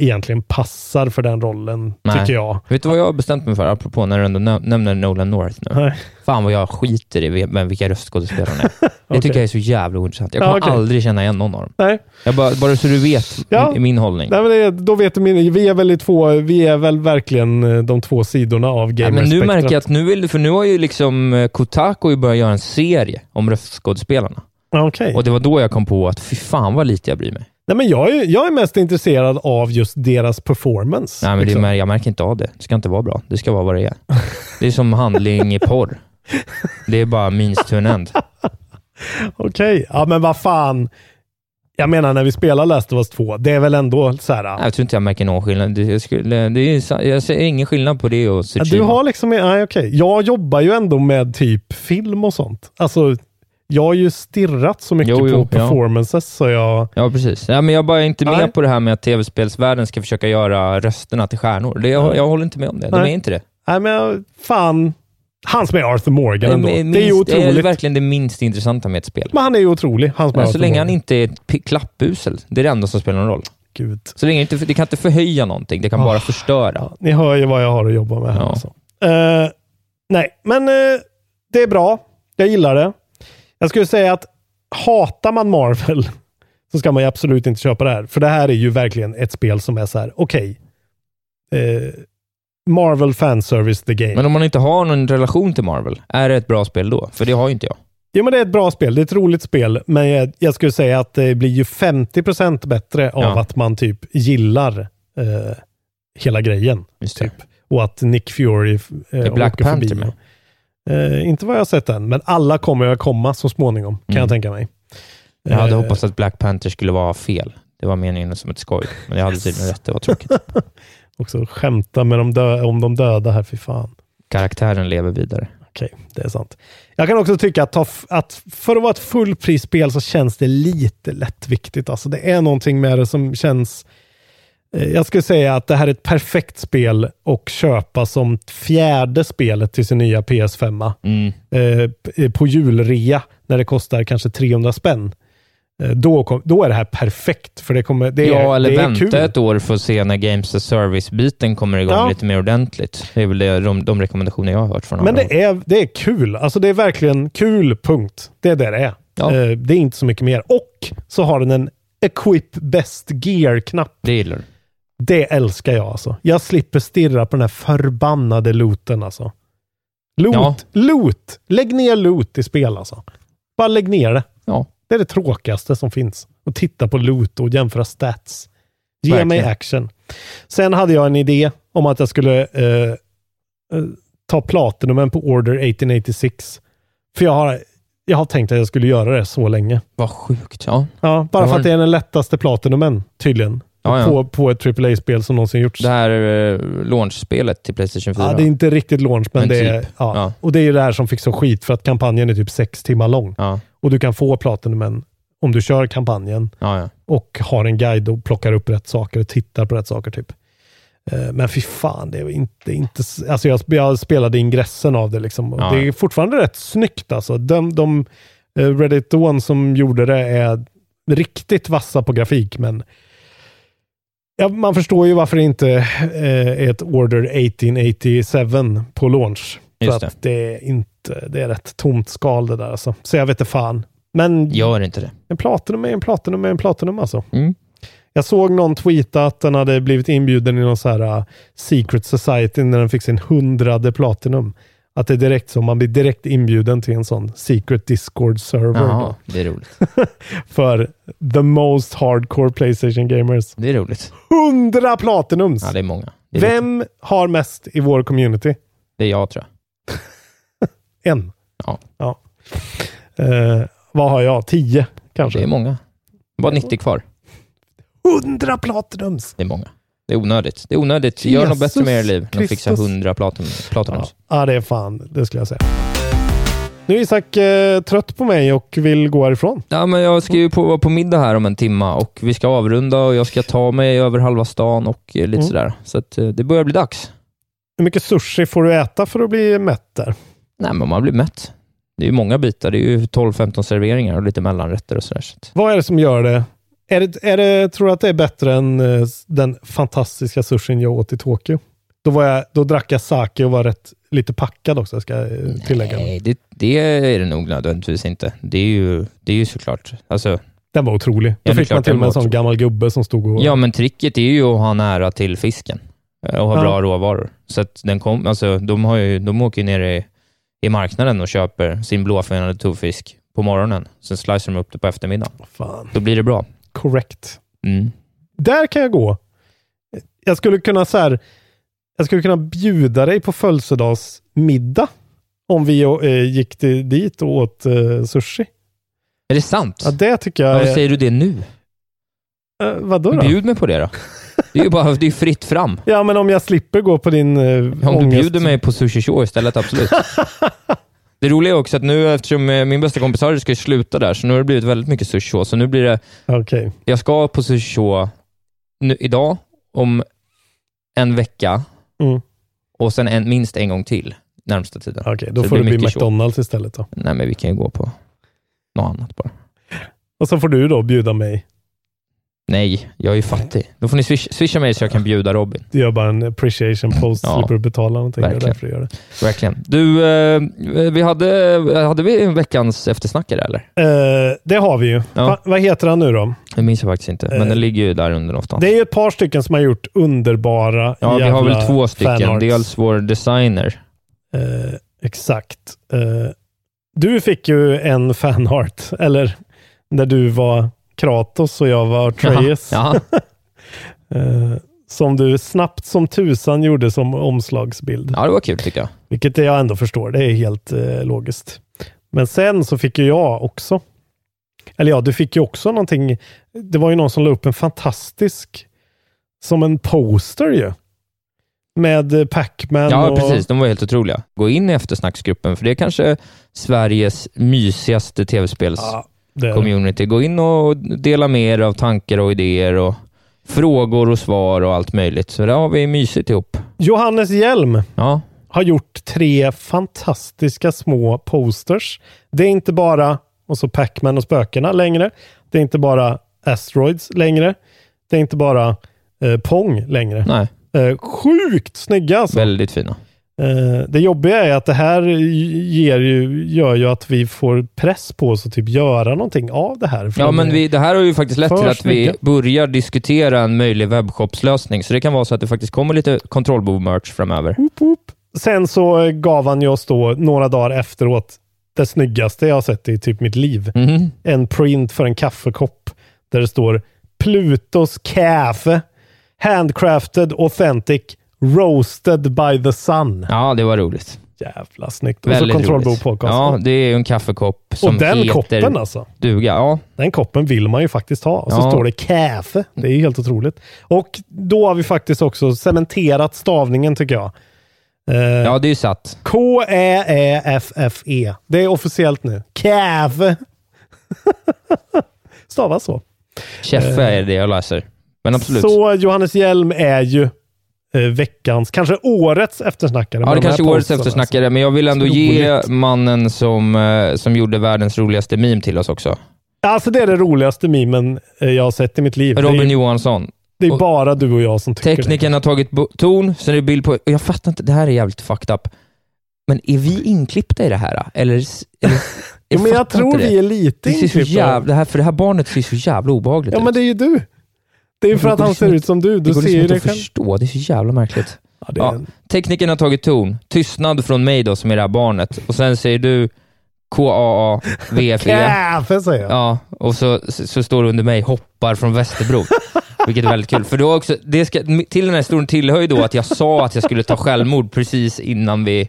Speaker 4: egentligen passar för den rollen,
Speaker 5: Nej.
Speaker 4: tycker jag.
Speaker 5: Vet du vad jag har bestämt mig för, apropå när du ändå nä- nämner Nolan North nu?
Speaker 4: Nej.
Speaker 5: Fan vad jag skiter i vem, vilka röstskådespelarna är. Det tycker jag är så jävla ointressant. Jag
Speaker 4: Ja,
Speaker 5: kommer
Speaker 4: okej.
Speaker 5: aldrig känna igen någon av dem.
Speaker 4: Nej.
Speaker 5: Jag bara, bara så du vet
Speaker 4: Ja.
Speaker 5: i min hållning.
Speaker 4: Nej, men det, då vet du, min- vi är väl i två, vi är väl verkligen eh, de två sidorna av
Speaker 5: Ja, men nu
Speaker 4: gamerspektrat.
Speaker 5: märker jag att nu vill, för nu har ju liksom eh, Kotaku ju börjat göra en serie om röstskådespelarna.
Speaker 4: Ja, okej.
Speaker 5: Och det var då jag kom på att fy fan vad lite jag bryr mig.
Speaker 4: Nej, men jag, är, jag är mest intresserad av just deras performance.
Speaker 5: Nej, men det,
Speaker 4: liksom.
Speaker 5: mär- jag märker inte av det. Det ska inte vara bra. Det ska vara vad det är. Det är som handling i porr. Det är bara means to an end.
Speaker 4: Okej, ja men vad fan. Jag menar när vi spelar Last of Us 2, det är väl ändå så här.
Speaker 5: Nej, Jag tror inte jag märker någon skillnad. Det, jag, skulle, det är, sa- jag ser ingen skillnad på det och
Speaker 4: Ja,
Speaker 5: Tsushima.
Speaker 4: du har liksom, nej okej. Jag jobbar ju ändå med typ film och sånt. Alltså, jag har ju stirrat så mycket
Speaker 5: Jo,
Speaker 4: på
Speaker 5: jo, ja.
Speaker 4: performances så jag...
Speaker 5: Ja, precis. Ja, men jag bara är inte med
Speaker 4: Nej.
Speaker 5: på det här med att tv-spelsvärlden ska försöka göra rösterna till stjärnor. Det, jag, jag håller inte med om det. De är
Speaker 4: Nej.
Speaker 5: inte det.
Speaker 4: Nej men jag- fan. Han som är Arthur Morgan ändå.
Speaker 5: men
Speaker 4: det är ju
Speaker 5: minst-
Speaker 4: otroligt.
Speaker 5: Det är verkligen det minst intressanta med ett spel.
Speaker 4: Men han är ju otrolig. Han som är
Speaker 5: Ja, så
Speaker 4: Arthur
Speaker 5: länge
Speaker 4: Morgan.
Speaker 5: han inte är ett pi- klappusel. Det är det enda som spelar någon roll.
Speaker 4: Gud.
Speaker 5: Så länge det inte, det kan inte förhöja någonting. Det kan
Speaker 4: Ah.
Speaker 5: bara förstöra.
Speaker 4: Ja, ni hör ju vad jag har att jobba med här.
Speaker 5: Ja.
Speaker 4: Alltså. Eh, nej, men eh, det är bra. Jag gillar det. Jag skulle säga att hatar man Marvel så ska man ju absolut inte köpa det här. För det här är ju verkligen ett spel som är så här, okej. eh, Marvel fanservice the game.
Speaker 5: Men om man inte har någon relation till Marvel, är det ett bra spel då? För det har ju inte jag.
Speaker 4: Jo, men det är ett bra spel. Det är ett roligt spel, men jag, jag skulle säga att det blir ju 50 bättre av
Speaker 5: Ja.
Speaker 4: att man typ gillar eh, hela grejen.
Speaker 5: Just det.
Speaker 4: typ. Och att Nick Fury eh,
Speaker 5: Är Black
Speaker 4: åker
Speaker 5: Panther
Speaker 4: förbi.
Speaker 5: med?
Speaker 4: Eh, inte vad jag har sett än, men alla kommer att komma så småningom, kan
Speaker 5: Mm.
Speaker 4: jag tänka mig.
Speaker 5: Jag hade
Speaker 4: Eh,
Speaker 5: hoppats att Black Panther skulle vara fel. Det var meningen som ett skoj, men jag hade tydligen rätt. Det var tråkigt.
Speaker 4: Också skämta med de dö- om de döda här, fy fan.
Speaker 5: Karaktären lever vidare.
Speaker 4: Okej, det är sant. Jag kan också tycka att, ta f- att för att vara ett fullprisspel så känns det lite lättviktigt. Alltså det är någonting med det som känns... eh, Jag skulle säga att det här är ett perfekt spel och köpa som fjärde spelet till sin nya PS5. -a.
Speaker 5: Mm.
Speaker 4: eh, p- på julrea när det kostar kanske 300 spänn. Eh, Då, kom, då är det här perfekt, för det, kommer, det, är,
Speaker 5: ja, eller
Speaker 4: det är
Speaker 5: vänta
Speaker 4: kul.
Speaker 5: ett år för att se när Games as Service-biten kommer igång
Speaker 4: Ja.
Speaker 5: lite mer ordentligt. Det är väl det, de, de rekommendationer jag har hört från
Speaker 4: Men
Speaker 5: andra.
Speaker 4: det är, det är kul. Alltså det är verkligen kul, punkt. Det är det det är.
Speaker 5: Ja.
Speaker 4: Eh, Det är inte så mycket mer. Och så har den en Equip Best Gear-knapp.
Speaker 5: det gillar du.
Speaker 4: Det älskar jag alltså. Jag slipper stirra på den här förbannade looten alltså. Loot,
Speaker 5: Ja.
Speaker 4: loot! Lägg ner loot i spel alltså. Bara lägg ner det.
Speaker 5: Ja.
Speaker 4: Det är det tråkigaste som finns. Och titta på loot och jämföra stats. Ge
Speaker 5: Verkligen.
Speaker 4: mig action. Sen hade jag en idé om att jag skulle eh, eh, ta platinumen på Order 1886. För jag har, jag har tänkt att jag skulle göra det så länge.
Speaker 5: Vad sjukt. Ja.
Speaker 4: Ja, bara
Speaker 5: Ja,
Speaker 4: för att
Speaker 5: det-
Speaker 4: det är den lättaste platinumen, tydligen.
Speaker 5: Ja, ja.
Speaker 4: På, på ett AAA-spel som någonsin gjorts.
Speaker 5: Det här eh, launch-spelet till Playstation 4.
Speaker 4: Ja, det är inte riktigt launch, men,
Speaker 5: Men
Speaker 4: det är...
Speaker 5: typ.
Speaker 4: Ja.
Speaker 5: Ja.
Speaker 4: Och det är ju det här som fick så skit, för att kampanjen är typ sex timmar lång.
Speaker 5: ja.
Speaker 4: Och du kan få platinumen om du kör kampanjen
Speaker 5: Ja, ja.
Speaker 4: och har en guide och plockar upp rätt saker och tittar på rätt saker. typ. Eh, Men fy fan, det är inte... inte alltså jag, sp- jag spelade ingressen av det. Liksom. Och
Speaker 5: Ja.
Speaker 4: Det är fortfarande rätt snyggt. Alltså. De, de eh, Reddit One som gjorde det är riktigt vassa på grafik, men ja, man förstår ju varför det inte eh, är ett Order 1887 på launch.
Speaker 5: Just
Speaker 4: För att det. är inte, det är rätt tomt skal det där. Alltså. Så jag vet inte fan. Men
Speaker 5: Gör inte det.
Speaker 4: en platinum är en platinum är en platinum alltså.
Speaker 5: Mm.
Speaker 4: Jag såg någon tweeta att den hade blivit inbjuden i någon så här uh, secret society när den fick sin hundrade platinum. Att det är direkt så, man blir direkt inbjuden till en sån secret discord server.
Speaker 5: Jaha,
Speaker 4: då,
Speaker 5: det är roligt.
Speaker 4: För the most hardcore Playstation gamers.
Speaker 5: Det är roligt.
Speaker 4: Hundra platinums!
Speaker 5: Ja, det är många. Det är, lite-
Speaker 4: Vem har mest i vår community?
Speaker 5: det är jag tror jag.
Speaker 4: En.
Speaker 5: Ja.
Speaker 4: ja. Eh, vad har jag? Tio
Speaker 5: Det är
Speaker 4: kanske?
Speaker 5: många. Bara 90 kvar.
Speaker 4: Hundra platinums!
Speaker 5: Det är många. Det är onödigt. Det är onödigt. Gör något bättre med er liv än att fixa
Speaker 4: Kristus.
Speaker 5: 100 platin platinum.
Speaker 4: Ja, det är fan, det skulle jag säga. Nu är Isak eh, trött på mig och vill gå härifrån.
Speaker 5: Ja, men jag ska ju på, vara på middag här om en timma och vi ska avrunda och jag ska ta mig över halva stan och eh, lite
Speaker 4: Mm.
Speaker 5: sådär. Så att, eh, det börjar bli dags.
Speaker 4: Hur mycket sushi får du äta för att bli mätt där?
Speaker 5: Nej, men man blir mätt. Det är ju många bitar. Det är ju 12-15 serveringar och lite mellanrätter och sådär. Så att,
Speaker 4: Vad är det som gör det? Är det, är det tror du att det är bättre än eh, den fantastiska sushin jag åt i Tokyo? Då, var jag, då drack jag sake och var rätt lite packad också, ska jag eh, tillägga.
Speaker 5: nej, det, det är det nog nödvändigtvis inte. Det är ju, det är ju såklart. Alltså,
Speaker 4: Den var otrolig. Då
Speaker 5: det är
Speaker 4: fick man
Speaker 5: klart
Speaker 4: till och med
Speaker 5: den var
Speaker 4: en sån
Speaker 5: otrolig.
Speaker 4: gammal gubbe som stod och...
Speaker 5: ja, men tricket är ju att ha nära till fisken eh, och ha
Speaker 4: Ja.
Speaker 5: bra råvaror. Så att den kom, alltså, de, har ju, de åker ju ner i, i marknaden och köper sin blåfenade tovfisk på morgonen. Sen slicer de upp det på eftermiddagen.
Speaker 4: Fan,
Speaker 5: Då blir det bra.
Speaker 4: correct.
Speaker 5: Mm.
Speaker 4: Där kan jag gå. Jag skulle kunna så här, jag skulle kunna bjuda dig på födelsedagsmiddag om vi eh, gick till, dit och åt eh, sushi.
Speaker 5: Är det sant?
Speaker 4: Ja, det tycker jag.
Speaker 5: Varför
Speaker 4: är-
Speaker 5: säger du det nu?
Speaker 4: Eh, vadå då?
Speaker 5: Bjud mig på det då. Det är ju bara, det är fritt fram.
Speaker 4: Ja, men om jag slipper gå på din eh,
Speaker 5: Om du
Speaker 4: ångest-
Speaker 5: bjuder mig på Sushi Show istället, absolut. Det roliga är också att nu, eftersom eh, min bästa kompis Harry ska ju sluta där, så nu har det blivit väldigt mycket Sushi Show. Så nu blir det,
Speaker 4: Okej.
Speaker 5: jag ska på Sushi Show nu, idag, om en vecka
Speaker 4: Mm.
Speaker 5: och sen en, minst en gång till närmsta tiden.
Speaker 4: Okej, då
Speaker 5: Så det
Speaker 4: får
Speaker 5: blir
Speaker 4: det bli
Speaker 5: mycket show.
Speaker 4: McDonalds istället då.
Speaker 5: Nej, men vi kan ju gå på något annat bara.
Speaker 4: Och så får du då bjuda mig.
Speaker 5: Nej, jag är ju fattig. Då får ni swish, swisha mig så jag kan bjuda Robin.
Speaker 4: Du gör bara en appreciation post,
Speaker 5: Ja,
Speaker 4: slipper du betala någonting. Det är
Speaker 5: verkligen.
Speaker 4: därför du gör det.
Speaker 5: Verkligen. Du, eh, vi hade, hade vi en veckans eftersnackare eller?
Speaker 4: Eh, det har vi ju. Va, vad heter han nu då?
Speaker 5: Det minns jag faktiskt inte, men
Speaker 4: Eh,
Speaker 5: den ligger ju där under någonstans.
Speaker 4: Det är ju ett par stycken som har gjort underbara
Speaker 5: ja, vi har
Speaker 4: jävla
Speaker 5: väl två stycken.
Speaker 4: fanarts.
Speaker 5: Dels vår designer.
Speaker 4: Eh, exakt. Eh, du fick ju en fanart, eller när du var Kratos och jag var Atreus,
Speaker 5: Ja, ja,
Speaker 4: eh, som du snabbt som tusan gjorde som omslagsbild.
Speaker 5: ja, det var kul tycker jag.
Speaker 4: Vilket jag ändå förstår, det är helt eh, logiskt. Men sen så fick ju jag också, eller ja, du fick ju också någonting, det var ju någon som la upp en fantastisk, som en poster ju. Med eh, Pac-Man
Speaker 5: Ja,
Speaker 4: och...
Speaker 5: precis. De var helt otroliga. Gå in i eftersnacksgruppen, för det är kanske Sveriges mysigaste
Speaker 4: Ja,
Speaker 5: tv-spels-community.
Speaker 4: det är det.
Speaker 5: Gå in och dela med er av tankar och idéer och frågor och svar och allt möjligt. Så där har vi mysigt ihop.
Speaker 4: Johannes Hjelm
Speaker 5: Ja,
Speaker 4: har gjort tre fantastiska små posters. Det är inte bara, och så Pac-Man och spökena längre. Det är inte bara Asteroids längre. Det är inte bara eh, Pong längre.
Speaker 5: nej,
Speaker 4: Eh, sjukt snygga alltså.
Speaker 5: väldigt fina.
Speaker 4: Eh, det jobbiga är att det här ger ju, gör ju att vi får press på oss att typ göra någonting av det här.
Speaker 5: Ja, men vi, det här har ju faktiskt lett
Speaker 4: För
Speaker 5: till att vi
Speaker 4: snygga.
Speaker 5: börjar diskutera en möjlig webbshopslösning, så det kan vara så att det faktiskt kommer lite kontrollbov-merch framöver.
Speaker 4: Sen så gav han ju oss då några dagar efteråt det snyggaste jag har sett i typ mitt liv.
Speaker 5: Mhm.
Speaker 4: En print för en kaffekopp där det står Plutos kaffe. Handcrafted authentic. Roasted by the sun.
Speaker 5: Ja, det var roligt.
Speaker 4: Jävla snyggt. Och så
Speaker 5: Väldigt
Speaker 4: kontrollbehov
Speaker 5: roligt.
Speaker 4: podcast.
Speaker 5: Ja, det är ju en kaffekopp som
Speaker 4: och den
Speaker 5: heter
Speaker 4: koppen alltså.
Speaker 5: duga. Ja,
Speaker 4: Den koppen vill man ju faktiskt ha. Och så
Speaker 5: Ja.
Speaker 4: står det kaffe. Det är ju helt otroligt. Och då har vi faktiskt också cementerat stavningen tycker jag. Eh, E
Speaker 5: ja, det är ju satt.
Speaker 4: K-E-E-F-F-E. E. Det är officiellt nu. Kaffe. Stavas så.
Speaker 5: Käffe är det jag läser. Men absolut.
Speaker 4: Eh. Så Johannes Hjelm är ju eh, veckans, kanske årets eftersnackare.
Speaker 5: Ja,
Speaker 4: med
Speaker 5: det
Speaker 4: de här alltså.
Speaker 5: kanske är årets
Speaker 4: posterna,
Speaker 5: eftersnackare, men jag vill ändå ge
Speaker 4: Otroligt.
Speaker 5: mannen som, eh, som gjorde världens roligaste meme till oss också.
Speaker 4: Alltså. alltså det är det roligaste memen eh, jag har sett i mitt liv. det,
Speaker 5: Robin
Speaker 4: är,
Speaker 5: Johansson.
Speaker 4: det är
Speaker 5: och-
Speaker 4: bara du och jag som tycker
Speaker 5: Tekniken har tagit bo- ton, sen är det bild på... och Jag fattar inte, det här är jävligt fucked up. Men är vi inklippta i det här? då? Eller? s- eller
Speaker 4: det. Jo, men jag
Speaker 5: fattar
Speaker 4: tror
Speaker 5: inte det.
Speaker 4: vi är lite
Speaker 5: det ser så
Speaker 4: inklippta.
Speaker 5: jävla, det här, För det här barnet ser så jävla obehagligt
Speaker 4: Ja,
Speaker 5: ut.
Speaker 4: men det är ju du. Det är ju för
Speaker 5: Det
Speaker 4: att
Speaker 5: går
Speaker 4: han
Speaker 5: liksom
Speaker 4: ser ut
Speaker 5: inte-
Speaker 4: som du.
Speaker 5: det
Speaker 4: Du
Speaker 5: går
Speaker 4: ser
Speaker 5: liksom
Speaker 4: ju
Speaker 5: inte
Speaker 4: dig
Speaker 5: att
Speaker 4: själv.
Speaker 5: förstå, det är så jävla märkligt.
Speaker 4: Ja, det
Speaker 5: Ja.
Speaker 4: är en-
Speaker 5: Tekniken har tagit ton. Tystnad från mig då, som är det här barnet. Och sen säger du K-A-A-V-F-E.
Speaker 4: Kaffe säger jag.
Speaker 5: E. Ja, och så, så står det under mig hoppar från Västerbro. Vilket är väldigt kul. För då också, det ska, till den här historien tillhör ju då att jag sa att jag skulle ta självmord precis innan vi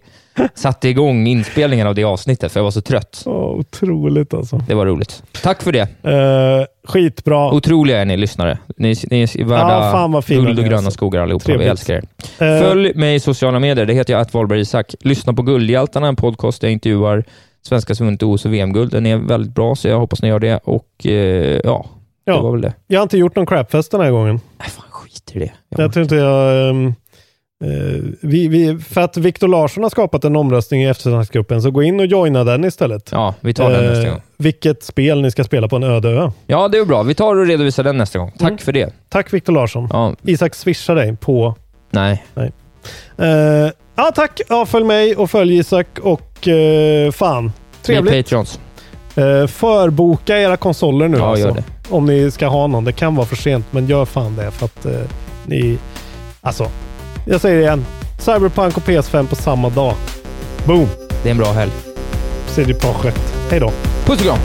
Speaker 5: satte igång inspelningen av det avsnittet, för jag var så trött.
Speaker 4: Åh, otroligt alltså.
Speaker 5: Det var roligt. Tack för det.
Speaker 4: Eh, skitbra.
Speaker 5: Otroliga är ni lyssnare. Ni, ni är värda
Speaker 4: Ja, fan vad fina
Speaker 5: guld
Speaker 4: ni
Speaker 5: och
Speaker 4: är,
Speaker 5: gröna
Speaker 4: alltså.
Speaker 5: skogar allihopa. Vi
Speaker 4: Trevligt.
Speaker 5: älskar er.
Speaker 4: Eh,
Speaker 5: Följ mig i sociala medier. Det heter jag att Wahlberg Isak. Lyssna på Guldhjältarna, en podcast där jag intervjuar svenskar som vunnit OS och VM-guld. Den är väldigt bra, så jag hoppas ni gör det. Och eh, ja, det
Speaker 4: Ja.
Speaker 5: var väl det.
Speaker 4: Jag har inte gjort någon crapfest den här gången.
Speaker 5: Nej, fan skit i det.
Speaker 4: Jag tror inte jag... ehm, eh, vi, vi, för att Viktor Larsson har skapat en omröstning i eftersnacksgruppen, så gå in och joina den istället.
Speaker 5: Ja, vi tar den
Speaker 4: Eh,
Speaker 5: nästa gång.
Speaker 4: Vilket spel ni ska spela på en öde ö.
Speaker 5: Ja, det är bra. Vi tar och redovisar den nästa gång. Tack
Speaker 4: Mm.
Speaker 5: för det.
Speaker 4: Tack Viktor Larsson.
Speaker 5: Ja,
Speaker 4: Isak swishar dig på...
Speaker 5: nej.
Speaker 4: eh, ja, tack! Ja, följ mig och följ Isak och eh, fan. Trevligt.
Speaker 5: Ni Patreons.
Speaker 4: Eh, förboka era konsoler nu
Speaker 5: Ja,
Speaker 4: alltså.
Speaker 5: gör det.
Speaker 4: Om ni ska ha någon. Det kan vara för sent, men gör fan det för att eh, ni... Alltså, jag säger det igen. Cyberpunk och PS5 på samma dag. Boom!
Speaker 5: Det är en bra helg.
Speaker 4: CD Projekt. Hej då!
Speaker 5: Puss och kram!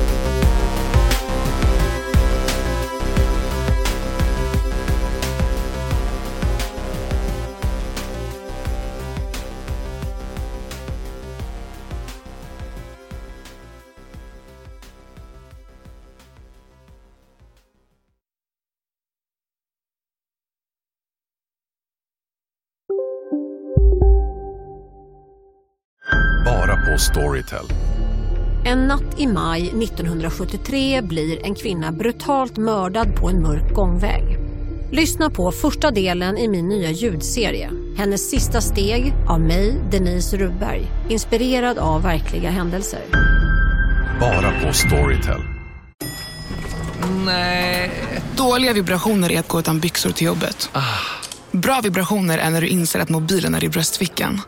Speaker 11: Bara på Storytel.
Speaker 10: En natt i maj 1973 blir en kvinna brutalt mördad på en mörk gångväg. Lyssna på första delen i min nya ljudserie. Hennes sista steg av mig, Denise Rubberg. Inspirerad av verkliga händelser.
Speaker 11: Bara på Storytel.
Speaker 12: Dåliga vibrationer är att gå utan byxor till jobbet. Bra vibrationer är när du inser att mobilen är i bröstfickan.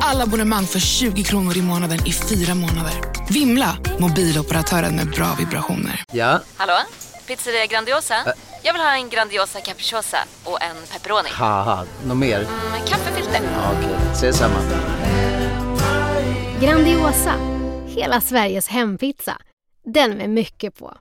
Speaker 12: Alla abonnemang för 20 kronor i månaden i fyra månader. Vimla! Mobiloperatören med bra vibrationer.
Speaker 13: Ja,
Speaker 14: Hallå? Pizzeria Grandiosa? Jag vill ha en Grandiosa capriciosa och en pepperoni.
Speaker 13: haha, något mer?
Speaker 14: Med kaffefilter.
Speaker 13: Ja, Okej, ses samma.
Speaker 15: Grandiosa, hela Sveriges hempizza. Den med mycket på.